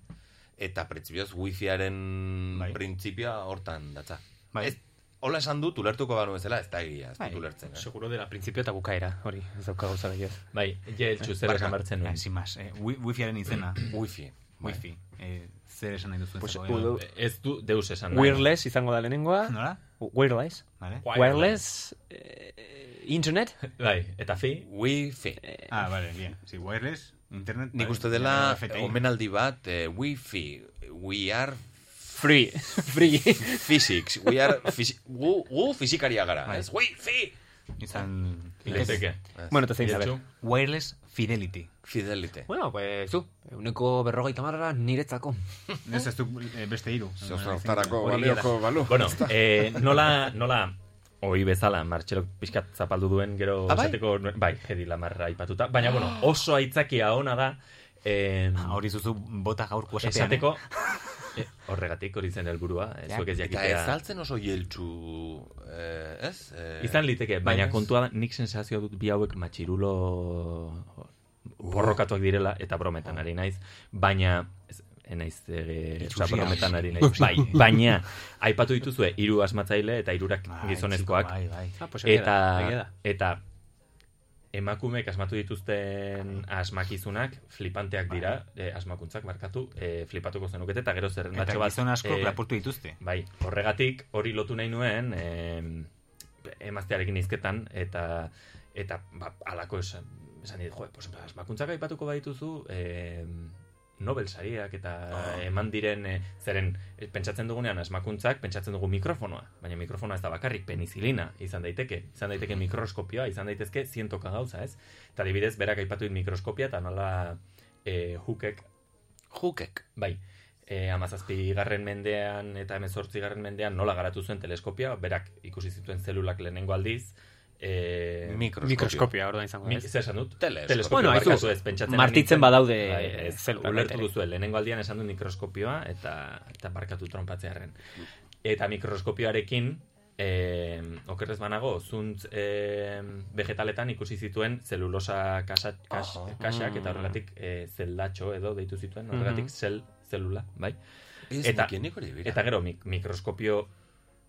Speaker 2: Eta printzipioz wifiaren
Speaker 3: Bai.
Speaker 2: printzipioa hortan datza.
Speaker 3: Bai.
Speaker 2: Ez, hola esan dut, ulertuko banu bezala, ez da egia, ez
Speaker 3: Bai.
Speaker 2: dut ulertzen. Eh?
Speaker 4: Seguro dela principio eta bukaera, hori, ez dauka gauza gehiago.
Speaker 1: bai, jeltsu zer
Speaker 2: Barka.
Speaker 1: esan bertzen
Speaker 3: eh,
Speaker 1: nuen.
Speaker 3: sin más, eh, wi- wifiaren izena,
Speaker 2: Wifi. Bai.
Speaker 3: wifi, eh, zer esan nahi duzu.
Speaker 4: Pues,
Speaker 3: edo.
Speaker 4: udo-
Speaker 1: Ez du, deus esan. nahi.
Speaker 4: Wireless izango da lehenengoa.
Speaker 3: Nola?
Speaker 4: Wireless.
Speaker 3: Vale?
Speaker 4: Wireless. eh, internet.
Speaker 1: Bai, eta fi,
Speaker 2: Wifi.
Speaker 3: Ah, vale, bien. Si wireless, internet... bai.
Speaker 2: Nik
Speaker 3: vale,
Speaker 2: uste
Speaker 3: ya,
Speaker 2: dela
Speaker 3: FTI.
Speaker 2: omenaldi bat, eh, wifi, we are
Speaker 4: Free. Free.
Speaker 2: physics, we are phys- gu, gu fizikaria gara,
Speaker 1: Bai.
Speaker 2: ez? Wifi!
Speaker 3: Izan...
Speaker 1: leiteke.
Speaker 4: bueno, eta zein zabe.
Speaker 1: Jeltsu?
Speaker 3: Wireless fidelity.
Speaker 2: Fidelite.
Speaker 4: Bueno, pues, zu, euneko berrogeita marra niretzako.
Speaker 3: Ez ez du eh, beste hiru.
Speaker 4: Hori egia da. balioko
Speaker 2: balu.
Speaker 1: Bueno, eh, nola, nola, hoi bezala, Martxelok pixkat zapaldu duen, gero
Speaker 2: Ah, bai? Ah.
Speaker 1: esateko nuen- bai, jedi lamarra aipatuta. Baina, bueno, oso aitzakia ona da, eh,
Speaker 3: Ah, Hori zuzu bota gaurko esatean.
Speaker 1: esateko, eh, horregatik hori zen helburua, eh,
Speaker 3: Ja.
Speaker 1: zuek ez
Speaker 2: Eta
Speaker 1: jakitea.
Speaker 2: ez altzen oso jeltzu, eh, ez? Eh,
Speaker 1: Izan liteke,
Speaker 3: Bai.
Speaker 1: bai. baina
Speaker 2: ez?
Speaker 1: kontua da, nik sensazio dut bi hauek matxirulo borrokatuak direla, eta brometan ari naiz, baina ez, ez naiz e,
Speaker 3: Itxusia.
Speaker 1: brometan ari naiz. Bai, baina, aipatu dituzue, hiru asmatzaile eta hirurak
Speaker 3: Bai,
Speaker 1: gizonezkoak,
Speaker 3: Bai, bai.
Speaker 4: Ah, pues, egia da, egia
Speaker 1: eta
Speaker 4: da.
Speaker 1: eta emakumeek asmatu dituzten asmakizunak flipanteak dira, eh, asmakuntzak barkatu, eh, flipatuko zenukete eta gero
Speaker 3: Bai. Eta
Speaker 1: zerrendatxo bat.
Speaker 3: gizon asko
Speaker 1: eh,
Speaker 3: lapurtu dituzte.
Speaker 1: Bai, horregatik hori lotu nahi nuen, eh, emaztearekin izketan, eta eta ba, alako esan, esan dit, joe, pues, asmakuntzak aipatuko badituzu, eh, Nobel sariak eta
Speaker 2: Ah.
Speaker 1: eman diren eh, zeren eh, pentsatzen dugunean asmakuntzak pentsatzen dugu mikrofonoa, baina mikrofonoa ez da bakarrik penizilina izan daiteke, izan daiteke
Speaker 2: Mm.
Speaker 1: mikroskopioa, izan daitezke zientoka gauza, ez? Eta adibidez, berak aipatu dit mikroskopia eta nola eh, hukek
Speaker 2: Jukek.
Speaker 1: Bai, e, amazazpi garren mendean eta hemezortzi garren mendean nola garatu zuen teleskopia, berak ikusi zituen zelulak lehenengo aldiz, eh,
Speaker 2: Mikroskopio.
Speaker 4: Mikroskopia, orduan izango
Speaker 1: Mi,
Speaker 4: da. ez?
Speaker 1: zer esan dut?
Speaker 2: Teleskopio.
Speaker 1: Teleskopio
Speaker 4: Bueno, aizu,
Speaker 1: barkatu, ez pentsatzen.
Speaker 4: martitzen
Speaker 1: ari nintzen.
Speaker 4: badaude
Speaker 1: Bai, ez,
Speaker 4: zelula
Speaker 1: ulertu
Speaker 4: ere.
Speaker 1: duzue, lehenengo aldian esan dut mikroskopioa eta, eta barkatu trompatzearen. Eta mikroskopioarekin, eh, okerrez banago, zuntz eh, vegetaletan ikusi zituen zelulosa kasa, kas, kasak eta horregatik eh, zeldatxo edo deitu zituen, horregatik
Speaker 4: Mhm.
Speaker 1: zel, zelula, bai?
Speaker 2: Ez
Speaker 1: Eta-
Speaker 2: nekien nik hori bera.
Speaker 1: Eta gero, mik mikroskopio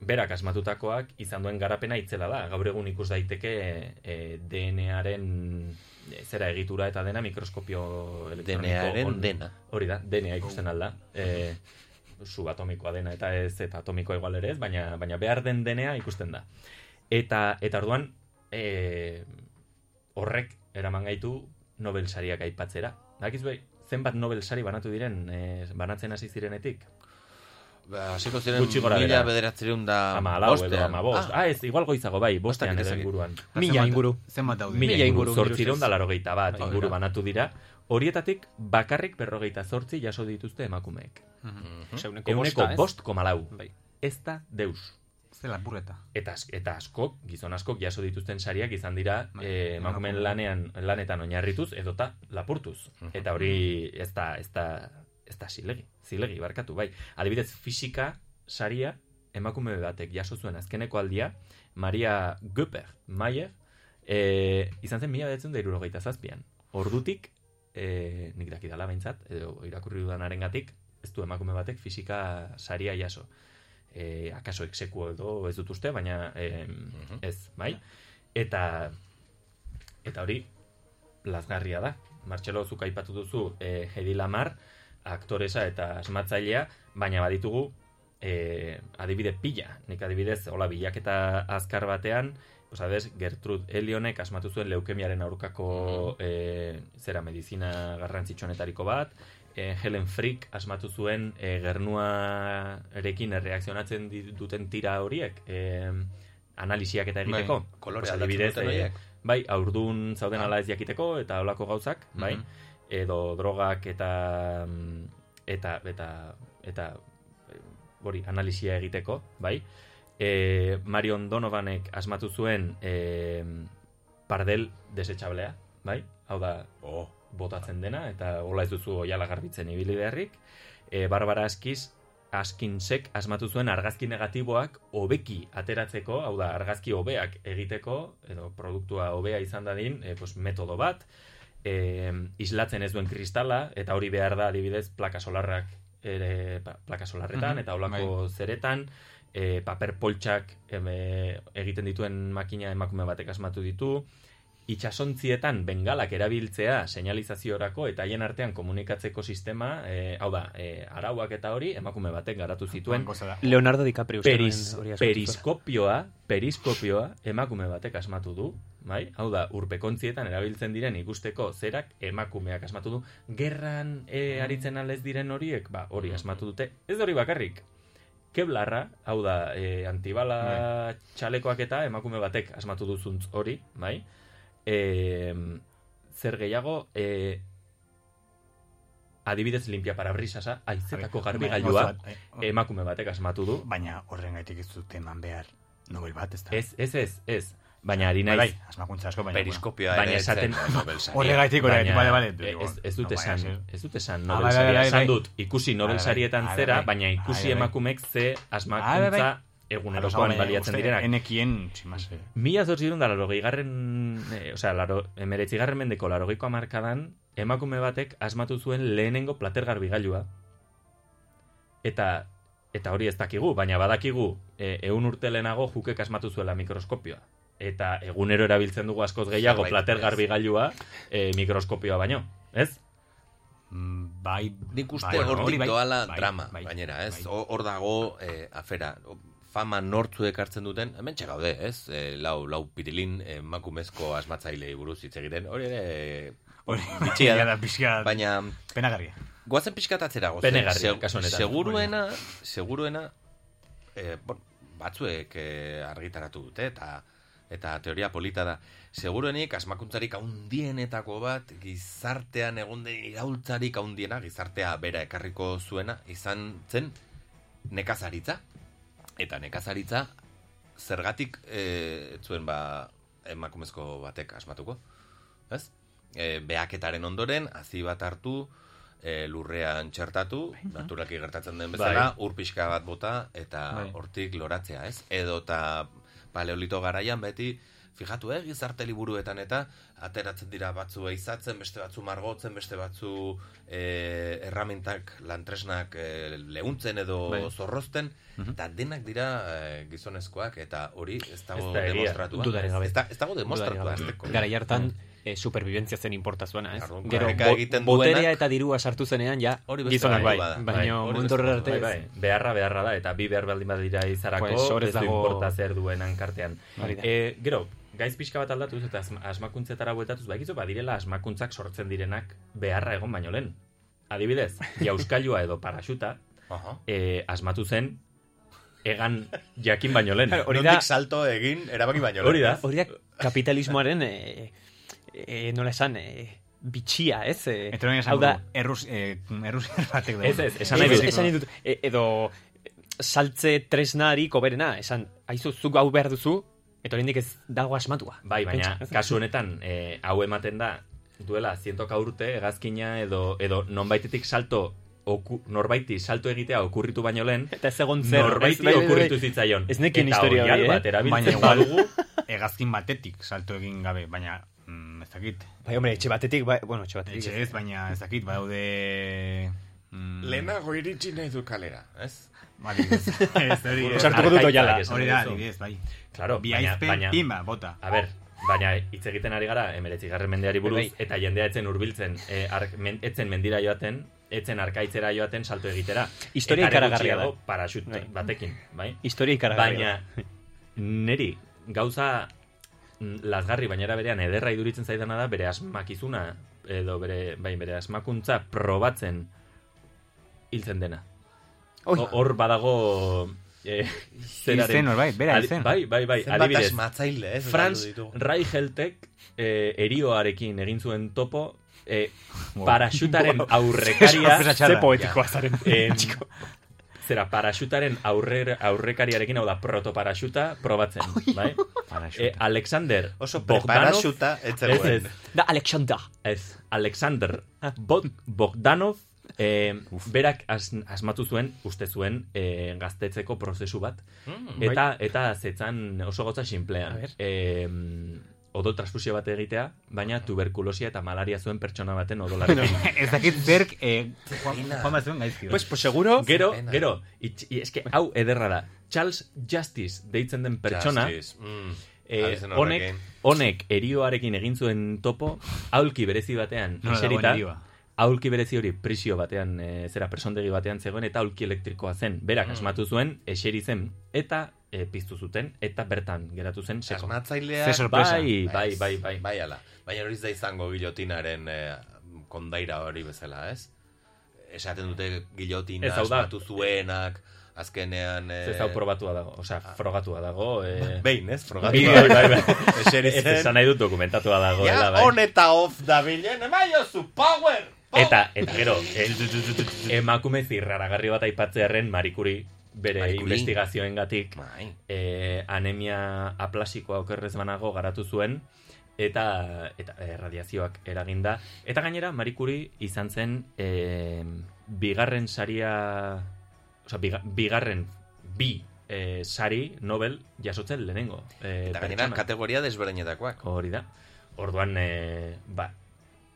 Speaker 1: berak asmatutakoak izan duen garapena itzela da. Gaur egun ikus daiteke e, DNAren e, zera egitura eta dena mikroskopio elektroniko.
Speaker 2: DNAren
Speaker 1: on-
Speaker 2: dena. Oh.
Speaker 1: Hori da, DNA ikusten alda. E, subatomikoa dena eta ez eta atomikoa igual ere ez, baina, baina behar den DNA ikusten da. Eta, eta orduan, e, horrek eraman gaitu Nobel sariak aipatzera. Dakizue, zenbat Nobel sari banatu diren, e, banatzen hasi zirenetik?
Speaker 2: Ba, hasiko ziren
Speaker 1: Gutxi gora
Speaker 2: mila
Speaker 1: behera.
Speaker 2: bederatzereun da
Speaker 1: Ama alau edo,
Speaker 2: bostean.
Speaker 1: ama bost. Ah,
Speaker 2: Ah,
Speaker 1: ez, igual goizago bai, bostean
Speaker 2: Bostak
Speaker 1: edo
Speaker 2: ezakit.
Speaker 1: inguruan.
Speaker 4: Mila
Speaker 3: Zenbat-
Speaker 4: inguru.
Speaker 3: Zenbat daude?
Speaker 4: Mila
Speaker 1: Mila inguru,
Speaker 4: inguru,
Speaker 1: zortzireun
Speaker 4: inguru
Speaker 1: da laurogeita bat,
Speaker 2: Hori da.
Speaker 1: inguru banatu dira. Horietatik bakarrik berrogeita zortzi jaso dituzte emakumeek.
Speaker 3: Mhm.
Speaker 4: Osea, uneko
Speaker 1: Euneko
Speaker 4: bosta, ez?
Speaker 1: bost koma lau.
Speaker 4: Bai.
Speaker 1: Ez da deus.
Speaker 3: Zela burreta.
Speaker 1: Eta, as- eta askok, gizon askok jaso dituzten sariak izan dira
Speaker 3: Bai,
Speaker 1: eh, emakumeen
Speaker 3: emakume.
Speaker 1: lanean lanetan oinarrituz edota lapurtuz.
Speaker 3: Mhm.
Speaker 1: Eta hori ez da, ez da, ez da zilegi, zilegi barkatu, bai. Adibidez, fisika saria emakume batek jaso zuen azkeneko aldia, Maria Göper, Mayer, eh, izan zen mila bedetzen da irurogeita zazpian. Ordutik, eh, nik dakidala behintzat, edo irakurri dudanaren gatik, ez du emakume batek fisika saria jaso e, akaso exekuo edo ez dut uste, baina em, ez, bai? Eta eta hori lazgarria da. Martxelo zuk aipatu duzu e, Hedi Lamar, aktoresa eta asmatzailea, baina baditugu e, adibide pila. Nik adibidez, hola, bilaketa azkar batean, Osadez, Gertrud Elionek asmatu zuen leukemiaren
Speaker 2: Mhm.
Speaker 1: aurkako e, zera medizina garrantzitsuenetariko bat, e, Helen Frick asmatu zuen e, gernuarekin erreakzionatzen di- duten tira horiek e, analisiak eta egiteko.
Speaker 2: Bai, kolore
Speaker 1: Pues,
Speaker 2: aldatzen duten
Speaker 1: e,
Speaker 2: horiek.
Speaker 1: bai, aurdun zauden ala ez jakiteko eta holako gauzak, bai,
Speaker 2: Mhm.
Speaker 1: edo drogak eta mm, eta eta eta e, hori analisia egiteko, bai. E, Marion Donovanek asmatu zuen e, pardel desechable bai? Hau da,
Speaker 2: Oh,
Speaker 1: botatzen dena, eta hola ez duzu oiala garbitzen ibili beharrik. E, Barbara Askiz, Askinsek asmatu zuen argazki negatiboak hobeki ateratzeko, hau da, argazki hobeak egiteko, edo produktua hobea izan dadin, e, pues, metodo bat, e, islatzen ez duen kristala, eta hori behar da, adibidez, plaka solarrak, ere, pa- plaka solarretan,
Speaker 3: Mhm,
Speaker 1: eta holako zeretan, e, paper poltsak em, e, egiten dituen makina emakume batek asmatu ditu, itsasontzietan bengalak erabiltzea seinalizaziorako eta haien artean komunikatzeko sistema, e, hau da, e, arauak eta hori emakume batek garatu zituen.
Speaker 3: Hango zela.
Speaker 4: Leonardo DiCaprio. uste
Speaker 1: Peris,
Speaker 4: nuen hori asko zituela.
Speaker 1: periskopioa, periskopioa emakume batek asmatu du, bai? Hau da, urpekontzietan erabiltzen diren ikusteko zerak emakumeak asmatu du. Gerran e, aritzen alez diren horiek, ba, hori asmatu dute. Ez da hori bakarrik. Keblarra, hau da, e, antibala
Speaker 3: Bai.
Speaker 1: txalekoak eta emakume batek asmatu duzuntz hori, bai? E, zer gehiago, e, adibidez limpia parabrisasa, aizetako garbigailua
Speaker 3: Bai, bai, bai.
Speaker 1: emakume batek asmatu du.
Speaker 3: Baina horren gaitik ez dut eman behar Nobel bat, ez da?
Speaker 1: Ez, ez, ez, ez. Baina ari
Speaker 3: Bai,
Speaker 1: naiz.
Speaker 3: bai, asmakuntza asko, baina...
Speaker 2: periskopioa
Speaker 1: Baina
Speaker 2: ere ez zen,
Speaker 1: esaten-
Speaker 2: Nobel saria.
Speaker 3: Horregaitik, horregaitik, bale, bale.
Speaker 1: Ez, ez dut
Speaker 3: No, baina
Speaker 1: esan,
Speaker 3: ez-
Speaker 1: ez dut esan
Speaker 3: Ah,
Speaker 1: Nobel
Speaker 3: bai, bai,
Speaker 1: saria.
Speaker 3: bai,
Speaker 1: Esan
Speaker 3: bai.
Speaker 1: dut, ikusi Nobel
Speaker 3: bai,
Speaker 1: sarietan
Speaker 3: bai,
Speaker 1: zera,
Speaker 3: bai,
Speaker 1: baina ikusi
Speaker 3: bai, bai.
Speaker 1: emakumek ze
Speaker 3: Ah, bai,
Speaker 1: asmakuntza
Speaker 3: bueno. Ados,
Speaker 1: egunerokoan
Speaker 3: baina
Speaker 1: baliatzen
Speaker 3: uste
Speaker 1: direnak.
Speaker 3: Enekien, sin más, eh.
Speaker 1: Mila zortzirun da laro gehigarren, e, osea, laro, emeretzigarren mendeko laro geiko amarkadan, emakume batek asmatu zuen lehenengo plater garbigailua. Eta, eta hori ez dakigu, baina badakigu, e, eun urte lehenago jukek asmatu zuela mikroskopioa. Eta egunero erabiltzen dugu askoz gehiago
Speaker 2: Zerbait,
Speaker 1: plater
Speaker 2: Bai, ez.
Speaker 1: garbigailua e, mikroskopioa baino, ez?
Speaker 3: Mm, Bai,
Speaker 2: Nik uste
Speaker 3: bai,
Speaker 2: hortik
Speaker 3: hori bai,
Speaker 2: doala
Speaker 3: bai,
Speaker 2: drama,
Speaker 3: bai,
Speaker 2: gainera, ez?
Speaker 3: bai.
Speaker 2: Ho- Hor dago eh, afera, O, fama nortzu ekartzen duten, hemen txegaude, ez? Eh, lau, lau pirilin eh, makumezko asmatzailei buruz hitz egiten, hori ere...
Speaker 3: Hori,
Speaker 2: bitxia
Speaker 3: ja da,
Speaker 2: da.
Speaker 3: pixka
Speaker 2: Baina,
Speaker 3: penagarria.
Speaker 2: goazen pixkat atzerago.
Speaker 1: Penegarria, kasu honetan.
Speaker 2: Seguruena, seguruena, eh, bon, batzuek eh, argitaratu dute, eta eta teoria polita da. Seguruenik, asmakuntzarik haundienetako bat, gizartean egon den iraultzarik haundiena, gizartea bera ekarriko zuena, izan zen nekazaritza. Eta nekazaritza, zergatik eh, ez zuen ba, emakumezko batek asmatuko. Ez? E, behaketaren ondoren, hazi bat hartu, e, lurrean txertatu, naturalki gertatzen den bezala, ur pixka bat bota, eta
Speaker 3: Bai.
Speaker 2: hortik loratzea, ez? Edo eta paleolito garaian beti, fijatu, eh, gizarte liburuetan eta ateratzen dira batzu eizatzen, beste batzu margotzen, beste batzu e, erramintak, lantresnak e, lehuntzen edo
Speaker 1: Bai.
Speaker 2: zorrozten, eta denak dira e, gizonezkoak, eta hori ez dago
Speaker 1: Ez da egia.
Speaker 2: demostratua.
Speaker 4: Dudarik gabe.
Speaker 2: Ez, da, ez dago demostratua,
Speaker 4: Dudarik
Speaker 2: ez
Speaker 4: gabe.
Speaker 2: deko.
Speaker 4: Garai hartan e, superviventzia zen inporta zuena, ez?
Speaker 2: Arrunka
Speaker 4: Gero,
Speaker 2: erreka
Speaker 4: bo,
Speaker 2: egiten duenak-
Speaker 4: boterea eta dirua sartu zenean, ja,
Speaker 2: Hori beste
Speaker 4: gizonak
Speaker 2: bai,
Speaker 4: bai,
Speaker 2: bada. Bai,
Speaker 4: baina
Speaker 2: hori
Speaker 4: mundu horrela
Speaker 2: beste
Speaker 4: arte
Speaker 1: Bai,
Speaker 4: ez.
Speaker 1: bai, beharra beharra da, eta bi behar baldin badira izarako,
Speaker 4: Pues, hor ez
Speaker 1: ez du
Speaker 4: dago-
Speaker 1: importa zer duen hankartean.
Speaker 4: Hori da.
Speaker 1: E, gero, gaiz pixka bat aldatuz eta asma- asmakuntzetara bueltatuz, bakizu, badirela asmakuntzak sortzen direnak beharra egon baino lehen. Adibidez, jauskailua edo paraxuta,
Speaker 2: Aha.
Speaker 1: e, asmatu zen, egan jakin baino lehen.
Speaker 4: Claro, Hori da-
Speaker 2: Nondik salto egin, erabaki baino. lehen.
Speaker 1: Hori da.
Speaker 4: Hori da kapitalismoaren, e, e, nola esan, e, bitxia, ez? E,
Speaker 3: Eta hori
Speaker 4: hau
Speaker 3: esan
Speaker 4: da,
Speaker 3: dugu, errus, eh, errusiar batek dugu.
Speaker 1: Ez, ez, esan
Speaker 4: Ez,
Speaker 1: nahi dut.
Speaker 4: esan nahi dut, e, edo e, saltze tresnari koberena, esan, aizu, zuk hau behar duzu, eta oraindik ez dago asmatua.
Speaker 1: Bai, baina
Speaker 4: Pentsa, ez?
Speaker 1: kasu honetan eh, hau ematen da duela zientoka urte hegazkina edo edo nonbaitetik salto oku, norbaiti salto egitea okurritu baino lehen
Speaker 4: Eta ez egon zer.
Speaker 1: norbaiti
Speaker 4: ez, bai, bai, bai.
Speaker 1: okurritu zitzaion.
Speaker 4: Ez nekien
Speaker 1: Eta
Speaker 4: historia
Speaker 1: hori
Speaker 4: hori, eh?
Speaker 1: albat
Speaker 3: Baina
Speaker 1: erabiltzen
Speaker 3: igual,
Speaker 1: badugu
Speaker 3: egazkin batetik salto egin gabe, baina mm, ez dakit.
Speaker 4: Bai, hombre, etxe batetik, bai, bueno, etxe batetik.
Speaker 3: Etxe ez, baina ez dakit, badaude... Mm,
Speaker 2: Lehenago iritsi nahi du kalera, ez?
Speaker 3: adibidez. ez, hori,
Speaker 1: Bueno,
Speaker 3: ez.
Speaker 4: Sartuko dut
Speaker 1: Arkaitzak
Speaker 4: oiala.
Speaker 1: esan
Speaker 3: Hori da,
Speaker 1: duzu.
Speaker 3: adibidez, bai.
Speaker 1: Claro,
Speaker 3: Bi
Speaker 1: baina,
Speaker 3: aizpen,
Speaker 1: baina,
Speaker 3: pimba, bota.
Speaker 1: a ber, baina hitz egiten ari gara 19. mendeari buruz
Speaker 4: Bai.
Speaker 1: eta jendea etzen hurbiltzen, e, ark, men, etzen mendira joaten, etzen arkaitzera joaten salto egitera.
Speaker 4: Historia
Speaker 1: Eta are
Speaker 4: ikaragarria da.
Speaker 1: gutxiago Parachut
Speaker 4: Bai.
Speaker 1: batekin, bai?
Speaker 4: Historia ikaragarria.
Speaker 1: Baina, neri, gauza mm, lazgarri bainera berean ederra iduritzen zaidana da bere asmakizuna edo bere, bai, bere asmakuntza probatzen hiltzen dena.
Speaker 4: Oi.
Speaker 1: Ho- Hor badago eh,
Speaker 3: Hil zen norbait, bera hil
Speaker 1: Adi-
Speaker 3: zen.
Speaker 1: Bai, bai, bai,
Speaker 2: Zenbat
Speaker 1: adibidez.
Speaker 2: asmatzaile, eh, ez?
Speaker 1: Franz
Speaker 2: Azaldu ditugu.
Speaker 1: Reicheltek eh, erioarekin egin zuen topo eh, paraxutaren aurrekaria Eh,
Speaker 3: Sorpresa
Speaker 4: Ze
Speaker 3: txarra.
Speaker 4: poetikoa zaren.
Speaker 1: Em, zera, paraxutaren aurrer, aurrekariarekin, hau da, protoparaxuta, probatzen, bai? Eh, Alexander
Speaker 2: Oso
Speaker 1: Bogdanov,
Speaker 2: preparaxuta
Speaker 1: ez, ez,
Speaker 2: etzegoen.
Speaker 4: Da, Ah. Alexandra.
Speaker 1: ez, Alexander Bog- Bogdanov, eh, berak as, asmatu zuen, uste zuen, eh, gaztetzeko prozesu bat,
Speaker 3: Mm, bai.
Speaker 1: eta, eta zetzan oso gauza
Speaker 4: A
Speaker 1: sinplean.
Speaker 4: ber.
Speaker 1: Eh, odol transfusio bat egitea, baina tuberkulosia eta malaria zuen pertsona baten odolarekin.
Speaker 3: Ah. ez dakit zerk, eh, Juan,
Speaker 2: Zerpina.
Speaker 3: Juan Bazuen gaizki.
Speaker 4: Pues, pues seguro,
Speaker 1: Gero,
Speaker 2: pena.
Speaker 1: gero, itx, i- eske hau ederra da. Charles Justice deitzen den pertsona,
Speaker 2: Justice, mm,
Speaker 1: eh,
Speaker 2: abizen
Speaker 1: honek,
Speaker 2: horrekin.
Speaker 1: honek erioarekin egin zuen topo, aulki berezi batean
Speaker 3: Nola dagoen
Speaker 1: eserita,
Speaker 3: erioa?
Speaker 1: aulki berezi hori prisio batean, eh, zera presondegi batean zegoen, eta aulki elektrikoa zen. Berak asmatu zuen, eseri zen, eta eh, piztu zuten, eta bertan geratu zen seko.
Speaker 2: Asmatzailea...
Speaker 3: Ze sorpresa.
Speaker 1: Bai, bai, bai, bai.
Speaker 2: Bai, ala. Baina hori ez da izango gilotinaren eh, kondaira hori bezala, ez? Esaten dute gilotina
Speaker 1: Ez, hau da.
Speaker 2: asmatu zuenak, azkenean... Eh,
Speaker 1: Ez hau probatua dago, osea, frogatua dago. Eh,
Speaker 2: Ah. Ba, Behin, ez?
Speaker 1: bai,
Speaker 2: Frogatua.
Speaker 1: bai, bai.
Speaker 2: Eseri
Speaker 1: Ez,
Speaker 2: zen.
Speaker 1: esan nahi dut dokumentatua dago.
Speaker 2: Ja,
Speaker 1: bai.
Speaker 2: on eta off da bilen, emaio zu power! power!
Speaker 1: Eta, eta gero, eh, emakume zirraragarri bat aipatzearen marikuri bere
Speaker 2: Marie Curie.
Speaker 1: investigazioengatik
Speaker 2: Bai.
Speaker 1: eh, anemia aplasikoa okerrez banago garatu zuen eta eta eh, radiazioak eraginda eta gainera marikuri izan zen eh, bigarren saria osea biga- bigarren bi eh, sari Nobel jasotzen lehenengo eh,
Speaker 2: Eta gainera,
Speaker 1: pertsona.
Speaker 2: kategoria desberdinetakoak.
Speaker 1: hori da orduan eh, ba,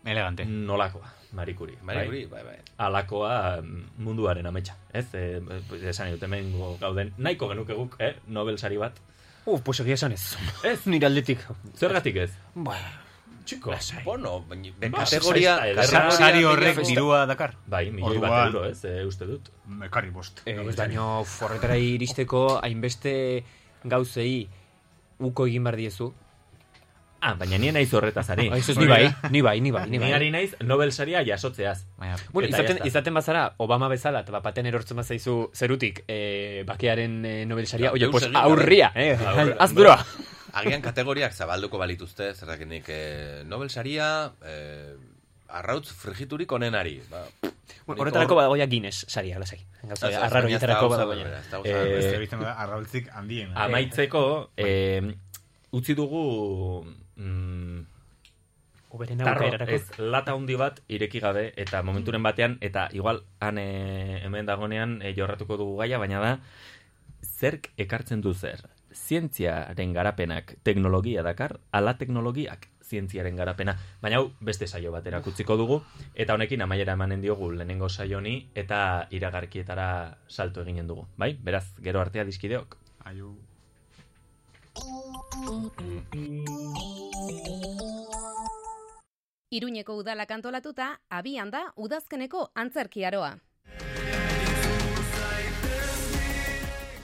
Speaker 3: Elegante.
Speaker 1: nolakoa marikuri
Speaker 2: Marie Curie, bai, bai.
Speaker 1: alakoa mm, munduaren ametsa, ez? E, esan dut hemen gauden, nahiko genuke guk, eh? Nobel sari bat.
Speaker 4: Uf, pues egia esan ez.
Speaker 1: Ez.
Speaker 4: nire aldetik.
Speaker 1: Zergatik ez?
Speaker 4: Ba,
Speaker 1: Txiko.
Speaker 2: Bueno, baina be-
Speaker 1: Ba,
Speaker 2: kategoria...
Speaker 1: ez da ederra.
Speaker 2: kategoria
Speaker 3: Sari
Speaker 2: mila
Speaker 3: horrek
Speaker 2: festa-
Speaker 3: dirua dakar.
Speaker 1: Bai, milioi bat
Speaker 3: Orduan.
Speaker 1: euro, ez? E, uste dut.
Speaker 3: Ekarri bost.
Speaker 4: eh,
Speaker 3: Nobel sari.
Speaker 4: baino forretara iristeko hainbeste gauzei uko egin behar diezu.
Speaker 1: Ah, baina nien naiz horretaz ari.
Speaker 4: Ah, ez ni bai, ni bai, ni bai, ni
Speaker 1: Ni ari
Speaker 4: bai.
Speaker 1: naiz Nobel saria jasotzeaz.
Speaker 7: Bai,
Speaker 3: Baina,
Speaker 4: Bueno,
Speaker 1: Eta
Speaker 4: izaten,
Speaker 1: jazta.
Speaker 4: izaten bazara, Obama bezala, eta bat baten erortzen bazaizu zerutik, eh, bakearen eh, Nobel
Speaker 7: Ba,
Speaker 4: saria,
Speaker 2: Ja,
Speaker 4: oie,
Speaker 2: deus
Speaker 4: pues
Speaker 2: egin gabe.
Speaker 4: aurria,
Speaker 7: bai.
Speaker 4: eh,
Speaker 1: Aurra.
Speaker 4: az duroa.
Speaker 2: Ah, Agian kategoriak zabalduko balituzte, zerrakinik eh, Nobel saria, eh, arrautz frigiturik onenari. Ba,
Speaker 4: Bueno, Horretarako ba- badagoia Guinness saria, lasai. Gauza,
Speaker 2: Ez, ez,
Speaker 4: arraro
Speaker 2: baina ez da
Speaker 4: egiterako
Speaker 2: gauza
Speaker 3: ba,
Speaker 4: badagoia.
Speaker 2: berbera, ez da
Speaker 1: Eh,
Speaker 2: gauza berbera.
Speaker 3: ez da biztan da arraultzik handien.
Speaker 1: Amaitzeko, eh, utzi dugu mm,
Speaker 4: Oberen
Speaker 1: tarro,
Speaker 4: aukerarako.
Speaker 7: eh.
Speaker 1: ez, lata handi bat ireki gabe, eta momenturen batean, eta igual, han eh, hemen dagonean eh, jorratuko dugu gaia, baina da, zerk ekartzen du zer? Zientziaren garapenak teknologia dakar, ala teknologiak zientziaren garapena. Baina hau beste saio batera utziko dugu, eta honekin amaiera emanen diogu lehenengo saioni, eta iragarkietara salto eginen dugu. Bai, beraz, gero artea dizkideok.
Speaker 3: Aiu.
Speaker 5: Iruñeko udalak antolatuta, abian da udazkeneko antzerkiaroa.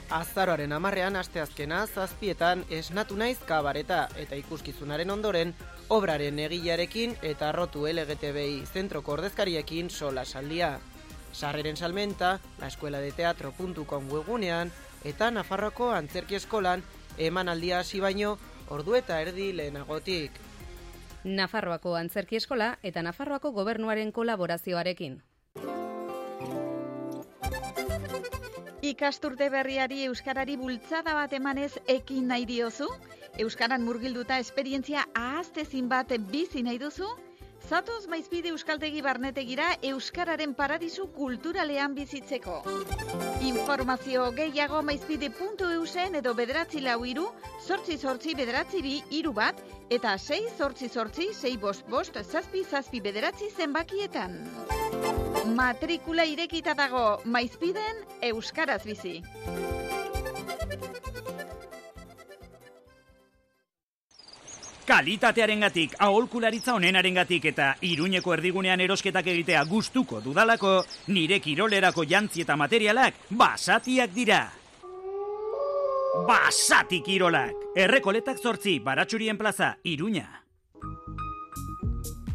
Speaker 6: Azaroaren amarrean asteazkena zazpietan esnatu naiz kabareta eta ikuskizunaren ondoren obraren egilearekin eta arrotu LGTBI zentroko ordezkariekin sola saldia. Sarreren salmenta, laeskueladeteatro.com webunean eta Nafarroko antzerki eskolan emanaldia hasi baino ordu eta erdi lehenagotik.
Speaker 5: Nafarroako Antzerki Eskola eta Nafarroako Gobernuaren kolaborazioarekin.
Speaker 8: Ikasturte berriari euskarari bultzada bat emanez ekin nahi diozu? Euskaran murgilduta esperientzia ahaztezin bat bizi nahi duzu? Zatoz maizpide euskaltegi barnetegira euskararen paradisu kulturalean bizitzeko. Informazio gehiago maizpide.eusen edo bederatzi lau iru, sortzi sortzi bederatzi bi iru bat, eta sei sortzi sortzi sei bost bost zazpi zazpi bederatzi zenbakietan. Matrikula irekita dago, maizpiden euskaraz bizi.
Speaker 9: Kalitatearengatik, aholkularitza onenarengatik eta iruñeko erdigunean erosketak egitea gustuko dudalako, nire kirolerako jantzi eta materialak basatiak dira. Basati kirolak! Errekoletak zortzi, baratsurien plaza, iruña.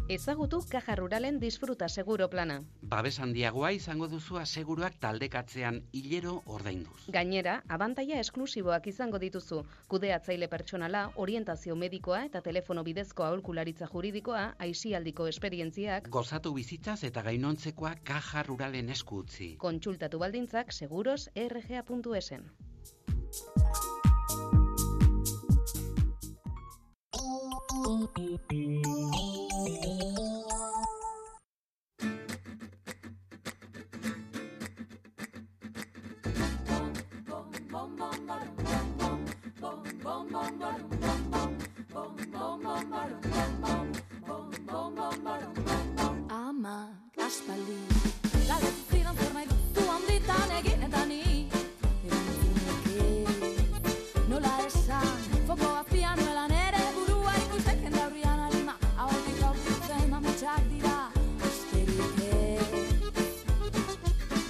Speaker 5: Ezagutu Kaja Ruralen disfruta seguro plana.
Speaker 10: Babes handiagoa izango duzu aseguruak taldekatzean hilero ordainduz.
Speaker 5: Gainera, abantaia esklusiboak izango dituzu. Kudeatzaile pertsonala, orientazio medikoa eta telefono bidezko aholkularitza juridikoa, aisialdiko esperientziak,
Speaker 10: Gozatu bizitzaz eta gainontzekoa kaja ruralen esku utzi.
Speaker 5: kontsultatu baldintzak seguros rga.esen.
Speaker 11: Ama, aspaldi Galde zidan zer nahi duzu handitan eginetan ni Erantzunek Nola esan, foko azpian nuela nere burua ikustek Jende aurrian harima, aurrik aurkitzen mametxak dira Asterik ez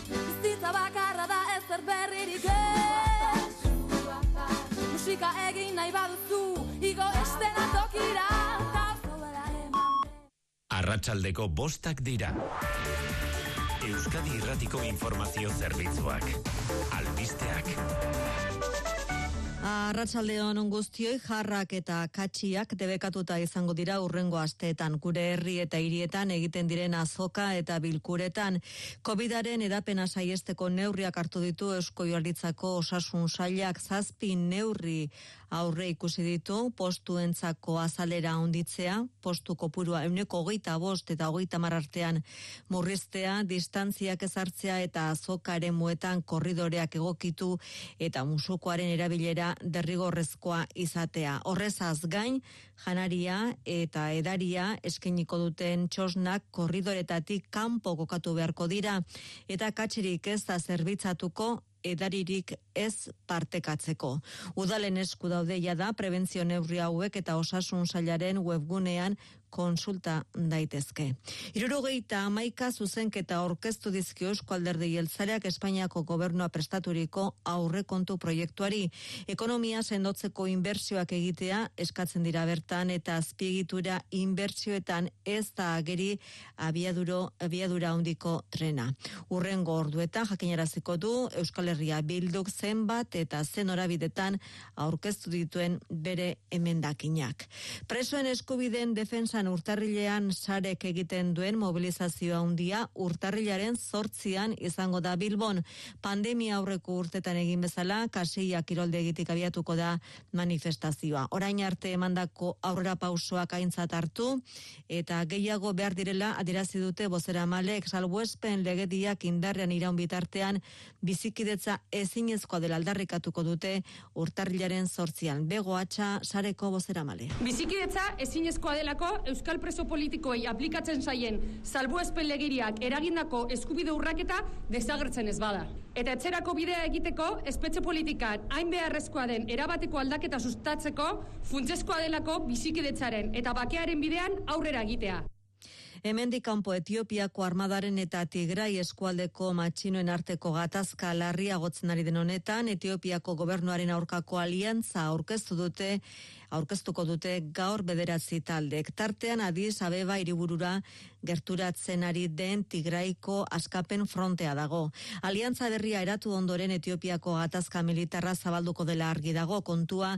Speaker 11: Bizitza bakarra da ezer berririk ez Musika egin nahi baduzu, igo estena tokira Gauza bera eman
Speaker 12: Arratsaldeko bostak dira. Euskadi Irratiko Informazio Zerbitzuak. Albisteak.
Speaker 11: Arratsaldeon on guztioi jarrak eta katxiak debekatuta izango dira urrengo asteetan gure herri eta hirietan egiten diren azoka eta bilkuretan Covidaren edapena saiesteko neurriak hartu ditu Eusko Jaurlaritzako Osasun Sailak zazpi neurri aurre ikusi ditu postuentzako azalera onditzea, postu kopurua euneko hogeita bost eta hogeita hamar artean murriztea, distantziak ezartzea eta azokaren muetan korridoreak egokitu eta musukoaren erabilera derrigorrezkoa izatea. Horrezaz gain, janaria eta edaria eskainiko duten txosnak korridoretatik kanpo kokatu beharko dira eta katxerik ez da zerbitzatuko edaririk ez partekatzeko. Udalen esku daude da prebentzio neurri hauek eta osasun sailaren webgunean konsulta daitezke. Irurogeita amaika zuzenketa aurkeztu dizkio Eusko Alderdi Jeltzareak Espainiako gobernua prestaturiko aurrekontu proiektuari. Ekonomia sendotzeko inbertsioak egitea eskatzen dira bertan eta azpiegitura inbertsioetan ez da ageri abiaduro, abiadura handiko trena. Urrengo orduetan jakinaraziko du Euskal Herria Bilduk zenbat eta zen orabidetan aurkeztu dituen bere emendakinak. Presoen eskubideen defensan Gaztelan urtarrilean sarek egiten duen mobilizazioa handia urtarrilaren zortzian izango da Bilbon. Pandemia aurreko urtetan egin bezala, kasilla kiroldegitik abiatuko da manifestazioa. Orain arte emandako aurrera pausoak aintzat hartu, eta gehiago behar direla adierazi dute bozera malek salbuespen legediak indarrean iraun bitartean bizikidetza ezinezkoa dela aldarrikatuko dute urtarrilaren zortzian. Bego atxa, sareko bozera male.
Speaker 13: Bizikidetza ezinezkoa delako Euskal preso politikoei aplikatzen zaien salbuespen legiriak eragindako eskubide urraketa desagertzen ez bada. Eta etxerako bidea egiteko espetxe politikan hain beharrezkoa den erabateko aldaketa sustatzeko funtsezkoa delako bizikidetzaren eta bakearen bidean aurrera egitea.
Speaker 11: Hemendik kanpo Etiopiako armadaren eta Tigrai eskualdeko matxinoen arteko gatazka larriagotzen ari den honetan Etiopiako gobernuaren aurkako aliantza aurkeztu dute aurkeztuko dute gaur bederatzi taldek. Tartean Addis Abeba hiriburura gerturatzen ari den Tigraiko askapen frontea dago. Aliantza berria eratu ondoren Etiopiako gatazka militarra zabalduko dela argi dago kontua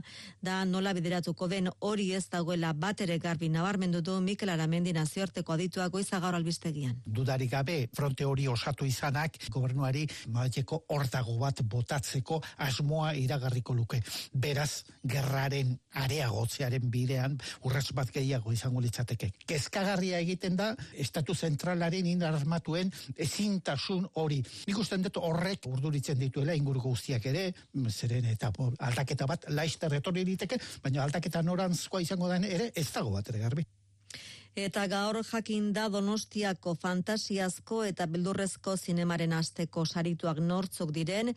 Speaker 11: da nola bideratuko den hori ez dagoela bat ere garbi nabarmendu du Mikel Aramendi nazioarteko adituak goiza gaur albistegian.
Speaker 14: Dudarik gabe fronte hori osatu izanak gobernuari maiteko hortago bat botatzeko asmoa iragarriko luke. Beraz, gerraren are areagotzearen bidean urrats bat gehiago izango litzateke. Kezkagarria egiten da estatu zentralaren indar armatuen ezintasun hori. Nik usten dut horrek urduritzen dituela inguruko guztiak ere, zeren eta bo, aldaketa bat laista retorri diteke, baina aldaketa norantzkoa izango den ere ez dago bat ere garbi.
Speaker 11: Eta gaur jakin da Donostiako fantasiazko eta beldurrezko zinemaren asteko sarituak nortzuk diren,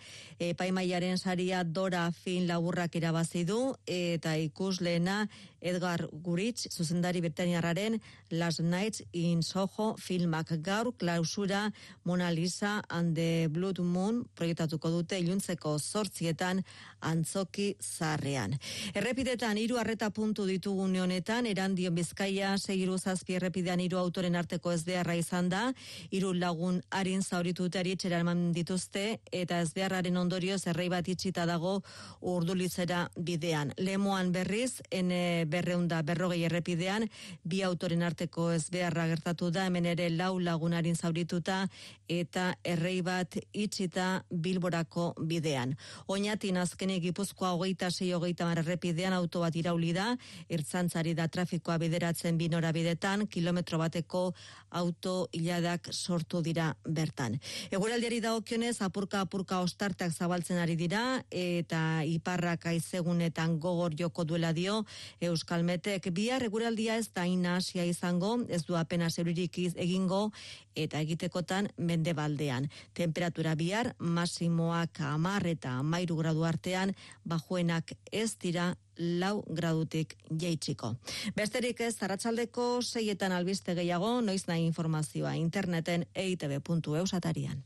Speaker 11: epaimaiaren saria Dora Fin laburrak irabazi du eta ikusleena Edgar Guritz zuzendari Britaniarraren Last Nights in Soho filmak gaur klausura Mona Lisa and the Blood Moon proiektatuko dute iluntzeko zortzietan antzoki zarrean. Errepidetan hiru arreta puntu ditugu une honetan erandion Bizkaia seiru zazpi errepidean hiru autoren arteko ez beharra izan da, hiru lagun harin zaurituta eritxera eman dituzte eta ez beharraren ondorioz errei bat itxita dago urdulitzera bidean. Lemoan berriz, ene berreunda berrogei errepidean, bi autoren arteko ez beharra gertatu da, hemen ere lau lagun harin zaurituta eta errei bat itxita bilborako bidean. Oinatin azkenik gipuzkoa hogeita sei hogeita mar errepidean auto bat irauli da, irtzantzari da trafikoa bideratzen binora bidetan kilometro bateko auto iladak sortu dira bertan. Eguraldiari dagokionez apurka apurka ostarteak zabaltzen ari dira eta iparrak aizegunetan gogor joko duela dio Euskalmetek bihar eguraldia ez da inasia izango, ez du apenas euririk iz- egingo eta egitekotan mendebaldean. Temperatura bihar masimoak amar eta amairu gradu artean, bajuenak ez dira lau gradutik jaitsiko. Besterik ez, zarratsaldeko seietan albiste gehiago, noiz nahi informazioa interneten eitb.eu satarian.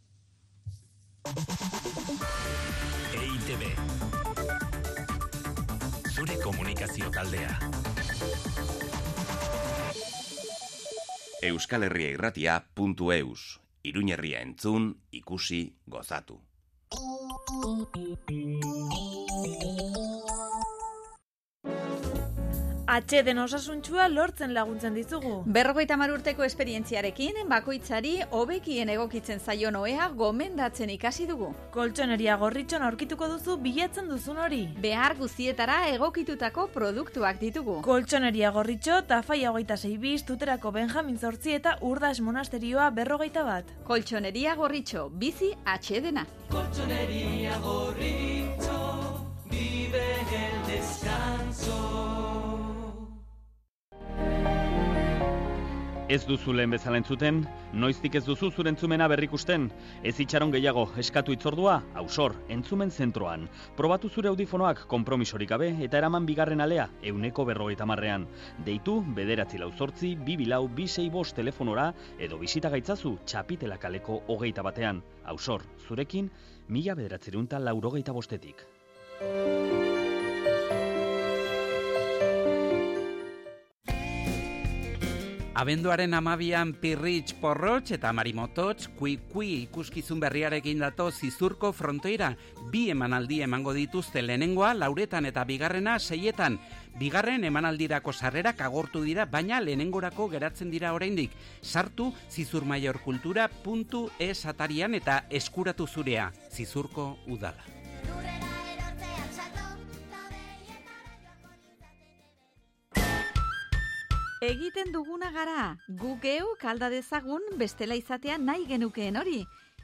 Speaker 12: EITB. Zure komunikazio taldea.
Speaker 2: Euskal Herria irratia puntu eus. Iruñerria entzun, ikusi, gozatu.
Speaker 15: Atxeden osasuntsua lortzen laguntzen dizugu.
Speaker 8: Berrogeita hamar urteko esperientziarekin, bakoitzari hobekien egokitzen zaion ohea gomendatzen ikasi dugu.
Speaker 15: Koltsoneria gorritxon aurkituko duzu bilatzen duzun hori.
Speaker 8: Behar guztietara egokitutako produktuak ditugu.
Speaker 15: Koltsoneria gorritxo, tafaia hogeita zei biz, tuterako Benjamin zortzi eta urdas monasterioa berrogeita bat.
Speaker 8: Koltsoneria gorritxo, bizi atxedena.
Speaker 16: Colchonería Gorrito vive el descanso.
Speaker 17: Ez duzu lehen bezala entzuten, noiztik ez duzu zure entzumena berrikusten. Ez itxaron gehiago, eskatu itzordua, ausor, entzumen zentroan. Probatu zure audifonoak konpromisorik gabe eta eraman bigarren alea, euneko berrogeita marrean. Deitu, bederatzi lau zortzi, bibilau, bisei bost telefonora, edo bisita gaitzazu txapitela kaleko hogeita batean. Ausor, zurekin, mila bederatzerunta laurogeita bostetik.
Speaker 10: Abenduaren amabian Pirritx Porrotx eta Marimototx kui-kui ikuskizun berriarekin dato zizurko frontoira bi emanaldi emango dituzte lehenengoa lauretan eta bigarrena seietan. Bigarren emanaldirako sarrerak agortu dira, baina lehenengorako geratzen dira oraindik. Sartu zizurmaiorkultura.es atarian eta eskuratu zurea. Zizurko udala.
Speaker 8: Egiten duguna gara, gu geu kalda dezagun bestela izatea nahi genukeen hori.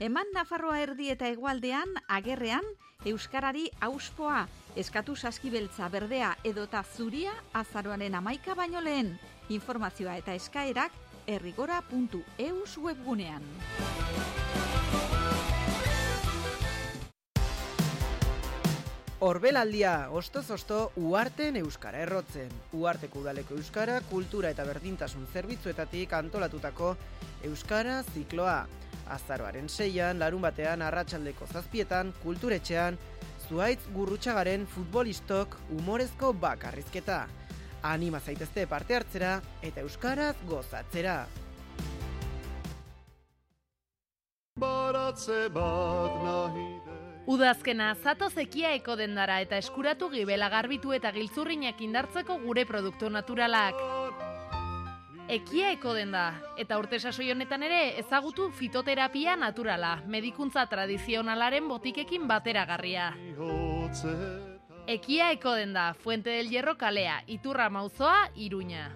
Speaker 8: Eman Nafarroa erdi eta hegoaldean agerrean euskarari auspoa, eskatu saskibeltza berdea edota zuria azaroaren amaika baino lehen. Informazioa eta eskaerak errigora.eus webgunean.
Speaker 6: Orbelaldia, ostoz osto, uarten euskara errotzen. Uarteko udaleko euskara, kultura eta berdintasun zerbitzuetatik antolatutako euskara zikloa. Azaroaren seian, larun batean, arratsaldeko zazpietan, kulturetxean, zuaitz gurrutxagaren futbolistok umorezko bakarrizketa. Anima zaitezte parte hartzera eta euskaraz gozatzera.
Speaker 18: Baratze bat nahi
Speaker 19: Udazkena zatoz ekiaeko dendara eta eskuratu gibela garbitu eta giltzurrinak indartzeko gure produktu naturalak. Ekiaeko denda, eta urte sasoi honetan ere ezagutu fitoterapia naturala, medikuntza tradizionalaren botikekin bateragarria. Ekiaeko denda, Fuente del Hierro kalea, Iturra Mauzoa, Iruña.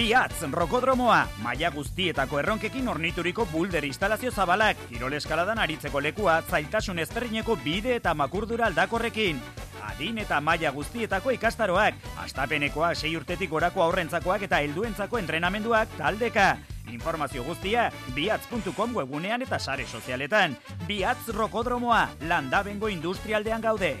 Speaker 9: Biatz, rokodromoa, maila guztietako erronkekin ornituriko bulder instalazio zabalak, kirol eskaladan aritzeko lekua, zailtasun ezberdineko bide eta makurdura aldakorrekin. Adin eta maila guztietako ikastaroak, astapenekoa, sei urtetik gorako aurrentzakoak eta helduentzako entrenamenduak taldeka. Informazio guztia, biatz.com webunean eta sare sozialetan. Biatz rokodromoa, landabengo industrialdean gaude.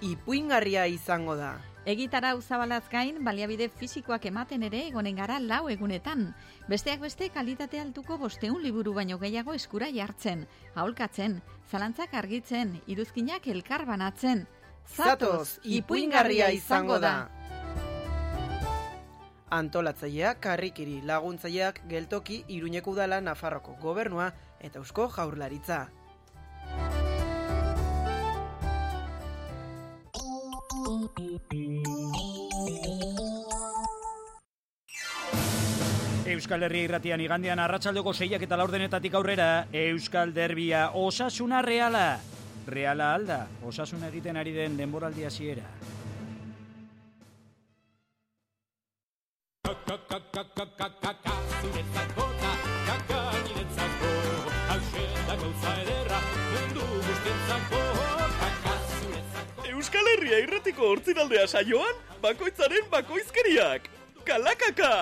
Speaker 6: Ipuingarria izango da.
Speaker 8: Egitarau zabalaz gain, baliabide fisikoak ematen ere egonen gara lau egunetan. Besteak beste kalitate altuko bosteun liburu baino gehiago eskura jartzen, aholkatzen, zalantzak argitzen, iruzkinak elkar banatzen.
Speaker 6: Zatoz, ipuingarria izango da. Antolatzaileak karrikiri, laguntzaileak geltoki Iruñeko udala Nafarroko gobernua eta Eusko Jaurlaritza.
Speaker 9: Euskal Herria irratian igandean arratsaldeko seiak eta laurdenetatik aurrera Euskal Derbia osasuna reala. Reala alda, osasuna egiten ari den denboraldi hasiera.
Speaker 20: Euskal Herria irratiko hortziraldea saioan, bakoitzaren bakoizkeriak. Kalakaka!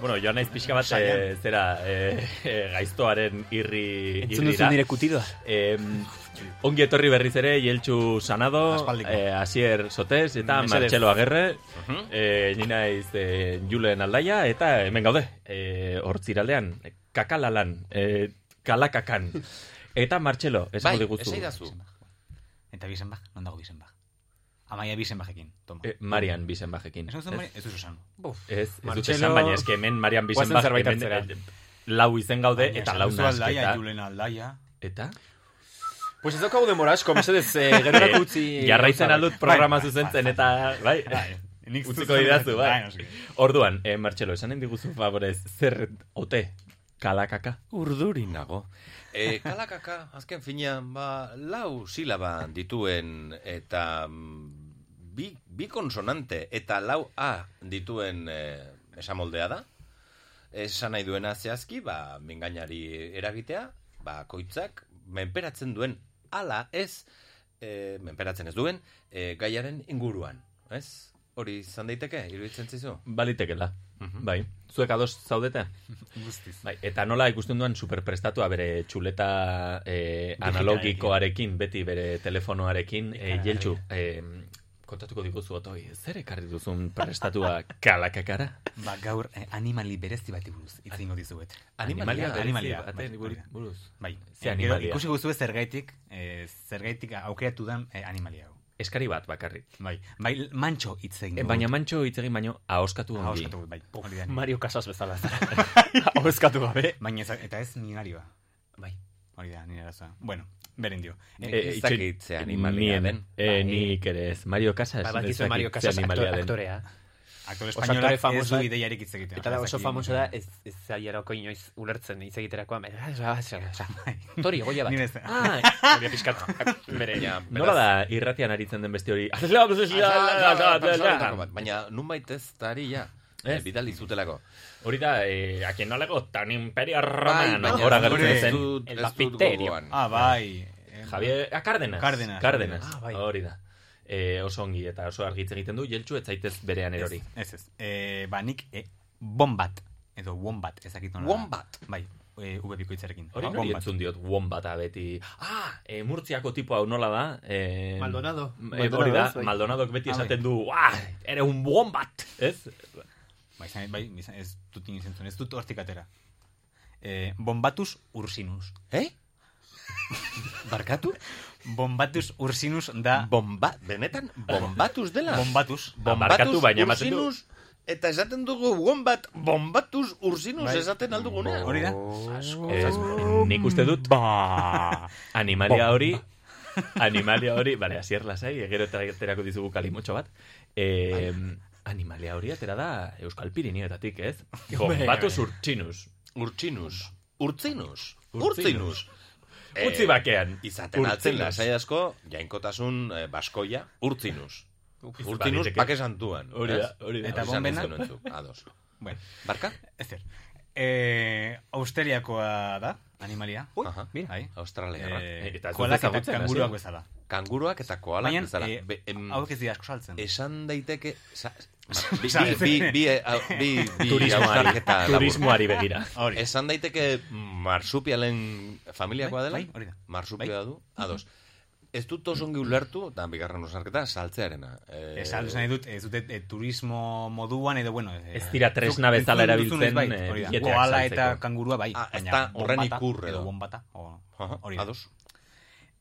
Speaker 1: Bueno, joan naiz pixka bat, e, zera, e, e, gaiztoaren irri...
Speaker 4: Entzun duzu nire kutidoa.
Speaker 1: E, ongi etorri berriz ere, Jeltxu Sanado, e, Asier Sotes, eta
Speaker 2: Mesedez.
Speaker 1: Martxelo Agerre,
Speaker 20: Uh-huh.
Speaker 1: e, ni naiz e, Julen Aldaia, eta hemen gaude, e, hortziraldean, kakalalan, e, kalakakan. Eta Martxelo, esango
Speaker 3: Bai,
Speaker 1: diguzu.
Speaker 3: esaidazu. Eta Bisenbach, non dago Bisenbach? Amaia Bisenbachekin, toma.
Speaker 1: E, Marian Bisenbachekin.
Speaker 3: Esan zuen Mari- ez duzu esan. Buf.
Speaker 1: Ez, ez dut
Speaker 3: Martxelo-
Speaker 1: esan, baina eske hemen Marian
Speaker 3: Goazen
Speaker 1: Bisenbach,
Speaker 3: zerbait
Speaker 1: hemen
Speaker 3: atzera.
Speaker 1: eh, lau izen gaude,
Speaker 3: Baina
Speaker 1: eta
Speaker 3: esan
Speaker 1: lau
Speaker 3: duzu
Speaker 1: nasketa.
Speaker 3: aldaia, Julen aldaia.
Speaker 1: Eta?
Speaker 7: Pues ez daukagu demora asko, mesedez, eh, gerorako utzi...
Speaker 1: Jarraitzen
Speaker 7: gauzak.
Speaker 1: aldut programa
Speaker 7: Bai, bai,
Speaker 1: zuzentzen
Speaker 7: bai,
Speaker 1: eta, bai,
Speaker 7: bai. Nik
Speaker 1: utziko
Speaker 7: zuzentzen
Speaker 1: didazu, bai.
Speaker 7: bai, noski.
Speaker 1: Orduan, eh, Martxelo, esanen diguzu favorez, zer ote, kalakaka?
Speaker 2: Urduri nago. E, kalakaka, azken finean, ba, lau silaba dituen eta mm, bi, bi konsonante eta lau A dituen e, esamoldea da. Esan nahi duena zehazki, ba, mingainari eragitea, ba, koitzak, menperatzen duen, ala ez, e, menperatzen ez duen, e, gaiaren inguruan, ez? Hori izan daiteke, iruditzen zizu?
Speaker 1: Balitekela, bai. Zuek ados zaudete?
Speaker 2: Guztiz.
Speaker 1: Bai, eta nola ikusten duan superprestatua bere txuleta eh, analogikoarekin, beti bere telefonoarekin, eh, jeltxu, eh, Kontatuko diguzu, Otoi, zer ekarri duzun prestatua kalakakara?
Speaker 3: Ba, gaur eh, animali berezi bati buruz hitz eingo dizuet.
Speaker 1: Animalia berezi
Speaker 3: animalia
Speaker 1: bati
Speaker 3: bai,
Speaker 1: buruz-
Speaker 3: hori da.
Speaker 1: buruz.
Speaker 3: Bai.
Speaker 1: Ze
Speaker 3: Eh, gero
Speaker 1: animalia?
Speaker 3: Ikusi guzu zergaitik, eh, zergaitik aukeratu dan eh, animalia hau.
Speaker 1: Eskari bat bakarrik.
Speaker 3: Bai, bai mantxo hitz egin.
Speaker 1: E, baina mantxo hitz egin baino ahoskatu ongi.
Speaker 3: Ahoskatu, bai, hori da.
Speaker 1: Mario Casas bezala.
Speaker 3: Ahoskatu gabe. Baina ez, eta ez minarioa. Bai. Hori da, nire arazoa. Bueno, beren dio. Eh,
Speaker 1: Eh,
Speaker 3: ez dakit
Speaker 1: itxoin,
Speaker 3: ze animalia den.
Speaker 1: nien, Eh, nik ere ez. Mario Casas.
Speaker 4: Ba, bakizu
Speaker 1: ez dakit
Speaker 4: Mario
Speaker 1: ze
Speaker 4: Casas
Speaker 1: animalia
Speaker 4: aktore-
Speaker 1: den.
Speaker 4: aktorea.
Speaker 3: Aktore
Speaker 4: Oso
Speaker 3: espainolak ez
Speaker 4: famosoak.
Speaker 3: du ideiarik hitz egiten.
Speaker 4: Eta da,
Speaker 3: Ez
Speaker 4: oso
Speaker 3: dakit.
Speaker 4: famoso da, ez, ez zailarako inoiz ulertzen hitz egiterakoan. "Ah, Tori, goia bat.
Speaker 3: Bai. Ni bezala.
Speaker 4: Ah,
Speaker 2: Bai,
Speaker 4: hori pizkat. Bere,
Speaker 1: Nola da irratian aritzen den beste hori?
Speaker 2: Baina nunbait ez tari ja. Eh, bidali zutelako.
Speaker 1: Hori da, eh, a quien no le gusta un imperio
Speaker 2: Bai,
Speaker 1: romano.
Speaker 2: baina
Speaker 1: Hora
Speaker 2: hori
Speaker 1: gertzen
Speaker 2: ez
Speaker 1: zen.
Speaker 2: dut-
Speaker 1: El
Speaker 2: ez dut
Speaker 1: bapterio.
Speaker 2: gogoan.
Speaker 3: Ah, bai.
Speaker 1: Javier, a Cárdenas.
Speaker 3: Cárdenas. Ah, bai.
Speaker 1: Cárdenas. Hori da. Eh, oso ongi eta oso argitze egiten du, jeltsu ez zaitez berean erori.
Speaker 3: Ez, ez. E, ba, nik e, bombat, edo wombat, ezakit nola.
Speaker 1: Wombat?
Speaker 3: Bai, e, ube bikoitzarekin.
Speaker 1: Hori nori entzun diot wombata beti. Ah, e, murtziako tipo hau nola da? E,
Speaker 7: Maldonado.
Speaker 1: E, hori
Speaker 7: Maldonado,
Speaker 1: da,
Speaker 7: ez, bai.
Speaker 1: Maldonadok beti
Speaker 7: Ah, bai.
Speaker 1: esaten du, ah, ere un bombat, ez?
Speaker 3: Bai, izan- bai, izan- ez dut inoiz entzun, ez dut hortik atera. E, bombatus ursinus.
Speaker 2: Eh?
Speaker 3: Barkatu? Bombatus ursinus da...
Speaker 2: Bomba, benetan, bombatus dela. Ah,
Speaker 3: Bombatus.
Speaker 2: Bombatus, ursinus, eta esaten dugu wombat, bombatuz ursinus
Speaker 3: Bai.
Speaker 2: esaten alduguna.
Speaker 3: Hori da.
Speaker 2: Oh.
Speaker 1: Ez, nik uste dut, ba, animalia
Speaker 2: Bomba.
Speaker 1: hori, animalia hori, bale, asier lasai, gero eta aterako dizugu kalimotxo bat, e, animalia hori atera da Euskal Pirinioetatik, ez? Bombatu urtsinus.
Speaker 2: Urtsinus. Urtsinus.
Speaker 1: Urtsinus.
Speaker 2: Urtsinus. Eh,
Speaker 1: Utzi bakean.
Speaker 2: Izaten altzen
Speaker 1: Urtsinus.
Speaker 2: lasai asko, jainkotasun eh, baskoia, urtsinus.
Speaker 1: Uf,
Speaker 2: Urtsinus
Speaker 1: baliteke.
Speaker 2: pake santuan.
Speaker 1: Hori da,
Speaker 2: ez?
Speaker 1: hori da.
Speaker 2: Eta
Speaker 1: Eta
Speaker 2: bombena.
Speaker 1: bombena?
Speaker 2: Ados.
Speaker 3: Bueno.
Speaker 2: Barka?
Speaker 3: Ezer. E, Australiakoa da, animalia.
Speaker 2: Ui, mira. Australiarra.
Speaker 3: Eh,
Speaker 2: Eh, eta ez dut
Speaker 3: koalak eta
Speaker 2: ezagutzen,
Speaker 3: kanguruak
Speaker 2: hasi.
Speaker 3: bezala.
Speaker 2: Kanguruak eta koalak
Speaker 3: Baina,
Speaker 2: bezala.
Speaker 3: eh,
Speaker 2: Be- em,
Speaker 3: hauek ez dira asko saltzen.
Speaker 2: Esan daiteke... sa- bi,
Speaker 3: Saltzen.
Speaker 2: bi, bi, bi, eh, bi, bi
Speaker 1: Turismoari-
Speaker 2: hausnarketa labur.
Speaker 1: turismoari begira.
Speaker 3: Hori.
Speaker 2: Esan daiteke marsupialen familiakoa dela.
Speaker 3: bai, hori da.
Speaker 2: Marsupia
Speaker 3: Bai.
Speaker 2: du. Ados. Ez dut oso ongi ulertu, eta bigarren osarketa, saltzearena. Eh,
Speaker 3: Esan nahi dut, ez dute eh, turismo moduan edo, bueno... eh,
Speaker 1: Ez dira tresna
Speaker 3: zuk
Speaker 1: bezala
Speaker 3: entzun duzunez,
Speaker 1: erabiltzen,
Speaker 3: bai,
Speaker 1: eh,
Speaker 3: hori da.
Speaker 1: billeteak
Speaker 3: Koala eta
Speaker 1: saltzeko.
Speaker 3: kangurua, bai.
Speaker 2: Ah, ez
Speaker 3: baina
Speaker 2: da horren
Speaker 3: bombata
Speaker 2: ikur edo.
Speaker 3: edo. bombata, o-
Speaker 2: Aha,
Speaker 3: hori da.
Speaker 2: ados.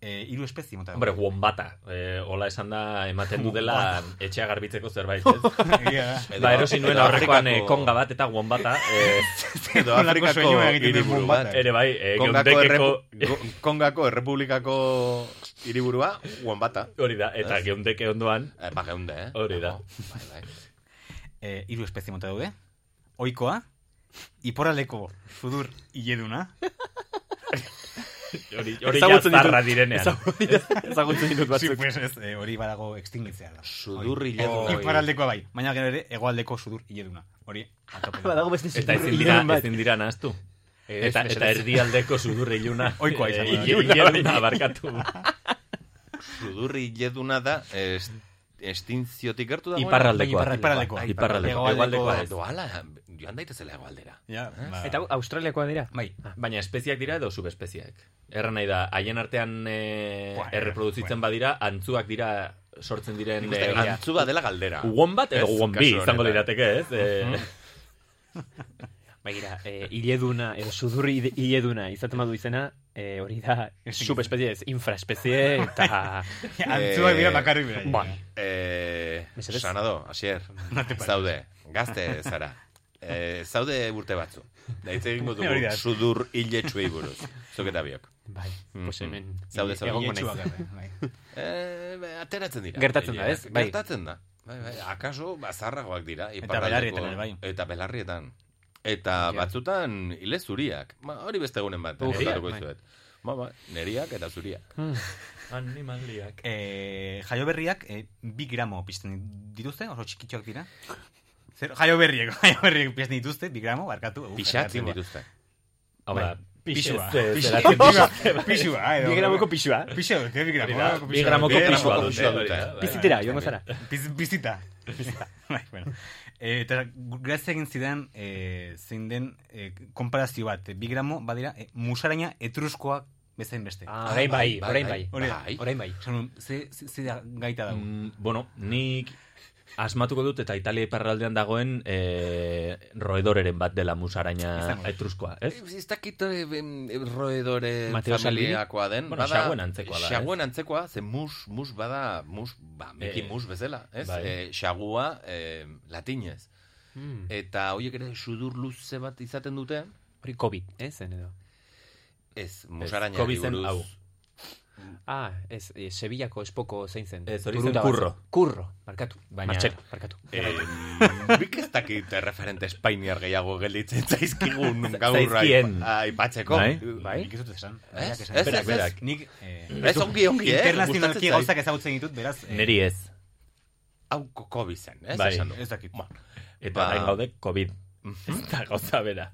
Speaker 3: Eh, hiru espezie mota.
Speaker 1: Hombre, wombata. Eh, hola esan da, ematen du dela etxea garbitzeko zerbait, ez?
Speaker 3: Egia da.
Speaker 1: ba, erosi nuen aurrekoan eh,
Speaker 2: Afrikako-
Speaker 1: konga bat eta wombata. Eh,
Speaker 2: Edo Afrikako hiriburu bat.
Speaker 1: Ere bai, eh,
Speaker 2: Kongako,
Speaker 1: geundekeko...
Speaker 2: errepu- Go- Kongako errepublikako hiriburua, Wambata.
Speaker 1: Hori da, eta geundeke ondoan.
Speaker 2: Eh, ba, geunde, eh?
Speaker 1: Hori da.
Speaker 3: Eh, hiru espezie mota daude. Oikoa, iporaleko sudur hileduna.
Speaker 1: Hori, hori ja zarra direnean.
Speaker 3: Ezagutzen ditut
Speaker 1: batzuk.
Speaker 3: Sí, pues ez, eh, hori badago extingitzea da.
Speaker 2: Sudur
Speaker 3: Hori.
Speaker 2: hileduna.
Speaker 3: Iparraldekoa bai, baina gero ere hegoaldeko sudur hileduna. Hori, atope dago.
Speaker 1: Eta ezin dira, ezin dira nahaztu.
Speaker 3: Ez,
Speaker 1: Eta, eta
Speaker 3: mesedez.
Speaker 1: erdialdeko sudur iluna.
Speaker 3: Ohikoa izango da.
Speaker 1: Iluna, barkatu.
Speaker 2: Sudurri jeduna da, ez, estintziotik gertu dago.
Speaker 1: Iparraldekoa.
Speaker 3: Bai,
Speaker 1: Iparraldekoa. Iparraldekoa. Hegoaldekoa.
Speaker 2: Edo ala, joan daitezela egoaldera.
Speaker 3: Ja, ba.
Speaker 4: Eta australiakoa dira?
Speaker 3: Bai.
Speaker 1: Baina espeziak dira edo subespeziak. Erra nahi da, haien artean e,
Speaker 3: Buah,
Speaker 1: erreproduzitzen badira, antzuak dira sortzen diren...
Speaker 2: Nik uste
Speaker 1: eh,
Speaker 2: antzu bat dela galdera.
Speaker 1: Uon bat edo
Speaker 2: Ez,
Speaker 1: uon bi
Speaker 2: kasu
Speaker 1: izango
Speaker 2: honetan.
Speaker 1: lirateke, ez? Eh,
Speaker 4: Bagira, e, hileduna, edo sudurri hide- hileduna izaten badu izena, e, hori da subespezie ez, infraespezie eta...
Speaker 3: Antzuak dira bakarrik bera.
Speaker 4: Bueno,
Speaker 2: Eh,
Speaker 4: Mesedez.
Speaker 2: sanado, asier. Zaude, gazte zara. Eh, zaude urte batzu. Daitz egingo
Speaker 3: Hori
Speaker 2: dugu
Speaker 3: da.
Speaker 2: sudur hiletsuei buruz. Zuk eta biok.
Speaker 4: Bai, pues
Speaker 2: Mhm.
Speaker 4: hemen
Speaker 2: Zaude, zaude.
Speaker 4: egongo
Speaker 3: Etxua
Speaker 4: naiz.
Speaker 3: gara, bai.
Speaker 2: Eh, be, ateratzen dira.
Speaker 4: Gertatzen da, ez? Bai.
Speaker 2: Gertatzen da. Bai, bai. Akaso bazarragoak dira.
Speaker 3: belarrietan
Speaker 2: iparraldeko-
Speaker 3: ere, bai.
Speaker 2: Eta belarrietan. Eta batzutan ile zuriak. Ba, hori beste egunen bat.
Speaker 1: Uf,
Speaker 2: kontatuko
Speaker 1: bai.
Speaker 2: dizuet. Ba, ba, neriak eta zuriak.
Speaker 1: Animaliak.
Speaker 3: Eh, jaioberriak eh, bi gramo pizten dituzte, oso txikitxoak dira. Zer, jaioberriek, jaioberriek pizten dituzte, bi gramo, barkatu. uf,
Speaker 2: Pixatzen
Speaker 3: barkatu.
Speaker 2: dituzte.
Speaker 1: Hau
Speaker 3: Bai.
Speaker 1: da,
Speaker 3: Pixua.
Speaker 1: pixez, eh,
Speaker 3: Pixua.
Speaker 1: zeratzen dituzte,
Speaker 3: Pixua,
Speaker 1: bai.
Speaker 3: Pixua. edo-
Speaker 4: Bi gramoko pixua.
Speaker 3: Pixua dute, bi
Speaker 1: Hori
Speaker 3: gramo.
Speaker 1: da, bi gramoko pixua dute.
Speaker 2: dute.
Speaker 4: Bizitera, joango zara.
Speaker 3: Biz, bizita. Bizita. bai, bueno. Eh, Eta gu- grazia egin zidan eh, zein den eh, konparazio bat. Bi gramo badira eh, musaraina etruskoa bezain beste.
Speaker 4: Ah, orain bai, bai, orain bai.
Speaker 3: Hori da,
Speaker 4: Bai. Orain bai.
Speaker 3: Esan nuen, ze, ze, ze da gaita dago.
Speaker 1: Mm, bueno, nik asmatuko dut eta Italia iparraldean dagoen e, roedoreren bat dela musaraina
Speaker 2: Izango.
Speaker 1: etruskoa, ez?
Speaker 2: Ez dakit eh, em, em, roedore
Speaker 1: Mateo Salvini?
Speaker 2: familiakoa den.
Speaker 1: Bueno, xaguen antzekoa da, eh?
Speaker 2: Xaguen antzekoa, ze mus, mus bada, mus, ba, meki
Speaker 1: Eh,
Speaker 2: mus bezala, ez?
Speaker 1: bai.
Speaker 2: Eh, xagua eh, latinez.
Speaker 4: Hmm.
Speaker 2: Eta horiek ere sudur luze bat izaten dute.
Speaker 4: Hori COVID, ez? Zen edo.
Speaker 2: Ez, musaraina.
Speaker 1: Covid zen hau.
Speaker 4: Ah, ez, eh, Sevillako espoko zein zen.
Speaker 1: Ez, hori
Speaker 4: Turuta
Speaker 1: zen
Speaker 4: bat
Speaker 1: kurro.
Speaker 4: Kurro, barkatu. Baina,
Speaker 2: Martxelo.
Speaker 4: barkatu.
Speaker 2: Eh, bik ez dakit referente espainiar gehiago gelditzen zaizkigun gaur
Speaker 1: Zaizkien.
Speaker 2: aipa- aipatzeko.
Speaker 1: Bai?
Speaker 3: Bai? Nik ez dut esan.
Speaker 2: Ez,
Speaker 3: Berak
Speaker 2: ez,
Speaker 3: esan.
Speaker 2: ez,
Speaker 3: Berak,
Speaker 2: ez.
Speaker 3: berak. Nik, eh,
Speaker 2: Ez ongi, ongi, eh?
Speaker 3: internazionalki
Speaker 2: gustatzen zait.
Speaker 3: gauzak ezagutzen ditut, beraz, eh,
Speaker 1: Neri ez.
Speaker 2: Hau koko bizen, ez?
Speaker 1: Bai.
Speaker 2: Esan du.
Speaker 3: Ez dakit.
Speaker 2: Ba.
Speaker 1: Eta
Speaker 2: Ba. Mhm.
Speaker 1: orain gaude COVID. Ez da gauza bera.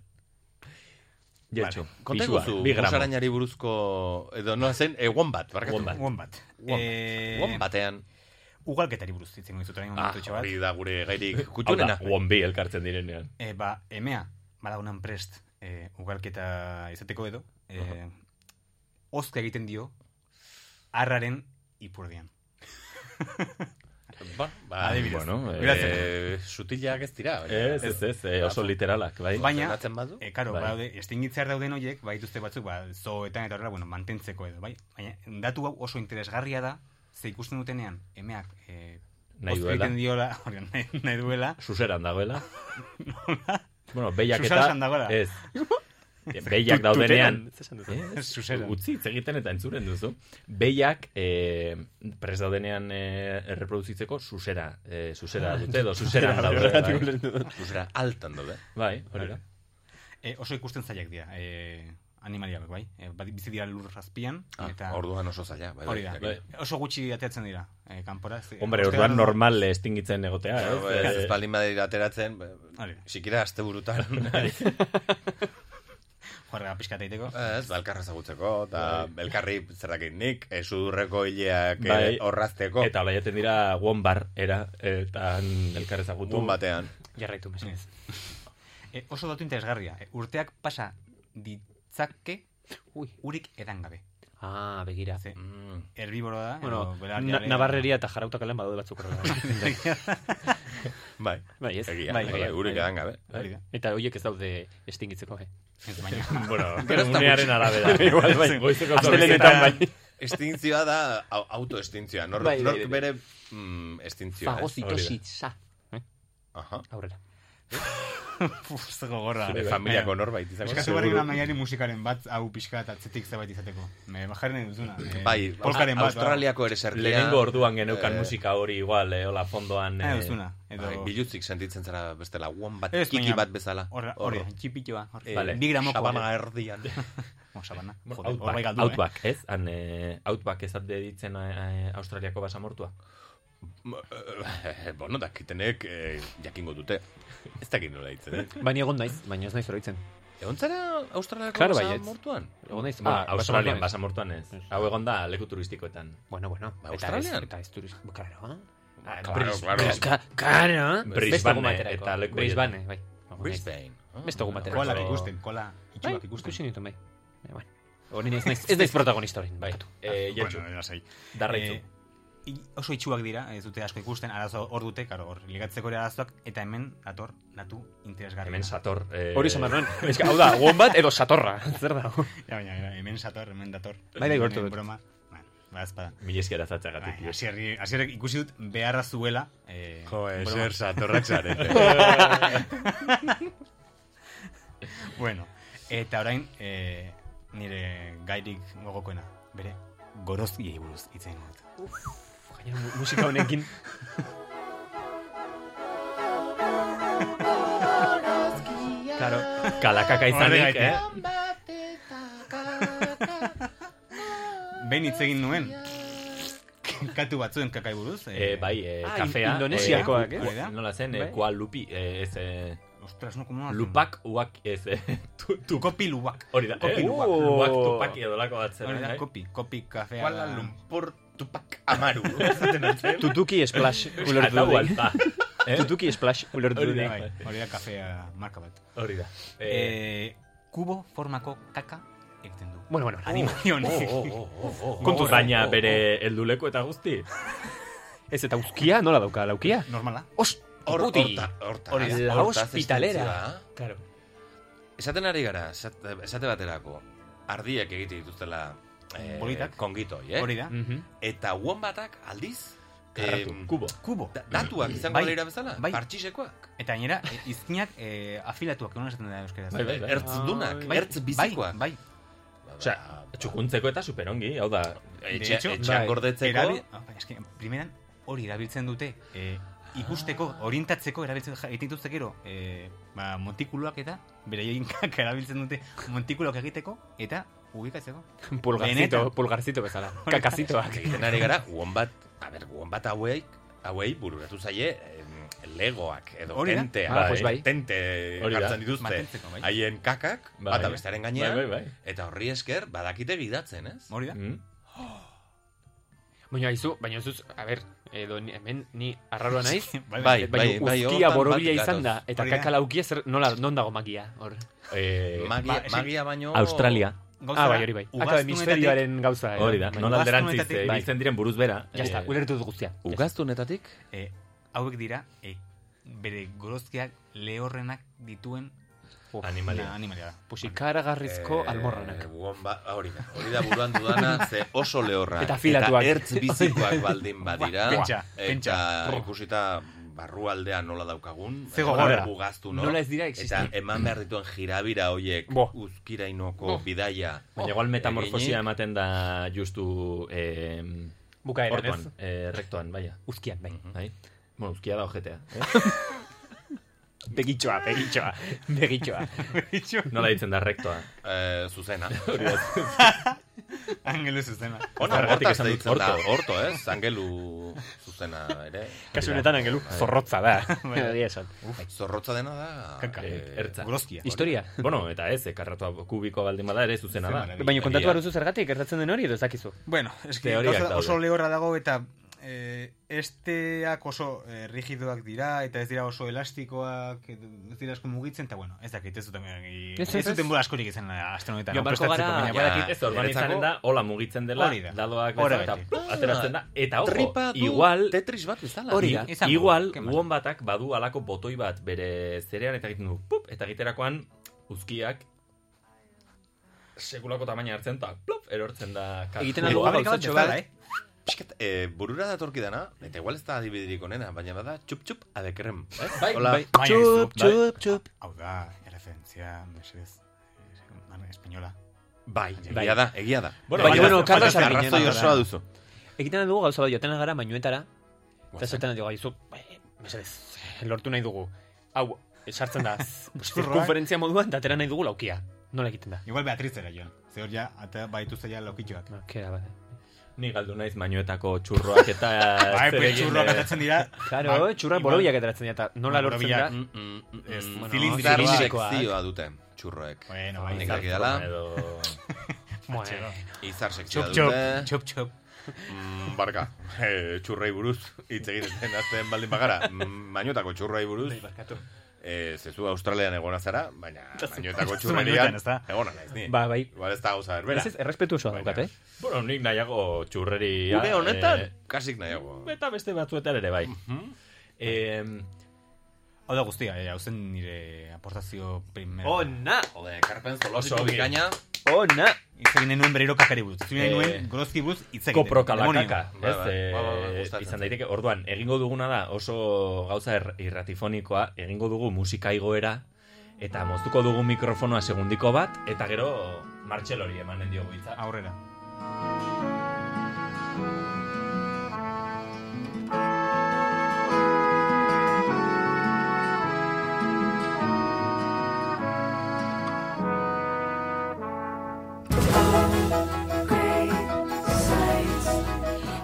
Speaker 1: Jetxo,
Speaker 2: Konta
Speaker 1: pisua,
Speaker 2: iguzu,
Speaker 1: bi gramo.
Speaker 2: musarainari buruzko, edo noa zen, egon bat, barkatu.
Speaker 1: Wombat.
Speaker 3: Wombat. Eh,
Speaker 2: Wombat. Wombatean.
Speaker 3: ugalketari buruz hitz egingo dizut orain
Speaker 2: Ah,
Speaker 3: momentutxo bat.
Speaker 2: hori da gure gairik
Speaker 1: Hau
Speaker 2: kutxunena.
Speaker 1: da, Wombi elkartzen direnean.
Speaker 3: E, ba, emea, badagonan prest, e, ugalketa izateko edo,
Speaker 2: Uh-huh.
Speaker 3: e, ozka egiten dio, arraren ipurdian.
Speaker 2: Ba, ba,
Speaker 3: Adibidez.
Speaker 1: Bueno,
Speaker 3: Beraz,
Speaker 2: eh, sutilak ez dira. baina- Ba,
Speaker 1: Ez, ez, ez, eh, oso literalak, bai.
Speaker 3: Baina,
Speaker 2: Zerratzen badu?
Speaker 3: e, karo,
Speaker 1: Bai.
Speaker 3: badaude, estingitzear dauden horiek, badituzte batzuk, ba, zoetan eta horrela, bueno, mantentzeko edo, bai? Baina, datu hau oso interesgarria da, ze ikusten dutenean, emeak, e,
Speaker 1: Nahi
Speaker 3: ozka
Speaker 1: duela.
Speaker 3: egiten diola, hori, nahi, nahi duela,
Speaker 1: Suseran dagoela. bueno, behiak eta...
Speaker 3: Susalsan dagoela.
Speaker 1: Ez. Behiak
Speaker 3: Tut- tuteran,
Speaker 1: daudenean... Eh?
Speaker 3: ez esan duzu. Suseran.
Speaker 1: Utzi, hitz egiten eta entzuren duzu. Behiak, eh, pres daudenean eh, erreproduzitzeko, susera. Eh, susera dute, edo suseran daude. bai.
Speaker 2: Susera altan daude.
Speaker 1: Bai, hori da.
Speaker 3: E, oso ikusten zailak dira, e, animaliak, bai? E, bat- bizi dira lur azpian,
Speaker 2: Ah,
Speaker 3: eta...
Speaker 2: orduan oso zaila. Bai,
Speaker 3: Hori da,
Speaker 2: bai.
Speaker 3: oso gutxi ateatzen dira, e, kanpora. ez-
Speaker 1: Hombre,
Speaker 3: ostean-
Speaker 1: orduan normal estingitzen egotea,
Speaker 2: Claro,
Speaker 1: ez?
Speaker 2: Ez
Speaker 1: Eh,
Speaker 2: ez balin badira ateratzen, ba,
Speaker 3: Hori.
Speaker 2: sikira aste burutan.
Speaker 3: Joarra pixka teiteko.
Speaker 2: Ez, ba, elkarra zagutzeko, eta elkarri zerrakin nik, eh, sudurreko hileak eh,
Speaker 1: Bai.
Speaker 2: horrazteko.
Speaker 1: Eta hola jaten dira wombar, era, eta elkarrezagutu.
Speaker 2: Egun batean.
Speaker 4: Jarraitu, mesedez.
Speaker 3: E, oso datu interesgarria, e, urteak pasa ditzake
Speaker 4: Ui.
Speaker 3: urik edan gabe.
Speaker 4: Ah, begira.
Speaker 3: Ze,
Speaker 2: Mm.
Speaker 3: herbiboro da,
Speaker 4: Bueno,
Speaker 3: edo
Speaker 4: na,
Speaker 3: belarriaren-
Speaker 4: Navarreria eta jarauta kalean badaude batzuk horrela.
Speaker 2: Bai,
Speaker 4: Bai, ez?
Speaker 2: egia,
Speaker 4: Bai,
Speaker 2: bai, bai,
Speaker 4: egia,
Speaker 2: urik
Speaker 4: bai.
Speaker 2: edan gabe.
Speaker 3: Hori da.
Speaker 4: Eta horiek ez daude estingitzeko, eh?
Speaker 3: Ez baina,
Speaker 1: Bueno,
Speaker 2: Gero ez da
Speaker 1: unearen
Speaker 2: gutxi.
Speaker 1: arabera.
Speaker 2: Igual, bai.
Speaker 1: Goizeko
Speaker 2: Astelenetan,
Speaker 1: zortzietan, bai.
Speaker 2: Estintzioa da, au- autoestintzioa. Nor,
Speaker 4: Bai, bai,
Speaker 2: nork
Speaker 4: bai.
Speaker 2: bere mm, estintzioa. ez?
Speaker 4: Fagozitositza. Eh?
Speaker 2: Aha.
Speaker 4: Aurrera.
Speaker 3: puf, ze gogorra.
Speaker 2: Zure familiako norbait izango.
Speaker 3: Eskatu barrik da maiari musikaren bat, hau pixka eta atzetik zerbait izateko. Me bajaren nahi duzuna. eh,
Speaker 2: Bai,
Speaker 3: polkaren bat. ba.
Speaker 2: Australiako ere sertia.
Speaker 1: Lehenengo orduan geneukan
Speaker 2: Eh,
Speaker 1: musika hori igual, eh, hola fondoan.
Speaker 3: Nahi
Speaker 1: eh,
Speaker 3: duzuna. Edo...
Speaker 2: Bai, bilutzik sentitzen zara bestela, one bat,
Speaker 3: Ez,
Speaker 2: kiki
Speaker 3: baina-
Speaker 2: bat bezala.
Speaker 3: Horra, hori, txipitxoa.
Speaker 1: Eh,
Speaker 3: Vale. Bi gramoko.
Speaker 2: Sabana erdian.
Speaker 3: Oh, sabana.
Speaker 1: Bueno,
Speaker 3: Joder, hor bai
Speaker 1: outback,
Speaker 3: galdu, eh?
Speaker 1: outback, ez? Han, eh, outback ez atde ditzen eh, Australiako basamortua.
Speaker 2: Eh, bueno, dakitenek eh, jakingo dute. Ez dakit nola ditzen, eh?
Speaker 4: Baina egon naiz, baina ez naiz oroitzen.
Speaker 2: Egon zara Australiako
Speaker 4: Claro,
Speaker 2: basa
Speaker 4: baietz.
Speaker 2: mortuan?
Speaker 4: Egon naiz,
Speaker 1: Ah, Australian
Speaker 4: basamortuan
Speaker 1: basamortuan ez. Hau egon da leku turistikoetan.
Speaker 4: Bueno, bueno.
Speaker 2: Ba,
Speaker 4: eta ez,
Speaker 2: Australian?
Speaker 4: eta ez turiz... Claro, ah?
Speaker 2: Claro, claro.
Speaker 4: Claro,
Speaker 1: Brisbane eta leku
Speaker 4: Brisbane, bai. Egon naiz.
Speaker 2: Brisbane. Ah,
Speaker 4: Beste egun batera.
Speaker 3: Koalak
Speaker 4: Edo-
Speaker 3: ikusten, kola
Speaker 4: Bai,
Speaker 3: itxuak ikusten.
Speaker 4: ikusi nituen, bai. Eh, bueno. Hori ez naiz, ez naiz protagonista horrein, bai.
Speaker 1: Eh, jetxu,
Speaker 3: Ah, Bueno, lasai.
Speaker 1: darraitzu.
Speaker 3: Eh, i- oso itxuak dira, ez dute asko ikusten, arazo hor dute, karo, hor, ligatzeko ere arazoak, eta hemen dator, datu interesgarri.
Speaker 1: Hemen sator. Eh,
Speaker 4: Hori esan behar nuen. Ez que, Hau da, wombat edo satorra. Zer da?
Speaker 3: Ja, baina, baina, hemen sator, hemen dator.
Speaker 4: Bai, bai, gortu
Speaker 3: Hemen
Speaker 4: dut.
Speaker 3: Eh, Broma, Bueno, ba, ezpada.
Speaker 1: Mil esker
Speaker 3: Bai,
Speaker 1: azatxagatik.
Speaker 3: hasierri- hasierrek ikusi dut beharra zuela. Eh,
Speaker 2: Jo,
Speaker 3: broma.
Speaker 2: ezer satorrak zarete.
Speaker 3: Bueno, eta orain, eh, nire gairik gogokoena, bere, gorozkiei buruz hitz egingo dut.
Speaker 4: Gainera, mu- musika honekin.
Speaker 1: Claro, kalakaka izanik,
Speaker 3: Horregatik.
Speaker 1: eh?
Speaker 3: Behin hitz egin nuen. Katu batzuen kakai buruz.
Speaker 1: Eh, bai, eh,
Speaker 4: Ah,
Speaker 1: kafea.
Speaker 4: Indonesiakoak,
Speaker 1: eh?
Speaker 3: eh?
Speaker 1: ku- ku- Nola zen, eh,
Speaker 4: Bai.
Speaker 1: kua lupi, eh, ez, eh,
Speaker 3: Ostras, no, como
Speaker 1: lupak uak, ez, eh, tu, tu,
Speaker 3: Kopi luak.
Speaker 1: hori da, eh?
Speaker 3: Kopi luak.
Speaker 1: Luak tupak edo lako bat zen,
Speaker 3: Hori da,
Speaker 1: eh?
Speaker 3: kopi, kopi kafea.
Speaker 2: Kuala Lumpur Tupac Amaru. eh? Ezaten hartzen.
Speaker 4: Tutuki e splash ulertu
Speaker 1: Atau
Speaker 4: dut.
Speaker 1: alta. Eh?
Speaker 4: Tutuki e splash ulertu
Speaker 1: Hori
Speaker 4: dut.
Speaker 1: da.
Speaker 3: Bai, Hori da kafea marka bat.
Speaker 1: Hori da. Eh,
Speaker 3: Eh, kubo formako kaka egiten du.
Speaker 4: Bueno, bueno,
Speaker 7: animalia honek.
Speaker 1: Oh, oh, oh, oh, oh.
Speaker 7: Kontuz,
Speaker 1: baina
Speaker 7: oh, oh,
Speaker 1: bere helduleko eta guzti.
Speaker 4: Ez eta uzkia, nola dauka laukia?
Speaker 3: Bai, Normala.
Speaker 4: Os,
Speaker 2: Hor-
Speaker 4: puti!
Speaker 2: horta- hortaz.
Speaker 4: Hori da,
Speaker 2: Hortaz
Speaker 4: la
Speaker 2: estentzioa.
Speaker 4: hospitalera. Claro.
Speaker 2: Esaten ari gara, esate, esate baterako, ardiak egite dituztela eh,
Speaker 3: Bolitak.
Speaker 2: kongitoi, eh?
Speaker 3: Hori da. Mhm.
Speaker 2: Eta wombatak aldiz,
Speaker 3: Karratu, kubo. Kubo.
Speaker 2: Da, datuak izango
Speaker 3: Bai,
Speaker 2: bai, bezala,
Speaker 3: bai.
Speaker 2: bai. partxisekoak.
Speaker 3: Eta gainera, e, izkinak e, afilatuak egon esaten da euskaraz.
Speaker 2: Bai, bai, bai. Ertzdunak,
Speaker 3: bizikoak. Bai,
Speaker 1: Osea, txukuntzeko eta superongi, hau da.
Speaker 3: bai.
Speaker 2: Etxe-
Speaker 3: De hecho,
Speaker 2: etxean gordetzeko.
Speaker 3: erabi- Ah, bai, eske, primeran, hori erabiltzen dute, e, ikusteko, orientatzeko, erabiltzen ja- egiten dituzte gero, e, ba, montikuluak eta, beraien kaka erabiltzen dute, montikuluak egiteko, eta ubikatzeko.
Speaker 4: Pulgarcito,
Speaker 3: Benetan. bai.
Speaker 4: pulgarcito bezala. Kakazitoak.
Speaker 2: Egiten ari gara, wombat, a ber, wombat hauei, hauei bururatu zaie, em, legoak edo
Speaker 3: Hori da.
Speaker 2: tentea,
Speaker 4: Ah, pues bai.
Speaker 2: tente
Speaker 4: Hori da.
Speaker 2: hartzen dituzte,
Speaker 3: Mantentzeko, bai.
Speaker 2: haien kakak,
Speaker 1: Bai.
Speaker 2: bata bestearen gainean,
Speaker 1: Bai, bai, bai.
Speaker 2: eta horri esker, badakite gidatzen, ez?
Speaker 3: Hori da.
Speaker 1: Mm.
Speaker 4: Baina aizu, baina zuz, a ber, edo ni- hemen ni arraroa naiz.
Speaker 3: Bai,
Speaker 2: bai,
Speaker 4: baina
Speaker 2: bai, bai,
Speaker 4: uzkia
Speaker 2: hortan
Speaker 4: borobila
Speaker 2: bat
Speaker 4: izan da,
Speaker 2: gatoz.
Speaker 4: eta
Speaker 2: Hori da.
Speaker 4: kakalaukia zer, nola, non dago magia, hor.
Speaker 1: Eh,
Speaker 2: Magia,
Speaker 4: ba,
Speaker 2: magia baino...
Speaker 1: Australia.
Speaker 4: Ah, bai, hori bai. Aka hemisferioaren gauza. eh,
Speaker 1: Hori da,
Speaker 4: bai.
Speaker 1: nola alderantziz
Speaker 4: Ugaztunetatik,
Speaker 1: eh,
Speaker 4: bai.
Speaker 1: ibiltzen diren buruz bera.
Speaker 4: Ja está,
Speaker 1: Eh,
Speaker 4: ulertu dut guztia.
Speaker 2: Ugaztunetatik?
Speaker 3: E, hauek dira, e, bere gorozkiak lehorrenak dituen
Speaker 1: Animalia.
Speaker 3: Na, animalia da.
Speaker 4: Pues
Speaker 2: Eh,
Speaker 4: ikaragarrizko almorranak.
Speaker 2: Bomba, ba, hori da, hori da buruan dudana, ze oso lehorrak.
Speaker 4: Eta afilatuak.
Speaker 2: Eta ertz bizikoak baldin badira.
Speaker 4: Buah, pentsa,
Speaker 2: eta
Speaker 4: pentsa.
Speaker 2: ikusita barrualdea nola daukagun.
Speaker 4: Ze
Speaker 2: nola
Speaker 4: gogorra.
Speaker 2: Ugaztu, no?
Speaker 4: Nola ez dira existitzen.
Speaker 2: Eta eman behar dituen jirabira hoiek uzkirainoko
Speaker 4: Bo.
Speaker 2: bidaia.
Speaker 1: Baina igual metamorfosia
Speaker 2: eginik.
Speaker 1: ematen da justu eh,
Speaker 4: Bukaeran,
Speaker 1: hortuan,
Speaker 4: ez?
Speaker 1: eh, rektoan, baina.
Speaker 4: Uzkian, bai.
Speaker 1: Bai. Bueno, uzkia da ojetea. Eh?
Speaker 4: Begitxoa, begitxoa, begitxoa.
Speaker 1: Nola ditzen da rektoa?
Speaker 2: Eh, zuzena.
Speaker 1: Hori da.
Speaker 3: Angelu zuzena.
Speaker 2: Ona,
Speaker 1: Zergatik
Speaker 2: hortaz
Speaker 1: esan dut,
Speaker 2: deitzen da,
Speaker 1: horto.
Speaker 2: horto, ez? Angelu zuzena ere.
Speaker 4: Kasu honetan angelu
Speaker 2: Bai.
Speaker 4: zorrotza da.
Speaker 2: Bai.
Speaker 4: Ba, Egia esan.
Speaker 2: Uf, zorrotza dena da...
Speaker 3: Kaka.
Speaker 2: eh,
Speaker 1: Ertza.
Speaker 3: Gorozkia.
Speaker 4: Historia.
Speaker 1: Bueno, eta ez, eh, karratua kubiko baldin bada ere zuzena da.
Speaker 4: Baina kontatu behar duzu zergatik, gertatzen den hori edo ezakizu.
Speaker 3: Bueno, eski
Speaker 1: Teoriak
Speaker 3: gauza da, oso
Speaker 1: daude.
Speaker 3: lehorra dago eta eh, esteak oso eh, rigidoak dira eta ez dira oso elastikoak edo ez dira asko mugitzen eta bueno, ez dakit ez duten eh,
Speaker 4: Ez, ez,
Speaker 3: ez
Speaker 4: ez.
Speaker 3: duten bola askorik izan eh, aste honetan
Speaker 4: Joan beharko
Speaker 3: prestatzeko,
Speaker 4: gara-
Speaker 3: baina
Speaker 4: Ja,
Speaker 3: badakit-
Speaker 1: Ez organizaren da, hola mugitzen dela,
Speaker 3: Hori da.
Speaker 1: dadoak
Speaker 3: Hora
Speaker 1: bezala,
Speaker 3: beti.
Speaker 1: eta ateratzen da. Eta ojo,
Speaker 2: Tripa du
Speaker 1: igual,
Speaker 2: Tetris bat bezala.
Speaker 4: Hori
Speaker 1: I-
Speaker 4: da.
Speaker 3: Izango,
Speaker 1: igual,
Speaker 3: kemal.
Speaker 1: uon batak badu alako botoi bat bere zerean eta egiten du, pup, eta egiterakoan uzkiak sekulako tamaina hartzen eta plop, erortzen da kak.
Speaker 4: Egiten
Speaker 1: Igual,
Speaker 4: algo
Speaker 3: Fabrika bat
Speaker 4: gauzatxo
Speaker 3: bezala,
Speaker 4: bat.
Speaker 3: eh?
Speaker 2: Piskat, eh, burura datorki dana, eta igual ez da adibidirik onena, baina bada txup-txup adekrem. Eh?
Speaker 1: Bai,
Speaker 2: Hola.
Speaker 1: bai.
Speaker 3: Baina ez du.
Speaker 1: txup,
Speaker 3: Hau da, referentzia, mesedez, eh, espainola.
Speaker 2: Bai,
Speaker 4: Bai.
Speaker 2: egia da, egia da.
Speaker 1: Bueno,
Speaker 2: Baina,
Speaker 1: baina, bueno,
Speaker 2: falta
Speaker 4: Carlos
Speaker 2: ez da,
Speaker 4: Arginena
Speaker 2: arrazoi
Speaker 4: da.
Speaker 2: osoa duzu.
Speaker 4: Egiten dugu gauza bat joaten gara mainuetara, eta
Speaker 2: Guazen.
Speaker 4: zaten dugu gaizu, bai, mesedez, lortu nahi dugu. Hau, sartzen da, pues,
Speaker 3: Zurrak.
Speaker 4: konferentzia moduan, eta atera nahi dugu laukia. Nola egiten da?
Speaker 3: Igual Beatrizera joan. Ze hor ja, ata baitu zaila lokitxoak.
Speaker 4: No, kera, bat.
Speaker 1: Ni galdu naiz mainuetako txurroak eta...
Speaker 3: Bai,
Speaker 1: zer
Speaker 3: pues
Speaker 1: egin,
Speaker 3: txurroak
Speaker 1: eh,
Speaker 3: atatzen dira.
Speaker 4: Claro,
Speaker 3: Ba-
Speaker 4: txurrak
Speaker 3: igual-
Speaker 4: borobiak ateratzen dira, eta nola
Speaker 3: Ba,
Speaker 4: lortzen
Speaker 3: borobilak,
Speaker 4: da?
Speaker 3: mm,
Speaker 2: Ez,
Speaker 3: Bueno,
Speaker 2: zilindrar
Speaker 4: zilindrikoak.
Speaker 2: sekzioa dute, txurroek.
Speaker 3: Bueno, bai,
Speaker 2: Nik
Speaker 1: izar
Speaker 2: dakidala,
Speaker 1: forma edo...
Speaker 4: Bueno,
Speaker 2: izar sekzioa
Speaker 3: Txop, txop,
Speaker 2: dute.
Speaker 3: txop, txop.
Speaker 2: Mm, barka, eh, txurrei buruz, hitz egiten den azten baldin bagara, Mm, mainotako txurrei buruz. Eh, zezu Australian egona zara, baina mainotako
Speaker 3: zu mainuetan,
Speaker 2: txurrerian
Speaker 3: ez da?
Speaker 2: egona naiz ni.
Speaker 4: Ba, bai.
Speaker 2: Igual ez da gauza berbera.
Speaker 4: ez ez, errespetu osoa daukat, eh?
Speaker 1: Bueno, nik nahiago txurreri... ah, eh, Mm,
Speaker 2: Une honetan, kasik nahiago. Mhm.
Speaker 1: Eta beste batzuetan ere bai. Eh, Em,
Speaker 3: Hau da guztia, eh, hau zen nire aportazio primera.
Speaker 4: Ona!
Speaker 2: Jode, Carpen Zoloso
Speaker 1: Oso ongi.
Speaker 2: bikaina.
Speaker 4: Ona!
Speaker 3: Hitz egin nahi nuen berriro kakari buruz. Hitz egin nahi
Speaker 1: Eh,
Speaker 3: nuen gorozki buruz hitz egiten.
Speaker 1: koprokalakaka,
Speaker 3: Demonio.
Speaker 1: ez,
Speaker 2: Bai, bai.
Speaker 1: eh,
Speaker 2: Ba, ba, ba, gustatzen
Speaker 1: izan
Speaker 2: zait.
Speaker 1: daiteke, orduan, egingo duguna da oso gauza er, irratifonikoa, egingo dugu musika igoera, eta moztuko dugu mikrofonoa segundiko bat, eta gero martxelori emanen diogu hitza.
Speaker 3: Aurrera.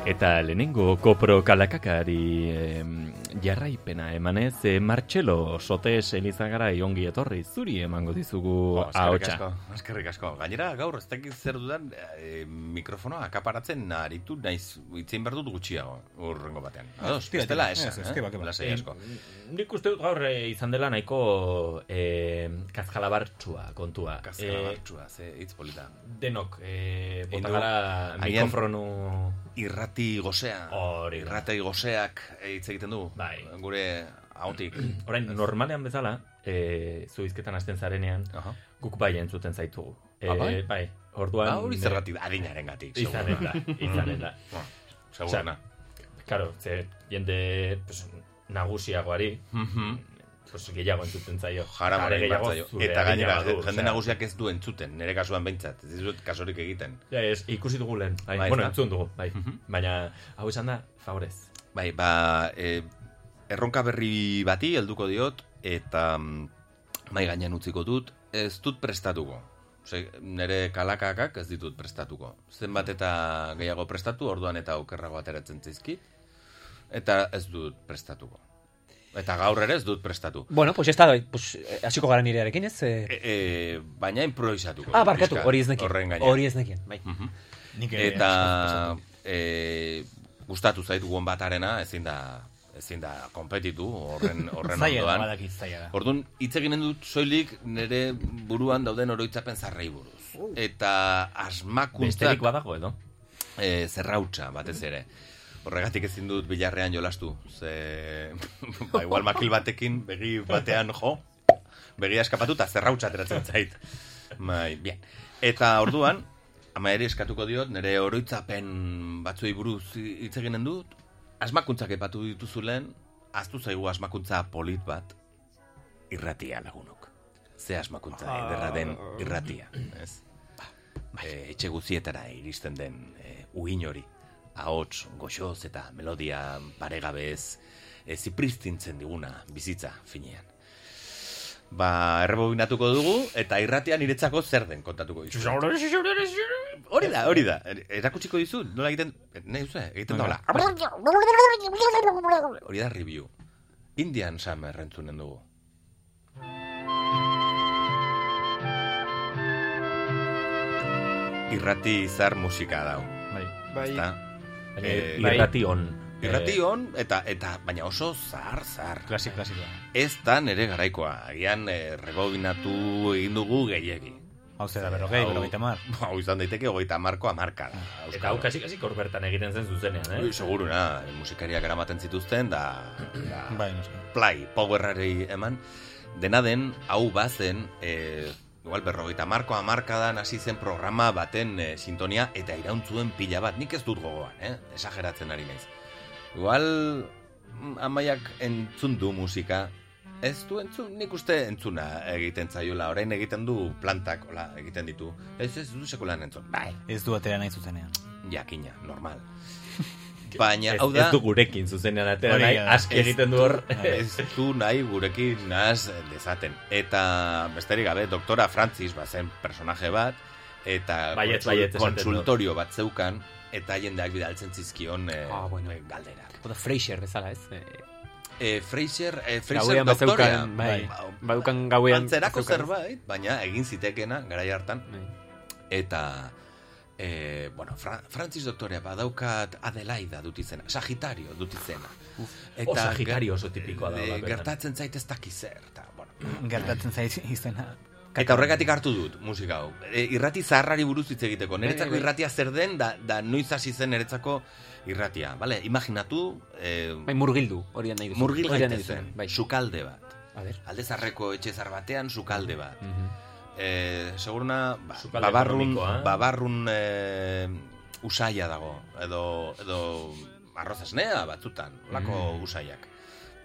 Speaker 1: Eta lehenengo kopro kalakakari em, jarraipena emanez, e, Martxelo Sotes Elizagara ongi etorri, zuri emango dizugu
Speaker 2: Eskerrik
Speaker 1: ahotsa.
Speaker 2: asko, eskerrik asko. Gainera, gaur, ez dakit zer dudan, e, mikrofonoa akaparatzen aritu naiz, itzein behar dut gutxiago, urrengo batean. Ados,
Speaker 1: Ah, Tira,
Speaker 2: ez dela
Speaker 1: tira,
Speaker 2: esan,
Speaker 1: ez, ez,
Speaker 2: eh?
Speaker 1: keba, keba.
Speaker 2: Lasai
Speaker 1: Eh,
Speaker 2: asko.
Speaker 1: Nik uste dut gaur e, izan dela nahiko e, kazkalabartsua kontua.
Speaker 2: Kazkalabartsua, ze hitz
Speaker 3: bai.
Speaker 2: polita.
Speaker 1: Denok, e,
Speaker 2: Egin
Speaker 1: bota
Speaker 2: du-
Speaker 1: gara
Speaker 2: agian
Speaker 1: mikrofonu...
Speaker 2: Irrati gozea. Hori. Irrati gozeak hitz egiten du. Bai. Gure hautik.
Speaker 1: Orain, normalean bezala, e, zu izketan hasten zarenean, guk bai entzuten zaitugu. E,
Speaker 2: Ah, bai?
Speaker 1: Bai, orduan...
Speaker 2: Ah, hori zergatik, adinarengatik,
Speaker 1: Izanen da,
Speaker 2: seguruna.
Speaker 1: izanen da.
Speaker 2: Mm. Seguruna.
Speaker 1: Osea, Karo, ze, jende pues, nagusiagoari,
Speaker 2: Mhm.
Speaker 1: pues, gehiago entzuten zaio.
Speaker 2: Jara
Speaker 1: Are
Speaker 2: moren
Speaker 1: gehiago
Speaker 2: bat zaio.
Speaker 1: zure
Speaker 2: Eta
Speaker 1: adina
Speaker 2: gainera,
Speaker 1: badu,
Speaker 2: jende
Speaker 1: osea.
Speaker 2: nagusiak ez du entzuten, nire kasuan behintzat. Ez dut kasorik egiten.
Speaker 1: Ja, ez, ikusi dugu lehen. Bai,
Speaker 2: Bai,
Speaker 1: bueno,
Speaker 2: ezta?
Speaker 1: entzun dugu, bai.
Speaker 2: Mhm.
Speaker 1: Baina, hau esan da, favorez.
Speaker 2: Bai, ba, e, erronka berri bati helduko diot eta mm, mai gainean utziko dut, ez dut prestatuko. Ose, nire kalakakak ez ditut prestatuko. Zenbat eta gehiago prestatu, orduan eta okerrago ateratzen zaizkit, eta ez dut prestatuko. Eta gaur ere ez dut prestatu.
Speaker 18: Bueno, pues ya está, pues, eh, hasiko gara nirearekin, ez? Eh,
Speaker 2: E, e, baina improvisatuko.
Speaker 18: Ah, barkatu,
Speaker 2: pixka,
Speaker 18: hori ez nekien.
Speaker 2: horren gainean.
Speaker 18: Hori ez nekien, bai.
Speaker 2: Mhm.
Speaker 18: Nik ere
Speaker 2: Eta e, gustatu zait guon batarena, ezin da ezin da konpetitu horren horren
Speaker 3: Zaila da,
Speaker 2: ondoan.
Speaker 3: badakit, zaila da.
Speaker 2: Orduan hitz eginen dut soilik nire buruan dauden oroitzapen zarrei buruz. Eta asmakuntza
Speaker 1: Besterik badago edo?
Speaker 2: E, zerrautza batez ere. Horregatik ezin dut bilarrean jolastu. Ze ba, igual makil batekin begi batean jo, begia eskapatuta zerrautza ateratzen zait. Bai, bien. Eta orduan, ama ere eskatuko diot, nire oroitzapen batzuei buruz hitz eginen dut, asmakuntzak epatu dituzu lehen, aztu zaigu asmakuntza polit bat, irratia lagunok. Ze asmakuntza
Speaker 7: Ah.
Speaker 2: ederra den irratia, ez? E, etxe guzietara iristen den e, uin hori, ahots, goxoz eta melodia paregabez, ez zipristintzen diguna bizitza finean. Ba, errebobinatuko dugu, eta irratia niretzako zer den kontatuko dizu. Hori da, hori da. Bai, Er- Erakutsiko dizu, nola egiten, eh, nahi duzu, egiten da hola. Hori da review. Indian Summer entzunen dugu. Irrati izar musika dau.
Speaker 1: Bai.
Speaker 2: Bai.
Speaker 1: Baina irrati on.
Speaker 2: Irrati
Speaker 1: Eh,
Speaker 2: on, eta, eta baina oso zahar, zahar.
Speaker 3: Klasik, klasikoa.
Speaker 2: Ez da nere garaikoa. Agian eh, rebobinatu egin dugu gehiegi.
Speaker 3: Hau zera, berrogei,
Speaker 2: Hau-
Speaker 3: berrogeita mar.
Speaker 2: Hau izan daiteke, hogeita marko amarka.
Speaker 1: Eta hau kasik-kasik hor bertan egiten zen zuzenean, eh?
Speaker 2: Seguruna, musikariak eramaten zituzten, da... da
Speaker 3: Bai,
Speaker 2: play, powerrari eman. Dena den, hau bazen, e, igual berrogeita marko amarkadan hasi zen programa baten eh, sintonia, eta irauntzuen pila bat, nik ez dut gogoan, eh? Esageratzen ari naiz. Igual, mm, amaiak entzun du musika, Ez du entzun, nik uste entzuna egiten zaiola, orain egiten du plantak, hola, egiten ditu. Ez ez du sekulan entzun, bai,
Speaker 3: Ez du atera nahi zuzenean.
Speaker 2: jakina, normal. Baina,
Speaker 1: Ez-
Speaker 2: hau da...
Speaker 1: ez du gurekin zuzenean atera
Speaker 2: Hori
Speaker 1: nahi,
Speaker 2: da.
Speaker 1: aski
Speaker 2: Ez
Speaker 1: egiten du hor.
Speaker 2: Ez du nahi gurekin nahaz dezaten. Eta besterik gabe, doktora Francis bazen personaje bat, eta
Speaker 1: Baietz,
Speaker 2: kontsul-
Speaker 1: baietz esaten du.
Speaker 2: konsultorio bat zeukan, eta jendeak bidaltzen zizkion eh,
Speaker 18: Ah, bueno.
Speaker 2: eh, galderak.
Speaker 18: Oda Frasier bezala, ez? Eh,
Speaker 2: E, Fraser, e, Fraser
Speaker 18: Gauean
Speaker 2: doktorea. Ba,
Speaker 18: bazeukan, bai. Badukan gauean
Speaker 2: Antzerako
Speaker 18: bazeukan. Bai.
Speaker 2: zerbait, baina egin zitekena, garai hartan. Eta, e, bueno, Fra Francis doktorea badaukat Adelaida dut izena, Sagitario dut izena.
Speaker 1: Oh, Sagitario oso tipikoa da,
Speaker 2: e,
Speaker 1: bakoetan.
Speaker 2: Gertatzen zait ez dakiz zer, eta, bueno.
Speaker 3: Gertatzen zait izena.
Speaker 2: Eta horregatik hartu dut musika hau. E, irrati zaharrari buruz hitz egiteko. Niretzako
Speaker 18: Bai, bai.
Speaker 2: irratia zer den, da, da noiz hasi zen niretzako irratia. Bale, imaginatu... E,
Speaker 18: Bai, murgildu, hori nahi duzu.
Speaker 2: Murgil
Speaker 18: Hori nahi
Speaker 2: gaitezen,
Speaker 18: duzun,
Speaker 2: sukalde bat.
Speaker 18: A ber.
Speaker 2: Alde zarreko etxe zar batean sukalde bat. Eh, seguruna, ba,
Speaker 1: Sukalde
Speaker 2: babarrun,
Speaker 1: ekonomikoa.
Speaker 2: babarrun eh, usaia dago, edo, edo arrozesnea batzutan, lako
Speaker 1: Mm.
Speaker 2: usaiak.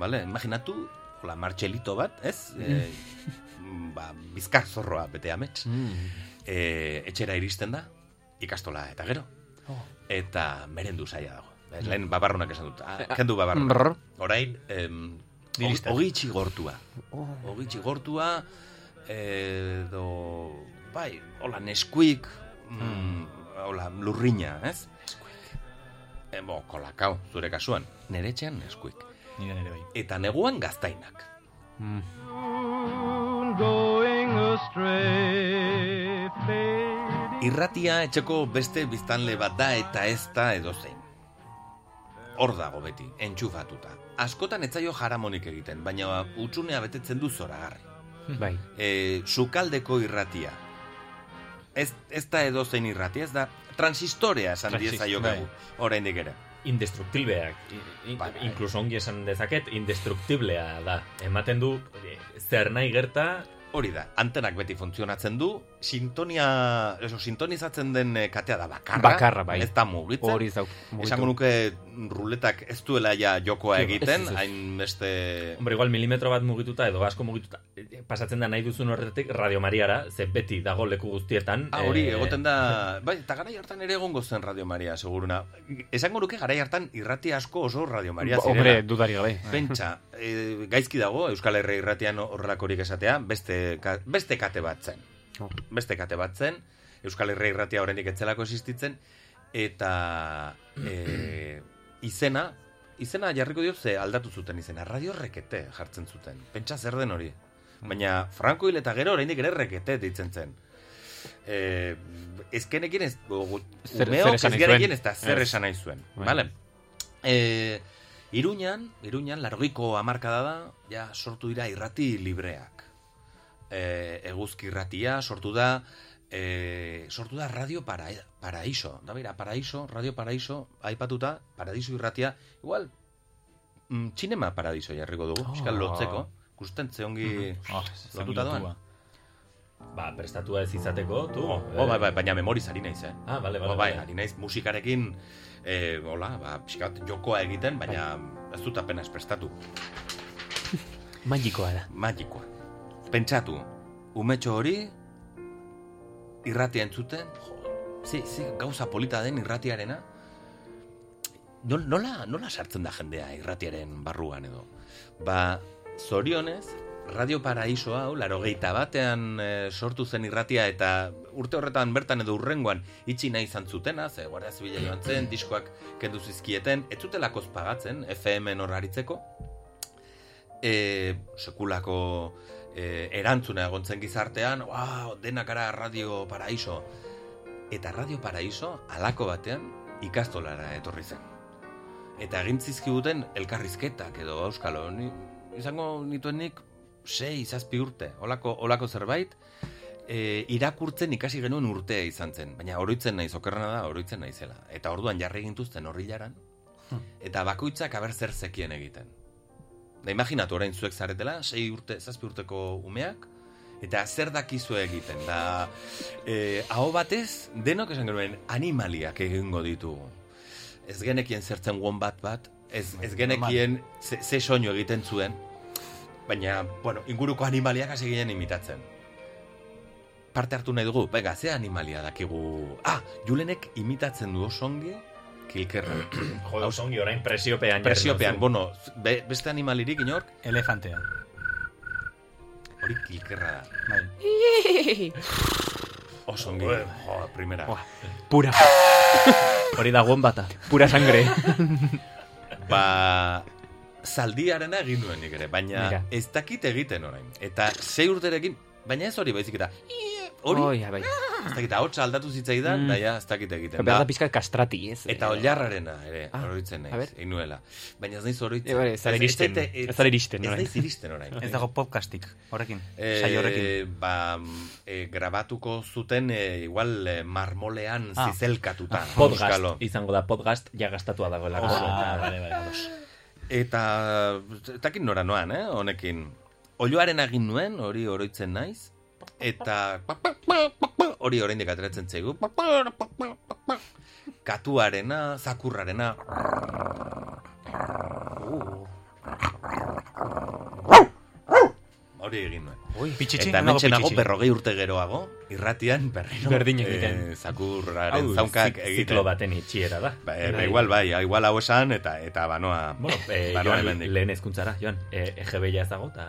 Speaker 2: Vale, imaginatu, hola, martxelito bat, ez? Eh, ba, bizkar zorroa bete amets. Eh, etxera iristen da, ikastola eta gero.
Speaker 18: Oh.
Speaker 2: Eta merendu saia dago. Ez,
Speaker 18: Mm.
Speaker 2: Lehen babarrunak esan dut. Ah,
Speaker 18: Eh,
Speaker 2: kendu
Speaker 18: brr.
Speaker 2: babarrunak. Orain, em,
Speaker 18: Dirista.
Speaker 2: Ogitxi gortua.
Speaker 18: Oh.
Speaker 2: Ogitxi gortua, edo, bai, hola, neskuik, mm, hola, lurrina, ez? Neskuik. E, bo, kolakao, zure kasuan. Nere etxean neskuik.
Speaker 3: Nidan ere bai.
Speaker 2: Eta neguan gaztainak. Irratia etxeko beste biztanle bat da eta ez da edozein. Hor dago beti, entxufatuta. Askotan etzaio jaramonik egiten, baina utxunea betetzen du zoragarri.
Speaker 18: Bai.
Speaker 2: E, sukaldeko irratia. Ez, ez da edozein irratia, ez da transistorea esan
Speaker 1: Transis-
Speaker 2: diezaiokagu, oraindik ere. Bai,
Speaker 1: Indestruktibleak. In, Inkluso ongi esan dezaket, indestruktiblea da. Ematen du, eh, zer nahi gerta...
Speaker 2: Hori da, antenak beti funtzionatzen du, sintonia, eso, sintonizatzen den eh, katea da bakarra.
Speaker 18: Bakarra, bai.
Speaker 2: Ez da mugitzen.
Speaker 18: Hori ez da mugitu.
Speaker 2: Esango nuke ruletak ez duela ja
Speaker 1: Ez, ez,
Speaker 2: jokoa Ba, egiten,
Speaker 1: ez.
Speaker 2: hainbeste...
Speaker 1: Hombre, igual milimetro bat mugituta edo asko mugituta eh, pasatzen da nahi duzun horretik Radio Mariara, ze beti dago leku guztietan.
Speaker 2: Ah, hori,
Speaker 1: eh,
Speaker 2: egoten da... Bai, eta garai hartan ere egongo zen Radio Maria, seguruna. Esango nuke garai hartan irrati asko oso Radio Maria
Speaker 18: Ba,
Speaker 2: zirela.
Speaker 18: hombre, dudarik gabe.
Speaker 2: Pentsa, eh, gaizki dago Euskal Herri irratian horrelakorik esatea, beste, ka- beste kate bat zen. Beste kate bat zen, Euskal Herri irratia oraindik etzelako existitzen, eta eh, izena, izena jarriko diot ze aldatu zuten izena, Radio Rekete jartzen zuten. Pentsa zer den hori. Baina Franco hil eta gero oraindik ere Rekete deitzen zen. Eh, ezkenekin ez, gu-
Speaker 18: Zer- zer esan
Speaker 2: umeok ez
Speaker 18: nahi
Speaker 2: gerekin
Speaker 18: zuen.
Speaker 2: ez da zer
Speaker 18: Ez.
Speaker 2: esan nahi zuen.
Speaker 18: Bai.
Speaker 2: Vale? E, Iruñan, Iruñan, largoiko hamarkada da, ja sortu dira irrati libreak. E, eguzki irratia sortu da, e, sortu da Radio para, Paraíso. Da bera, Paraíso, Radio Paraíso, aipatuta, Paradiso irratia, igual, mm, Txinema Paradiso jarriko dugu,
Speaker 1: Ah.
Speaker 2: pixkat lotzeko. Gusten zeongi lotuta doan.
Speaker 1: Mhm. Ba, prestatua ez izateko, tu.
Speaker 2: Oh, oh, bai, bai, baina memoriz ari naiz, eh?
Speaker 1: Ah, bale, bale,
Speaker 2: Oh, bai,
Speaker 1: bale.
Speaker 2: ari naiz musikarekin, eh, hola, ba, pixkat jokoa egiten, baina ez dut apenas prestatu.
Speaker 18: Magikoa da.
Speaker 2: Magikoa. Pentsatu, umetxo hori, irratia entzuten, jo, ze, ze gauza polita den irratiarena, Nol- nola, nola sartzen da jendea irratiaren barruan edo? Ba, zorionez, Radio Paraiso hau, laro batean eh, sortu zen irratia eta urte horretan bertan edo urrengoan itxi nahi izan zutena, ze Guardia Zibila joan zen, diskoak kendu zizkieten, ez zutelakoz pagatzen, FM-en horraritzeko, e, sekulako e, erantzuna egontzen gizartean, wow, denak ara Radio Paraiso. Eta Radio Paraiso halako batean ikastolara etorri zen. Eta egin zizkiguten elkarrizketak edo auskalo, ni, izango nituen nik sei, zazpi urte, olako, olako zerbait, e, irakurtzen ikasi genuen urtea izan zen, baina oroitzen naiz, okerrena da, oroitzen naizela. Eta orduan jarri gintuzten horri jaran, eta bakoitzak aber zer zekien egiten. Da imaginatu orain zuek zaretela, 6 urte, 7 urteko umeak, eta zer dakizu egiten. Da, e, aho batez, denok esan genuen, animaliak egingo ditugu. Ez genekien zertzen guon bat bat, ez, ez genekien ze, ze soinu egiten zuen, baina, bueno, inguruko animaliak hasi ginen imitatzen. Parte hartu nahi dugu, bega, ze animalia dakigu... Ah, Julenek imitatzen du oso ongi, kilkerra.
Speaker 1: Jo, oso ongi orain presiopean.
Speaker 2: Presiopean,
Speaker 1: jarri
Speaker 2: bueno, be- beste animalirik inork?
Speaker 3: Elefantea.
Speaker 2: Hori kilkerra da.
Speaker 18: Bai.
Speaker 2: Oso ongi, jo, primera.
Speaker 18: Pura.
Speaker 1: Hori da bata.
Speaker 18: Pura sangre.
Speaker 2: ba, zaldiarena egin nuen nik ere, baina
Speaker 18: Mira.
Speaker 2: ez dakit egiten orain. Eta sei urterekin, baina ez hori baizik eta, hori,
Speaker 18: Hori, bai.
Speaker 2: ez dakit, hotza aldatu zitzaidan,
Speaker 18: Mm.
Speaker 2: da ja, ez dakit egiten. Ba,
Speaker 18: Behar da
Speaker 2: Da,
Speaker 18: pizkat kastrati, ez?
Speaker 2: eta
Speaker 18: Eh,
Speaker 2: oilarrarena ere,
Speaker 18: Ah,
Speaker 2: oroitzen
Speaker 18: a
Speaker 2: naiz,
Speaker 18: ber.
Speaker 2: inuela. Baina ez naiz oroitzen.
Speaker 18: Eh, bale, ez zara iristen.
Speaker 2: zaite-
Speaker 18: Ez zara iristen
Speaker 2: Ez
Speaker 18: orain.
Speaker 2: naiz iristen orain.
Speaker 3: Ez dago podcastik, horrekin.
Speaker 2: Eh,
Speaker 3: Saio horrekin.
Speaker 2: Ba, mm, eh, grabatuko zuten eh, igual eh, marmolean
Speaker 1: Ah.
Speaker 2: zizelkatuta.
Speaker 1: Ah, podcast
Speaker 2: auskalo.
Speaker 1: izango da podcast ja gastatua dagoelako.
Speaker 2: Oso.
Speaker 1: Ah, bale, bale, ados.
Speaker 2: Eta, ez dakit nora noan, eh, honekin. Oioaren agin nuen, hori oroitzen naiz, eta hori oraindik ateratzen zaigu. Katuarena, zakurrarena. Hori egin nuen.
Speaker 3: Pitxitxi,
Speaker 2: eta
Speaker 3: non dago
Speaker 2: hementxe nago
Speaker 3: pitxitxi?
Speaker 2: berrogei urte geroago, irratian berriro.
Speaker 18: Berdin egiten.
Speaker 2: eh, zakurraren
Speaker 1: Hau,
Speaker 2: zaunkak
Speaker 1: zik-
Speaker 2: egiten.
Speaker 1: ziklo baten itxiera da.
Speaker 2: Ba, eh, ba,
Speaker 1: Bai.
Speaker 2: igual bai, igual hau esan eta eta banoa.
Speaker 1: Bueno, eh,
Speaker 2: banoa
Speaker 1: joan,
Speaker 2: hemendik.
Speaker 1: lehen hezkuntzara, joan, eh, EGB-ja ez dago, eta...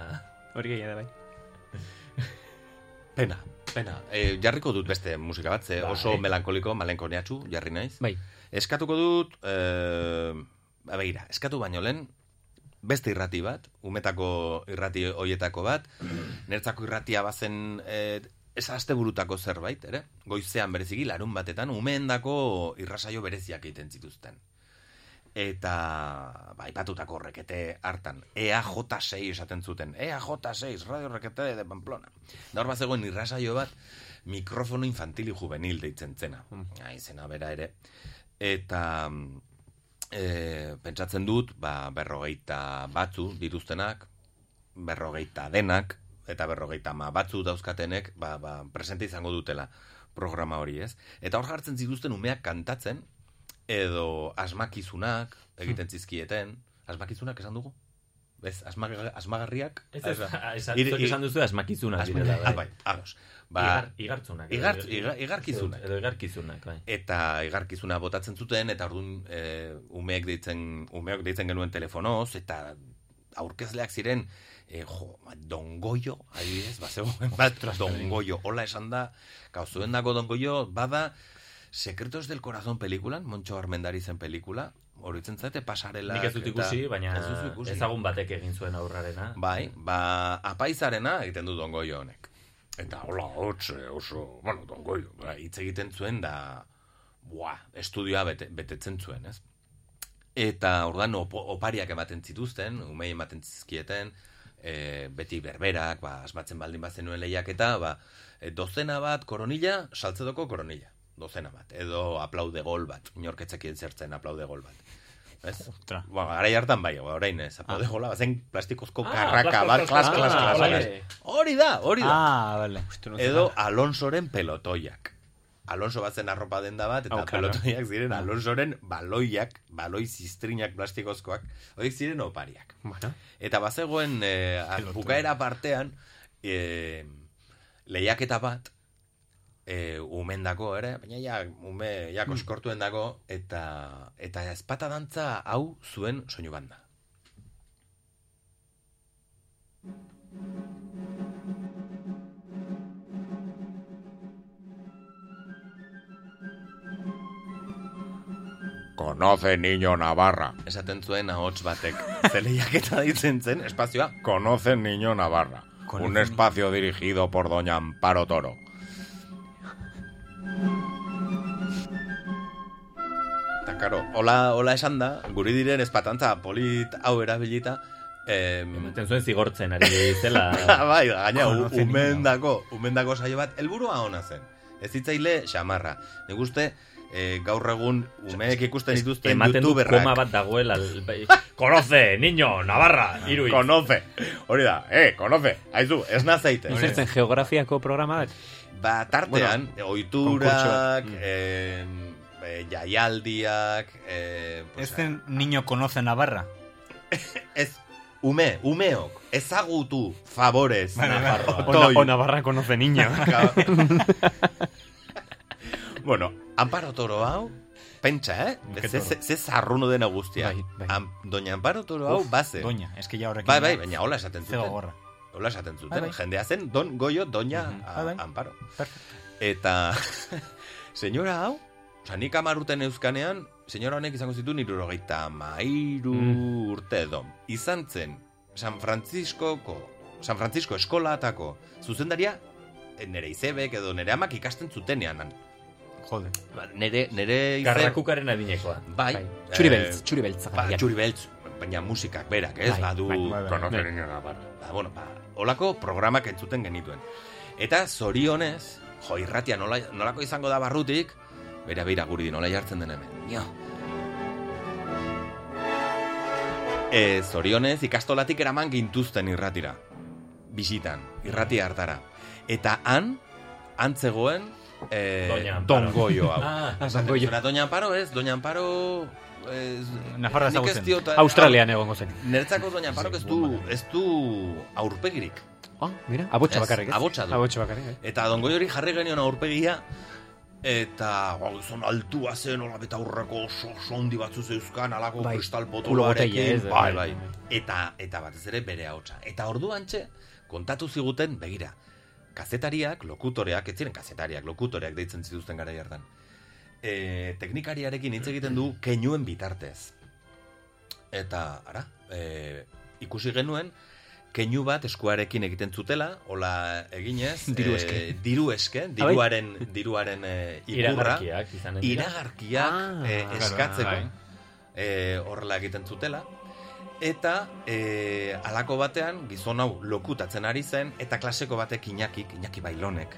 Speaker 18: Hori gehiago da, bai.
Speaker 2: Pena, pena. E, jarriko dut beste musika bat, ze oso
Speaker 18: Bai.
Speaker 2: melankoliko, malenkoniatxu, jarri naiz. eh,
Speaker 18: Bai.
Speaker 2: Eskatuko dut, e, begira, eskatu baino lehen, beste irrati bat, umetako irrati hoietako bat, nertzako irratia bazen eh, ez asteburutako zerbait, ere? Goizean bereziki larun batetan umeendako irrasaio bereziak egiten zituzten. Eta, ba, ipatutako rekete hartan, E EAJ6 esaten zuten, E EAJ6, Radio Rekete de Pamplona. Da hor bazegoen irrasaio bat, mikrofono infantil y juvenil deitzen zena. Aizena bera ere. Eta, mm, e, pentsatzen dut, ba, berrogeita batzu dituztenak, berrogeita denak, eta berrogeita ma batzu dauzkatenek, ba, ba, presente izango dutela programa hori, ez? Eta hor jartzen zituzten umeak kantatzen, edo asmakizunak egiten
Speaker 1: Hmm.
Speaker 2: zizkieten, asmakizunak esan dugu? Ez, asmaga- asmagarriak?
Speaker 1: Ez,
Speaker 2: Ah,
Speaker 1: ez,
Speaker 2: da.
Speaker 1: esan-
Speaker 2: Ir-
Speaker 1: zuek
Speaker 2: ir-
Speaker 1: esan duzu asmakizunak direla, bai.
Speaker 2: Ah, bai, ados. Ba,
Speaker 1: Igar- igartzunak, edo-
Speaker 2: Igart, igar, igarkizunak.
Speaker 1: Edo igarkizunak, bai.
Speaker 2: Eta igarkizuna botatzen zuten, eta orduan e, umeek deitzen, umeok deitzen genuen telefonoz, eta aurkezleak ziren, e, jo, ba, dongoio, adibidez, bazegoen bat, dongoio, hola esan da, gauzuen dago dongoio, bada, Secretos del Corazón pelikulan, Montxo Armendarizen pelikula, horitzen zaite pasarela.
Speaker 1: Nik ez dut ikusi, baina
Speaker 2: ez duzu ikusi.
Speaker 1: ezagun batek egin zuen aurrarena.
Speaker 2: Bai, ba, apaizarena egiten du dongoio honek. Eta hola, hotze, oso, bueno, dongoio, ba, hitz egiten zuen da, bua, estudioa bete, betetzen zuen, ez? Eta ordan op opariak ematen zituzten, umei ematen zizkieten, e, beti berberak, ba, asmatzen baldin bazenuen lehiaketa, ba, e, dozena bat koronila, saltzedoko koronila, dozena bat, edo aplaude gol bat, inorketzekien zertzen aplaude gol bat. Ez? Ba, garai hartan bai, ba, orain ez,
Speaker 7: Ah.
Speaker 2: aplaude gola, bazen Ah, plastikozko karraka
Speaker 7: plastik,
Speaker 2: bat,
Speaker 7: plastik,
Speaker 2: klas,
Speaker 7: plastik.
Speaker 2: klas,
Speaker 7: Ah,
Speaker 2: klas,
Speaker 7: vale.
Speaker 2: klas. Hori da, hori da.
Speaker 7: Ah, vale.
Speaker 2: Edo Alonsoren pelotoiak. Alonso bazen arropa denda bat, eta
Speaker 7: Hau, claro.
Speaker 2: pelotoiak ziren Alonsoren baloiak, baloi ziztrinak plastikozkoak, horiek ziren opariak. Eta bazegoen e, bukaera partean e, lehiaketa bat e, umendako ere, baina ja ume ja koskortuen dago eta eta ezpata dantza hau zuen soinu banda. Conoce niño Navarra. Esaten zuen ahots batek. Ze lehiaketa ditzen zen espazioa. Conoce niño Navarra. Un espacio dirigido por doña Amparo Toro. Eta karo, hola, hola esan da, guri diren espatantza polit hau erabilita, em... Ematen
Speaker 1: zuen zigortzen ari zela.
Speaker 2: bai, gaina, u-
Speaker 1: Konozen
Speaker 2: umendako, umendako saio bat, helburua ona zen. Ez hitzaile xamarra. Nik uste, eh, gaur egun umeek ikusten dituzten
Speaker 1: Ematen du
Speaker 2: youtuberrak.
Speaker 1: koma bat dagoela. bai, Konoze, niño, Navarra, irui.
Speaker 2: Konoze. Ah, Hori da, eh, konoze. Aizu, ez nazaite.
Speaker 18: Zertzen geografiako programa bat?
Speaker 2: Ba, tartean,
Speaker 18: Bueno, konkurtsoak.
Speaker 2: oiturak, eh, eh, jaialdiak... Eh, pues,
Speaker 3: Ez zen niño konoce Navarra.
Speaker 2: Ez, ume, umeok, ezagutu, favorez,
Speaker 18: Vale, vale.
Speaker 2: Nafarroa.
Speaker 18: O na-
Speaker 2: Toi.
Speaker 18: o Navarra conoce niño.
Speaker 2: bueno, Amparo Toro hau, pentsa, eh?
Speaker 3: Ke
Speaker 2: Ze,
Speaker 3: toro.
Speaker 2: ze, ze zarruno dena guztia. Am, doña Amparo Toro hau,
Speaker 3: Uf,
Speaker 2: baze.
Speaker 3: doña, es que ya horrekin
Speaker 2: Bai,
Speaker 3: ja-
Speaker 2: bai, baina hola esaten
Speaker 3: Ze
Speaker 2: zuten.
Speaker 3: gogorra.
Speaker 2: Hola esaten zuten,
Speaker 3: Bai, bai.
Speaker 2: jendea zen, don goio, doña a- Amparo. Eta, senyora hau, oza, nik amarruten euskanean, senyora honek izango zituen irurogeita mairu urte edo. Izan zen, San Franciscoko, San Francisco eskolatako, zuzendaria, eh, nere izebek edo nere amak ikasten zutenean. han.
Speaker 3: Jode.
Speaker 2: Ba, Nere, nere ize...
Speaker 1: Garrakukaren adinekoa.
Speaker 2: Bai.
Speaker 1: Bai.
Speaker 2: eh,
Speaker 1: Txuribeltz, txuribeltz,
Speaker 2: Ba,
Speaker 1: jakariak.
Speaker 2: txuribeltz, baina musikak berak, ez?
Speaker 1: Bai,
Speaker 2: badu
Speaker 1: bai, bai, bai.
Speaker 2: konozen
Speaker 1: Bai.
Speaker 2: niño Navarra. Ba, bueno, ba, olako programak entzuten genituen. Eta zorionez, jo, irratia nola, nolako izango da barrutik, bera beira guri nola jartzen den hemen. Nio. E, zorionez, ikastolatik eraman gintuzten irratira. Bisitan, irrati hartara. Eta han, antzegoen, e,
Speaker 1: Doña Amparo.
Speaker 2: dongoio hau.
Speaker 1: Ah,
Speaker 2: Esaten
Speaker 1: Dongoio.
Speaker 2: zuena, Doña Amparo ez, Doña Amparo... Ez,
Speaker 18: Nafarra
Speaker 2: nik ez
Speaker 18: ezagutzen.
Speaker 2: diot- eh,
Speaker 18: Australian egongo zen.
Speaker 2: Nertzako Doña Amparok ez du, ez du aurpegirik.
Speaker 18: Ah, mira, abotsa
Speaker 2: Ez,
Speaker 18: bakarrik, ez?
Speaker 2: Abotsa du.
Speaker 18: Abotsa bakarrik, eh.
Speaker 2: Eta dongoi hori jarri genion aurpegia, eta ba, gizon altua zen, hola beta aurreko oso oso handi batzu zeuzkan, alako
Speaker 18: Bai,
Speaker 2: kristal
Speaker 18: kulo botella, ez,
Speaker 2: potoloarekin, bai,
Speaker 18: bai,
Speaker 2: bai. Eta, eta batez ere bere ahotsa. Eta orduan txe, kontatu ziguten, begira, kazetariak, lokutoreak, ez ziren kazetariak, lokutoreak deitzen zituzten gara hartan. E, teknikariarekin hitz egiten du keinuen bitartez. eta ara, e, ikusi genuen keinu bat eskuarekin egiten zutela, hola eginez,
Speaker 7: Diru eske.
Speaker 2: eh, diru eske, diruaren, diruaren e, ikurra,
Speaker 1: Bai. Iragarkiak izanen dira.
Speaker 2: iragarkiak
Speaker 1: Ah,
Speaker 2: eh,
Speaker 1: claro,
Speaker 2: eskatzeko,
Speaker 1: bai.
Speaker 2: eh, horrela egiten zutela, eta e, alako batean gizon hau lokutatzen ari zen, eta klaseko batek inakik, inaki bailonek,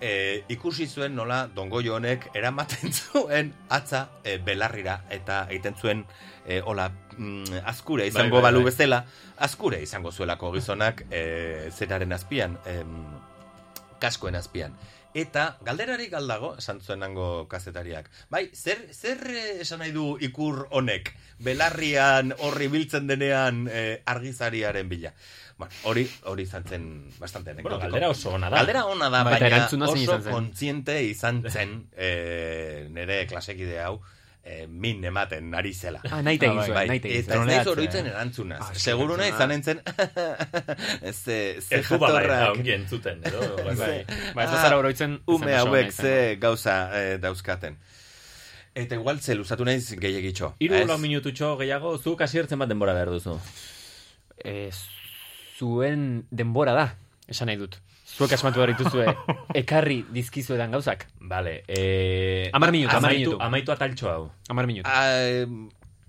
Speaker 2: e, ikusi zuen nola dongoio honek eramaten zuen atza e, belarrira eta egiten zuen e, hola mm, azkure izango
Speaker 7: Bai, bai,
Speaker 2: balu
Speaker 7: bai.
Speaker 2: bezala azkure izango zuelako gizonak e, zeraren azpian em, kaskoen azpian eta galderari galdago esan zuen nango kazetariak bai zer zer eh, esan nahi du ikur honek belarrian horri biltzen denean eh, argizariaren bila Bueno, hori hori izan zen bastante
Speaker 1: Bueno,
Speaker 2: anekdotiko.
Speaker 1: galdera oso ona da.
Speaker 2: Galdera ona da,
Speaker 1: Baita
Speaker 2: baina
Speaker 1: erantzuna zein
Speaker 2: oso
Speaker 1: izan zen?
Speaker 2: kontziente izan zen eh, nire klasekide hau eh, min ematen ari zela.
Speaker 4: Ah, nahi eta egin
Speaker 2: bai,
Speaker 4: zuen,
Speaker 2: bai.
Speaker 4: nahi eta egin
Speaker 2: Eta ez
Speaker 4: zuen.
Speaker 2: naiz
Speaker 4: Troleatzen.
Speaker 2: oroitzen erantzunaz.
Speaker 4: Ah, eske
Speaker 2: Seguru nahi
Speaker 4: erantzuna.
Speaker 2: zanen zen, ze, eh, ze
Speaker 1: Ez du bala eta
Speaker 2: jatorrak.
Speaker 1: ongi entzuten, edo, bai, bai.
Speaker 2: Ze-
Speaker 1: Ba, ez
Speaker 2: Ah,
Speaker 1: bazara oroitzen, ez
Speaker 2: Ume
Speaker 1: zen oso ona
Speaker 2: hauek
Speaker 1: izan.
Speaker 2: ze gauza eh, dauzkaten. Eta igual ze luzatu naiz gehiagitxo.
Speaker 1: Hiru
Speaker 2: ez?
Speaker 1: lau minututxo gehiago, zuk asiertzen bat denbora behar duzu.
Speaker 18: Ez, zuen denbora da, esan nahi dut. Zuek asmatu behar dituzue, ekarri dizkizuedan gauzak.
Speaker 1: Vale, eh...
Speaker 18: Amar minutu, amar
Speaker 1: amaitu-
Speaker 18: minutu.
Speaker 1: Amaitu ataltxo hau.
Speaker 18: Amar minutu.
Speaker 2: A, Ah,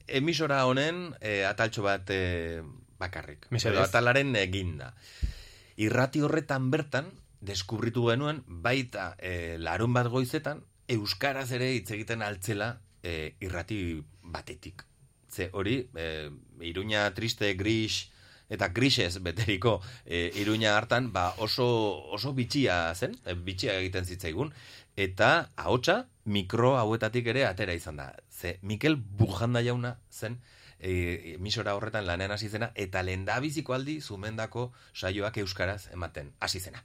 Speaker 2: emisora honen e, ataltxo bat e, bakarrik.
Speaker 18: Mesedez.
Speaker 2: Edo atalaren eginda. Irrati horretan bertan, deskubritu genuen, baita e, larun bat goizetan, euskaraz ere hitz egiten altzela e, irrati batetik. Ze hori, e, Iruña triste, gris, eta grisez beteriko e, Iruña hartan, ba oso, oso bitxia zen, e, bitxia egiten zitzaigun, eta ahotsa mikro hauetatik ere atera izan da. Ze Mikel Bujanda jauna zen e, emisora horretan lanean hasi zena eta lehendabiziko aldi zumendako saioak euskaraz ematen hasi zena.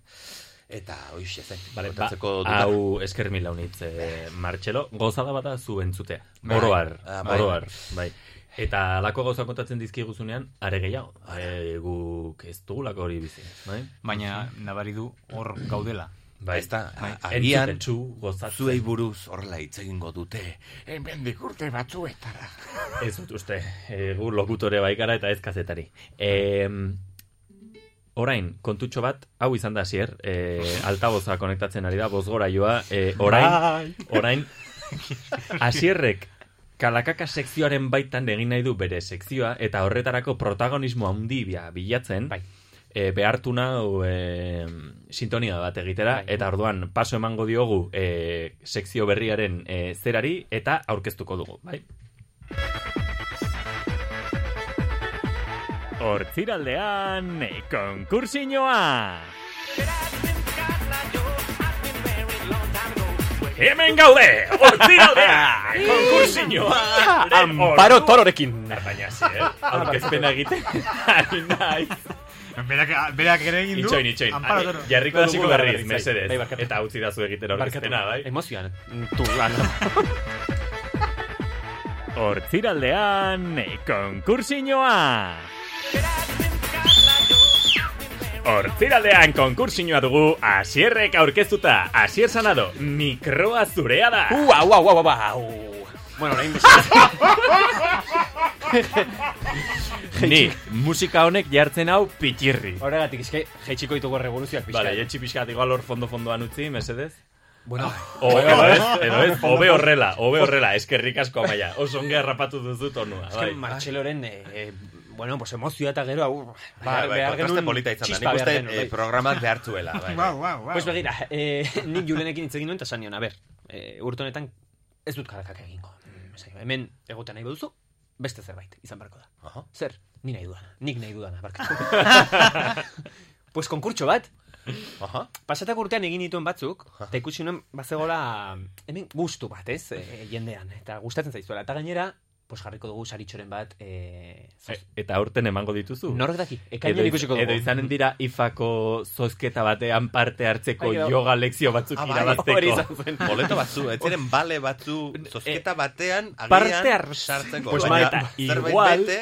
Speaker 2: Eta hoixe zen.
Speaker 1: Vale, ba,
Speaker 2: kontatzeko dudana.
Speaker 1: hau esker mila unitz, eh, Martxelo. Gozada bada zu entzutea.
Speaker 2: Bai.
Speaker 1: Oroar,
Speaker 2: Ah, bai.
Speaker 1: oroar, bai. Eta alako gauza kontatzen dizkiguzunean, are gehiago. Eh, guk ez dugulako hori bizi, bai?
Speaker 3: Baina, nabari du, hor gaudela.
Speaker 1: Bai.
Speaker 2: Ez da,
Speaker 1: Bai.
Speaker 2: a- agian
Speaker 1: Entzutetsu, gozatzen.
Speaker 2: zuei buruz horrela hitz egingo dute. Hemendik urte batzuetara.
Speaker 1: Ez dut uste, e, gu lokutore bai gara eta ez kazetari. E, orain, kontutxo bat, hau izan da zier, e, altaboza konektatzen ari da, bozgora joa, e, orain,
Speaker 17: Bai.
Speaker 1: orain, asierrek kalakaka sekzioaren baitan egin nahi du bere sekzioa, eta horretarako protagonismo handi bia- bilatzen, bai. E, behartu nau e, sintonia bat egitera, eta orduan paso emango diogu e, sekzio berriaren e, zerari, eta aurkeztuko dugu, bai? Hortziraldean konkursinoa! Hemen gaude, hortziraldea! Konkursinoa!
Speaker 18: Amparo tororekin.
Speaker 1: Baina, ze, eh? Aurkezpena egiten. Ari naiz.
Speaker 3: Berak, berak ere egin du.
Speaker 1: Itxoin, itxoin.
Speaker 3: Amparo Toro.
Speaker 1: Jarriko dugu
Speaker 18: Hasiko gara
Speaker 1: berriz,
Speaker 18: berriz,
Speaker 1: mesedez.
Speaker 18: bai, bai, barkatu.
Speaker 1: Eta utzi dazu egiten aurkezpena, bai?
Speaker 18: Emozioan. Tu, lan.
Speaker 1: Hortziraldean konkursinoa! Hortziraldean konkursinoa dugu asierrek aurkeztuta, asier sanado, mikroa zurea da!
Speaker 18: Ua, ua, ua, ua, ua. Bueno, orain
Speaker 1: Ni, musika honek jartzen hau pitxirri.
Speaker 18: Horregatik, eske, jaitsiko ditugu revoluzioak pixka.
Speaker 1: Vale, jetxi pixka bat igual hor fondo-fondoan utzi, mesedez?
Speaker 18: Bueno.
Speaker 1: O, edo ez, edo ez, hobe horrela, hobe horrela, eskerrik asko maia. Oso onge harrapatu duzu tonua,
Speaker 18: Es
Speaker 1: bai.
Speaker 18: que Martxeloren, eh, eh, bueno, pues emozioa eta gero, hau,
Speaker 2: Bai, bai, kontraste polita izan da. Nik uste, eh, programak behar zuela, bai, bai. Guau, guau, guau.
Speaker 18: bai. Pues begira, eh, nik julenekin hitz egin nuen, eta esan nion, a ber, eh, urte honetan ez dut kalakak egingo. Mm, esan nion, Hemen egoten nahi baduzu, beste zerbait, izan beharko da. Zer, ni nahi dudana, nik nahi dudana, barkatu. pues konkurtso bat.
Speaker 2: Aha.
Speaker 18: Pasatako urtean egin dituen batzuk, eta ikusi nuen bazegola hemen gustu bat, ez, eh, jendean, eta gustatzen zaizuela. Eta gainera, pues jarriko dugu saritxoren bat, eh, zoz-
Speaker 1: E- Eta aurten emango dituzu.
Speaker 18: Nork daki, ekainean
Speaker 1: Edo-
Speaker 18: ikusiko dugu.
Speaker 1: Edo izanen dira ifako zozketa batean parte hartzeko
Speaker 18: Bai, edo-
Speaker 1: yoga lekzio batzuk
Speaker 2: Ah, bai, hori izan
Speaker 1: irabazteko. Eh,
Speaker 2: zen. Boleto batzu, ez ziren bale batzu, zozketa batean,
Speaker 18: parte
Speaker 2: agian,
Speaker 18: har-
Speaker 2: sartzeko.
Speaker 18: Pues
Speaker 2: Baina
Speaker 18: Marta,
Speaker 2: zerbait
Speaker 18: igual-
Speaker 2: bete,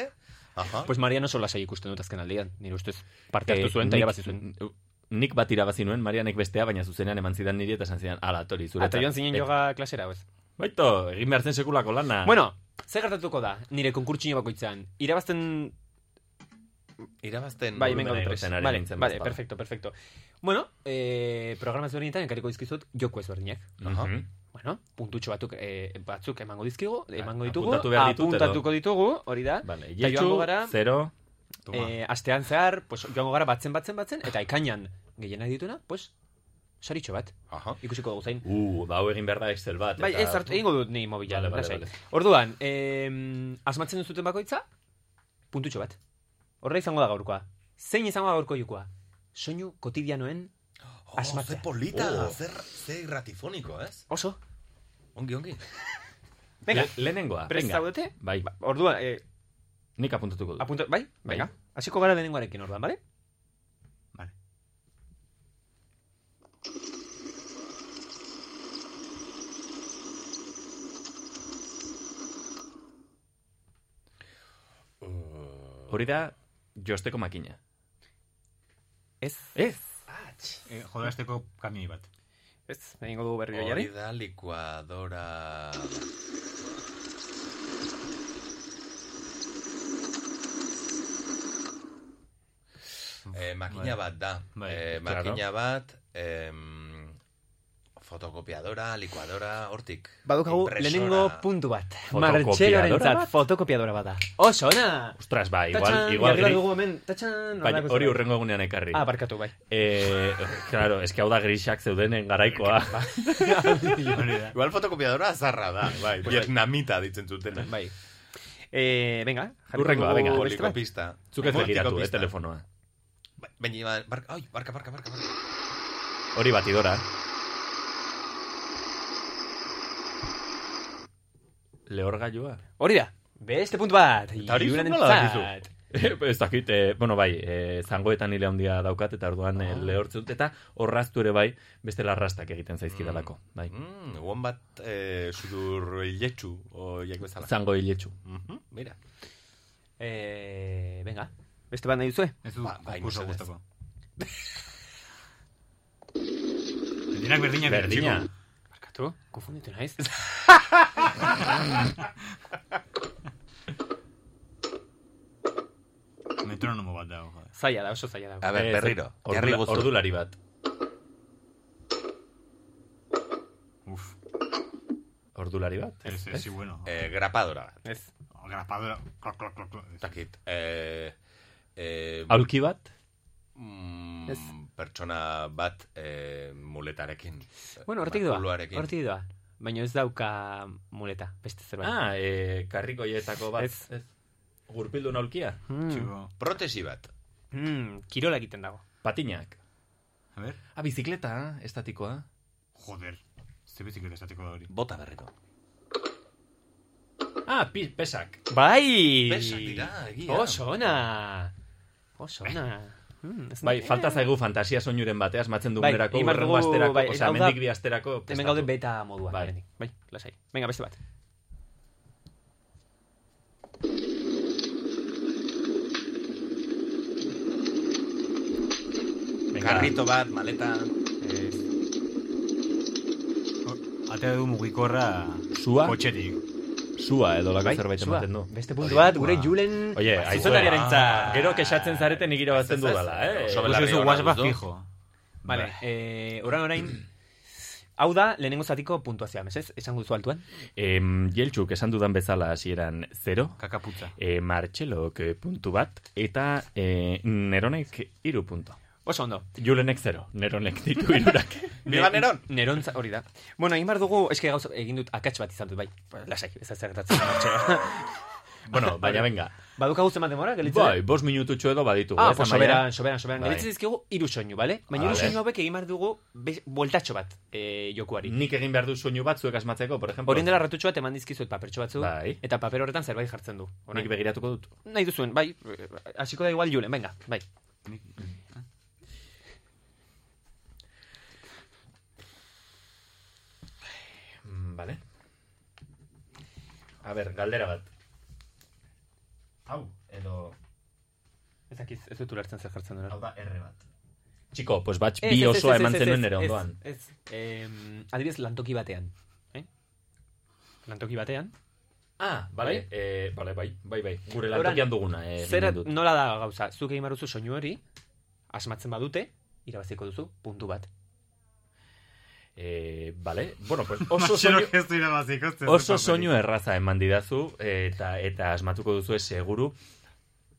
Speaker 2: Aha.
Speaker 18: Pues Mariano Solasei ikusten dut azken aldian, nire ustez. Parte
Speaker 1: Eh,
Speaker 18: hartu zuen, eta
Speaker 1: nik-
Speaker 18: irabazi zuen.
Speaker 1: Nik bat irabazi nuen, Marianek bestea, baina zuzenean eman zidan niri eta esan zidan, ala, tori, zure. Eh,
Speaker 18: Ata joan zinen joga klasera, ez?
Speaker 1: Baito, egin behar zen sekulako lana.
Speaker 4: Bueno, zer gertatuko da nire konkurtsio bakoitzan? Irabazten...
Speaker 2: Irabazten...
Speaker 4: Bai, hemen
Speaker 1: burumena
Speaker 4: gaude prest.
Speaker 1: igotzen ari
Speaker 4: Vale,
Speaker 1: nintzen
Speaker 4: vale,
Speaker 1: bezala.
Speaker 4: perfecto, perfecto. Bueno, eh, programa ezberdinetan enkariko dizkizut joko ezberdinak.
Speaker 1: Aha.
Speaker 4: Bueno, puntutxo batzuk, eh, batzuk emango dizkigu, emango ditugu.
Speaker 1: apuntatu behar ditut edo?
Speaker 4: apuntatuko ditugu, hori da.
Speaker 1: Vale,
Speaker 4: Eta
Speaker 1: jetxu,
Speaker 4: joango gara-
Speaker 1: Eh, zero.
Speaker 4: Eh, astean zehar, pues, joango gara batzen, batzen, batzen, eta ekainan gehienak dituna, pues, saritxo bat. Ikusiko dugu zain.
Speaker 1: Uh, ba, hau egin behar da Excel bat.
Speaker 4: Bai, ez hartu, egingo dut ni mobila.
Speaker 1: Vale, vale,
Speaker 4: lasai.
Speaker 1: vale.
Speaker 4: Orduan, em, asmatzen duzuten bakoitza, puntutxo bat. Horra izango da gaurkoa. Zein izango da gaurko jokoa? Soinu kotidianoen asmatzea.
Speaker 2: Oh, Ah, Ze polita da,
Speaker 4: Oh.
Speaker 2: zer, ze gratifoniko, ez?
Speaker 4: Oso.
Speaker 2: Ongi, ongi.
Speaker 4: Venga.
Speaker 2: Le- lehenengoa,
Speaker 4: Prest
Speaker 2: venga.
Speaker 4: zaudete?
Speaker 1: Bai.
Speaker 4: Orduan, eh,
Speaker 1: Nik apuntatuko dut.
Speaker 4: Apunta, bai?
Speaker 1: Bai.
Speaker 4: Venga. Hasiko gara lehenengoarekin orduan, bale?
Speaker 1: Hori da, josteko makina.
Speaker 4: Ez.
Speaker 1: Ez.
Speaker 3: Eh, jolasteko kamioi bat.
Speaker 4: Ez, egingo dugu berriro
Speaker 2: Hori
Speaker 4: jari.
Speaker 2: da likuadora... Eh, makina
Speaker 3: Bai.
Speaker 2: bat da.
Speaker 3: Bai,
Speaker 2: eh,
Speaker 3: claro.
Speaker 2: makina bat, em, fotokopiadora, likuadora, hortik.
Speaker 4: Badukagu
Speaker 2: Impresora.
Speaker 4: lehenengo puntu bat.
Speaker 1: Fotokopiadora
Speaker 4: Martxelorentzat
Speaker 1: bat?
Speaker 4: fotokopiadora bat da. Oso, ona!
Speaker 1: Ostras, bai, igual,
Speaker 4: Tatxan,
Speaker 1: igual.
Speaker 4: jarriko
Speaker 1: gri-
Speaker 4: dugu hemen, tatxan,
Speaker 1: Baina
Speaker 4: horrelako
Speaker 1: hori
Speaker 4: zerbait.
Speaker 1: urrengo egunean ekarri.
Speaker 4: Ah, barkatu, bai.
Speaker 1: Eh, claro, eske hau da grisak zeudenen garaikoa.
Speaker 4: Bai.
Speaker 2: Igual fotokopiadora zarra da, bai. Vietnamita ditzen zuten.
Speaker 4: Bai. Eh, venga,
Speaker 1: Urrengoa, venga.
Speaker 2: Likopista.
Speaker 1: Zuk ez begiratu, eh,
Speaker 2: Likopista.
Speaker 1: telefonoa.
Speaker 2: Ba- Baina, iba- barka, ai, barka, barka, barka, barka.
Speaker 1: Hori batidora. Lehorgailua.
Speaker 4: Hori da, beste puntu bat. Eta
Speaker 1: hori zuk nola dakizu? ez dakit, eh, bueno, bai, eh, zangoetan hile handia daukat, eta orduan eh, lehortzen dut, eta horraztu ere bai, beste larrastak egiten zaizkidalako. Bai.
Speaker 2: Mm, guan bat eh, sudur hiletxu, oiek bezala.
Speaker 1: Zango hiletxu.
Speaker 2: Mhm, mira.
Speaker 4: Eh, venga, beste bat nahi duzue?
Speaker 3: Ez du
Speaker 2: Ba- bai,
Speaker 3: konkurso
Speaker 2: mesedez.
Speaker 3: gustoko. Berdinak berdinak dira,
Speaker 4: Berdina.
Speaker 3: txiko.
Speaker 4: Barkatu, konfunditu naiz.
Speaker 3: Metronomo bat dago, joder.
Speaker 4: zaila da, oso zaila da.
Speaker 2: A ber,
Speaker 4: Eh,
Speaker 2: berriro.
Speaker 4: ordula-
Speaker 2: Jarri guztu.
Speaker 1: ordulari bat.
Speaker 3: Uf.
Speaker 1: Ordulari bat.
Speaker 3: Ez, ez, sí, bueno.
Speaker 2: Eh, grapadora bat.
Speaker 4: Ez.
Speaker 3: Grapadora, klok, klok, klok, klok. Ez.
Speaker 2: Takit. Eh, eh,
Speaker 1: Aulki bat?
Speaker 2: Mm, pertsona bat eh, muletarekin.
Speaker 4: Bueno, hortik doa,
Speaker 2: Makuluarekin.
Speaker 4: hortik doa. Baina ez dauka muleta, beste zerbait.
Speaker 1: Ah, eh, karrikoietako bat. Ez. ez. Gurpildu naulkia.
Speaker 4: Txiko.
Speaker 2: Protesi bat.
Speaker 4: Mm, kirola egiten dago.
Speaker 1: Patinak.
Speaker 3: A ber.
Speaker 1: Ah, bizikleta, estatikoa.
Speaker 3: Joder. Ze bizikleta esateko da hori.
Speaker 2: Bota berriko.
Speaker 1: Ah, pi, pesak.
Speaker 4: Bai!
Speaker 1: Pesak dira, egia.
Speaker 4: Oso ona! Oso ona. Mm, ez
Speaker 1: Bai,
Speaker 4: nuen-
Speaker 1: falta zaigu fantasia soinuren bateaz, matzen
Speaker 4: Bai,
Speaker 1: dugunerako,
Speaker 4: egin behar
Speaker 1: urrengo
Speaker 4: dugu,
Speaker 1: asterako,
Speaker 4: bai,
Speaker 1: osea,
Speaker 4: hau da-
Speaker 1: mendik bi asterako
Speaker 4: Hemen
Speaker 1: prestatu.
Speaker 4: gaude beta moduan.
Speaker 1: Bai.
Speaker 4: Bai. bai, lasai. Venga, beste bat.
Speaker 1: Venga.
Speaker 2: Karrito bat, maleta.
Speaker 4: Eh,
Speaker 3: Atea du mugikorra
Speaker 1: Sua?
Speaker 3: kotxetik.
Speaker 1: Sua edo lako
Speaker 4: Bai,
Speaker 1: zerbait
Speaker 4: sua.
Speaker 1: ematen du.
Speaker 4: Beste puntu bat, gure Julen
Speaker 1: Oye,
Speaker 4: zuzendariarentzat.
Speaker 1: aizu, gero kexatzen zareten nik irabazten
Speaker 4: Ez, ez,
Speaker 1: dudala, eh?
Speaker 4: oso belarri Ikusi duzu ona WhatsApp duzu. fijo.
Speaker 1: Bai.
Speaker 4: Vale, eh, orain orain, hau da, lehenengo zatiko puntuazioa, mesez? Esango duzu altuan?
Speaker 1: Em, Jeltxuk esan dudan bezala hasieran 0.
Speaker 3: Kakaputza.
Speaker 1: E, Martxelok eh, puntu bat, eta e, Neronek iru puntu.
Speaker 4: Oso ondo.
Speaker 1: Julenek 0, Neronek ditu irurak.
Speaker 4: Biga neron. Neron hori da. Bueno, egin behar dugu, eske gauza, egin dut akats bat izan dut, bai. Ba, Lasai, ez da zer gertatzen. martxoa.
Speaker 1: Bueno, baina venga.
Speaker 4: Baduka guztien bat demora, gelitzen?
Speaker 1: Bai, bos minututxo edo baditugu.
Speaker 4: Ah,
Speaker 1: ez,
Speaker 4: pues
Speaker 1: Amaia?
Speaker 4: soberan, soberan, soberan.
Speaker 1: Bai.
Speaker 4: Gelitzen dizkigu hiru soinu, bale? Baina hiru
Speaker 1: Vale.
Speaker 4: soinu hauek egin behar dugu be- bueltatxo bat eh, jokuari.
Speaker 1: Nik egin behar du soinu bat zuek asmatzeko, por ejemplo.
Speaker 4: Horien dela ratutxo bat eman dizkizuet papertxo batzu,
Speaker 1: Bai.
Speaker 4: eta paper horretan zerbait jartzen du. Orain.
Speaker 1: Nik begiratuko dut.
Speaker 4: Nahi duzuen, bai, eh, hasiko da igual Julen, venga, bai.
Speaker 1: Mm, Vale. A ber, galdera bat. Hau, edo...
Speaker 4: Ez dakiz, ez dut ulertzen zer jartzen duen.
Speaker 1: Hau da, R bat. Txiko, pues batx
Speaker 4: Ez,
Speaker 1: bi
Speaker 4: ez, ez,
Speaker 1: osoa
Speaker 4: ez,
Speaker 1: eman
Speaker 4: ez,
Speaker 1: zenuen
Speaker 4: ez,
Speaker 1: nere
Speaker 4: ez,
Speaker 1: ondoan.
Speaker 4: Ez, ez. Em, adibidez, lantoki batean. Eh? Lantoki batean.
Speaker 1: Ah, bale, eh, bale, bai, bai, bai. Gure
Speaker 4: Euran,
Speaker 1: lantokian duguna. Eh,
Speaker 4: zera,
Speaker 1: egin dut.
Speaker 4: nola da gauza, zuk egin baruzu soinu hori, asmatzen badute, irabaziko duzu, puntu bat.
Speaker 1: Eh, bale, bueno, pues oso
Speaker 3: Maxenok
Speaker 1: Ah, soinu...
Speaker 3: ez du irabaziko, ez du
Speaker 1: Oso
Speaker 3: pasatuko.
Speaker 1: soinu erraza eman didazu, eta, eta asmatuko duzu ez seguru.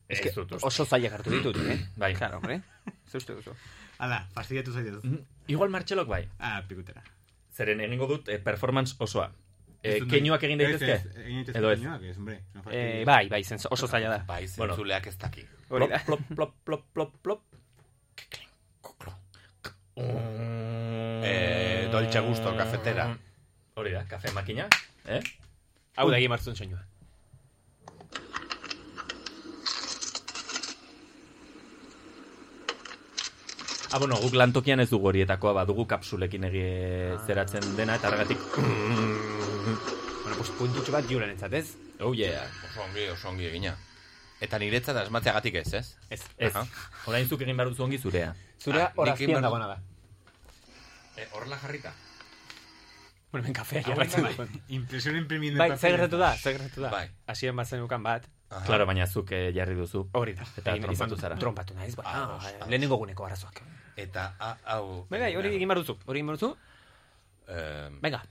Speaker 1: Ez
Speaker 4: Eske,
Speaker 1: dut uste.
Speaker 4: oso zailak hartu ditut, eh?
Speaker 1: bai.
Speaker 4: Claro, hombre. Ze uste duzu.
Speaker 3: Ala, fastidiatu zaitez.
Speaker 1: Mm, Igual Martxelok bai.
Speaker 3: Ah, pikutera.
Speaker 1: Zeren egingo dut eh, performance osoa. Eh,
Speaker 3: Ez dut nahi.
Speaker 1: keinuak egin
Speaker 3: Ez, ez,
Speaker 1: daitezke?
Speaker 3: egin daitezke
Speaker 1: Edo ez?
Speaker 3: keinuak, ez, hombre. No fastidio.
Speaker 4: Eh, bai, bai, zentzu, oso zaila da.
Speaker 2: Bai,
Speaker 1: Bueno.
Speaker 2: zentzuleak ez daki.
Speaker 4: Hori da.
Speaker 1: Plop, plop, plop, plop, plop.
Speaker 2: Eh, Dolce Gusto kafetera.
Speaker 1: Mm. Hori da, kafe makina. Eh?
Speaker 4: Hau da egin martzun soinua.
Speaker 1: Ah, bueno, guk lantokian ez dugu horietakoa, badugu kapsulekin egi zeratzen dena, eta argatik... bueno,
Speaker 4: pues puntutxo bat julen ez?
Speaker 1: Oh, yeah.
Speaker 2: Oso ongi, oso ongi egina. Eta niretzat asmatzeagatik ez, Ah, ez?
Speaker 4: Ez,
Speaker 1: ez. Orain zuk egin behar duzu ongi zurea.
Speaker 4: Ah,
Speaker 2: Zurea hor azpian
Speaker 4: dagoena da.
Speaker 2: Horla jarrita.
Speaker 4: Bueno, men kafea
Speaker 3: Hau
Speaker 4: jarratzen
Speaker 3: bai.
Speaker 4: dut.
Speaker 3: Impresión imprimiendo
Speaker 4: Bai,
Speaker 3: papel.
Speaker 4: zer gertatu da, zer gertatu da.
Speaker 3: Bai.
Speaker 4: Hasieran bat zenukan bat.
Speaker 1: Aha. Claro, baina zuk eh, jarri duzu.
Speaker 4: Hori da.
Speaker 1: Eta
Speaker 4: Egin- izan
Speaker 1: trompatu
Speaker 4: dut
Speaker 1: zara.
Speaker 4: Trompatu naiz, bai. Ah, lehenengo guneko arazoak.
Speaker 2: Eta, ah. a- hau...
Speaker 4: Bai, bai, hori egin behar duzu. Hori egin behar duzu.
Speaker 2: Eh,
Speaker 4: Venga.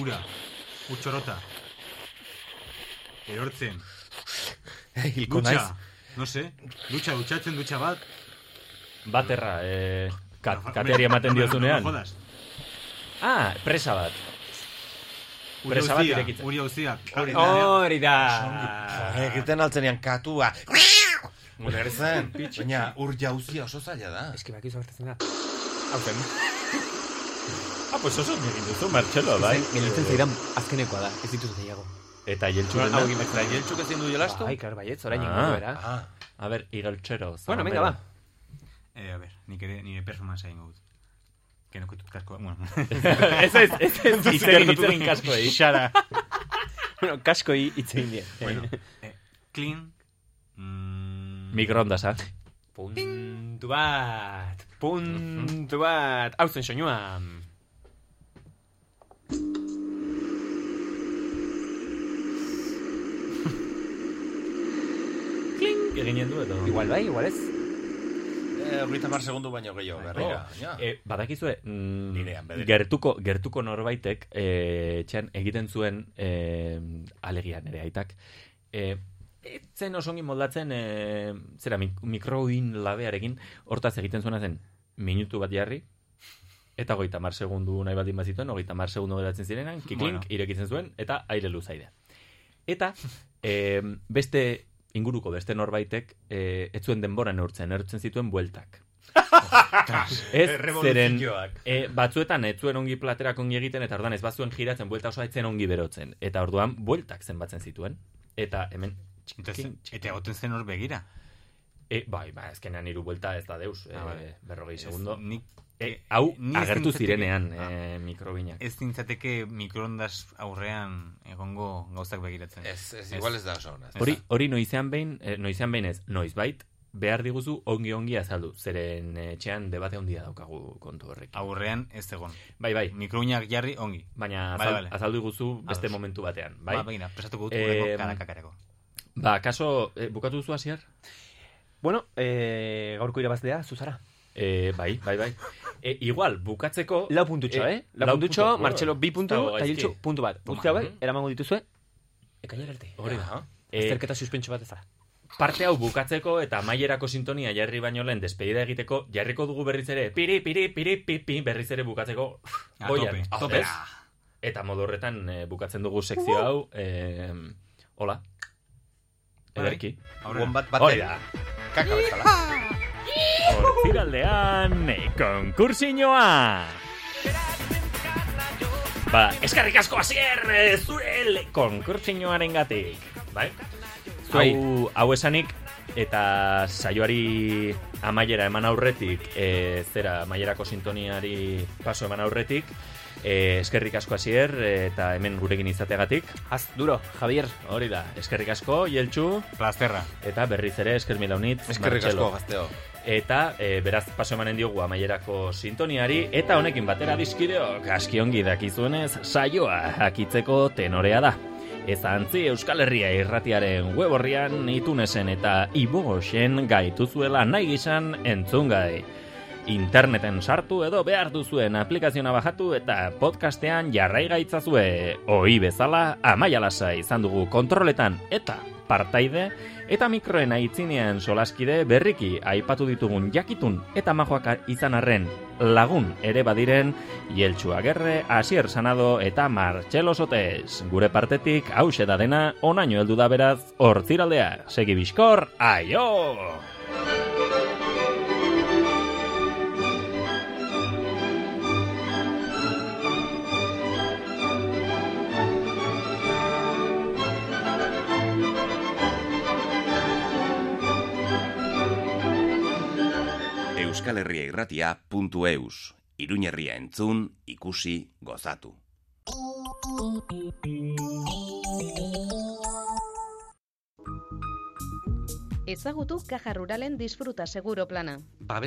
Speaker 3: Ura, utxorota. Erortzen.
Speaker 2: Hilko
Speaker 3: Dutxa,
Speaker 2: naiz.
Speaker 3: no se, dutxa, dutxatzen dutxa bat.
Speaker 1: Baterra, eh, kat, kateari ematen diozunean.
Speaker 3: No jodas.
Speaker 1: Ah, presa bat.
Speaker 3: Uri
Speaker 1: Presa bat
Speaker 3: auzia,
Speaker 1: irekitzen.
Speaker 3: Uri auziak.
Speaker 4: Hori da.
Speaker 2: Egiten altzenean katua. Ulertzen. Baina ur jauzia oso zaila da.
Speaker 4: Ez que bakizu gertatzen da. Hauzen.
Speaker 1: Ah, pues oso ondo egin duzu, Martxelo, bai.
Speaker 4: Gelitzen zaidan azkenekoa da, ez dituz gehiago.
Speaker 1: Eta jeltxuk.
Speaker 4: Hau egin behar da.
Speaker 2: ezin du jolastu?
Speaker 4: Bai, klar, baietz, orain ingo era.
Speaker 2: Ah.
Speaker 1: A ber, igeltxero.
Speaker 4: Bueno, venga, va.
Speaker 3: Eh, a ber, nik ere, nire performance egin dut. Que no kutut kasko, bueno.
Speaker 4: Ez, ez, ez, ez,
Speaker 3: Duzu
Speaker 4: hitz egin, hitz
Speaker 3: gertatu
Speaker 4: egin kaskoi.
Speaker 3: Xara.
Speaker 4: Bueno, kaskoi hitz egin die.
Speaker 3: Bueno, eh, clean.
Speaker 1: Mikrondasa.
Speaker 4: Puntu bat, puntu bat. Hau zen soinua. Kling.
Speaker 1: Eginen du edo?
Speaker 4: Igual bai, igual ez. Bai.
Speaker 2: Eh, Hogeita mar segundu baino gehiago, berrira.
Speaker 4: Oh.
Speaker 2: Ja.
Speaker 1: Eh, badakizue,
Speaker 2: Nirean,
Speaker 1: mm,
Speaker 2: bederen.
Speaker 1: gertuko, gertuko norbaitek eh, etxean egiten zuen eh, alegia nere aitak. Eh, etzen osongi moldatzen eh, zera mik mikroin labearekin hortaz egiten zuena zen minutu bat jarri eta hogeita mar segundu nahi baldin bazituen, hogeita mar segundu geratzen zirenan, kiklink
Speaker 4: Bueno.
Speaker 1: irekitzen zuen eta aire luzaidea. Eta eh, beste inguruko beste norbaitek eh, ez zuen denbora neurtzen, neurtzen zituen bueltak. Ez, zeren
Speaker 2: Revoluzioak.
Speaker 1: e, batzuetan ez zuen ongi platerak ongi egiten eta ordan ez bazuen giratzen buelta osoa etzen ongi berotzen. Eta orduan bueltak zenbatzen zituen. Eta hemen
Speaker 3: Entonces, eta egoten zen hor begira.
Speaker 1: E, bai, ba, ezkenean hiru buelta ez da deus,
Speaker 3: Ah, vale.
Speaker 1: e, berrogei
Speaker 3: Ez,
Speaker 1: segundo.
Speaker 3: nik-
Speaker 1: e, hau,
Speaker 3: eh, ni ez Ah.
Speaker 1: agertu
Speaker 3: nintzateke-
Speaker 1: zirenean e, mikrobinak.
Speaker 3: Ez nintzateke mikroondas aurrean egongo gauzak begiratzen.
Speaker 2: Ez, ez, igual ez da oso ona.
Speaker 1: Hori, hori noizean behin, eh, noizean behin ez, noizbait, behar diguzu ongi ongi azaldu, zeren eh, etxean debate handia daukagu kontu horrekin.
Speaker 3: Aurrean ez egon.
Speaker 1: Bai, bai.
Speaker 3: Mikroinak jarri ongi.
Speaker 1: Baina
Speaker 3: Bale,
Speaker 1: azal,
Speaker 3: bale.
Speaker 1: azaldu iguzu beste
Speaker 3: Ados.
Speaker 1: momentu batean, bai?
Speaker 3: Ba, begira, prestatuko dut hurrengo
Speaker 1: Em,
Speaker 3: kalakakarako.
Speaker 1: Ba, kaso, eh, bukatu duzu hasier?
Speaker 4: Bueno, eh, gaurko irabazlea, zuzara.
Speaker 1: Eh, bai, bai, bai. E, igual, bukatzeko...
Speaker 4: Lau puntutxo, eh? Lau, puntutxo,
Speaker 1: puntu,
Speaker 4: Martxelo bi puntu,
Speaker 1: Dago
Speaker 4: eta
Speaker 1: gaizki.
Speaker 4: Jiltxu puntu bat. Guzti hauek, eramango dituzue, ekainera arte.
Speaker 1: Hori da. Eh,
Speaker 4: Azterketa suspentxo bat ez da.
Speaker 1: Parte hau bukatzeko eta amaierako sintonia jarri baino lehen despedida egiteko jarriko dugu berriz ere piri piri piri pipi berriz ere bukatzeko
Speaker 3: A
Speaker 1: goian,
Speaker 3: tope, tope.
Speaker 1: ez? Eta modu horretan eh, bukatzen dugu sekzio hau. Eh, hola.
Speaker 2: Bai.
Speaker 1: Ederki.
Speaker 2: Aurrera. Wombat baten.
Speaker 1: Hori da.
Speaker 2: Kaka bezala.
Speaker 1: Ziraldean konkursinoa. Ba, eskarrik asko hasier eh, zure le- konkursinoaren gatik. Bai?
Speaker 4: Bai.
Speaker 1: Hau, hau esanik eta saioari eh, amaiera eman aurretik, e, zera amaierako sintoniari paso eman aurretik, E, eskerrik asko hasier eta hemen gurekin izateagatik.
Speaker 18: Az, duro, Javier.
Speaker 1: Hori da, eskerrik asko, Jeltxu.
Speaker 3: Plasterra.
Speaker 1: Eta berriz ere, esker milaunitz.
Speaker 2: Eskerrik asko, gazteo.
Speaker 1: Eta e, beraz paso emanen diogu amaierako sintoniari eta honekin batera dizkideok askiongi dakizuenez saioa akitzeko tenorea da. Ez antzi Euskal Herria irratiaren web horrian itunesen eta ibogoxen gaituzuela nahi gizan entzungai. Interneten sartu edo behar duzuen aplikaziona bajatu eta podcastean jarrai gaitzazue. Ohi bezala, amaia lasa izan dugu kontroletan eta partaide, eta mikroen aitzinean solaskide berriki aipatu ditugun jakitun eta majoak izan arren lagun ere badiren Jeltsu Agerre, Asier Sanado eta Martxelo Sotes. Gure partetik hause da dena, onaino heldu da beraz, hortziraldea, segi bizkor, aio!
Speaker 21: euskalherriairratia.eus Iruñerria entzun, ikusi, gozatu.
Speaker 5: Ezagutu Caja Ruralen disfruta seguro plana.
Speaker 21: Babes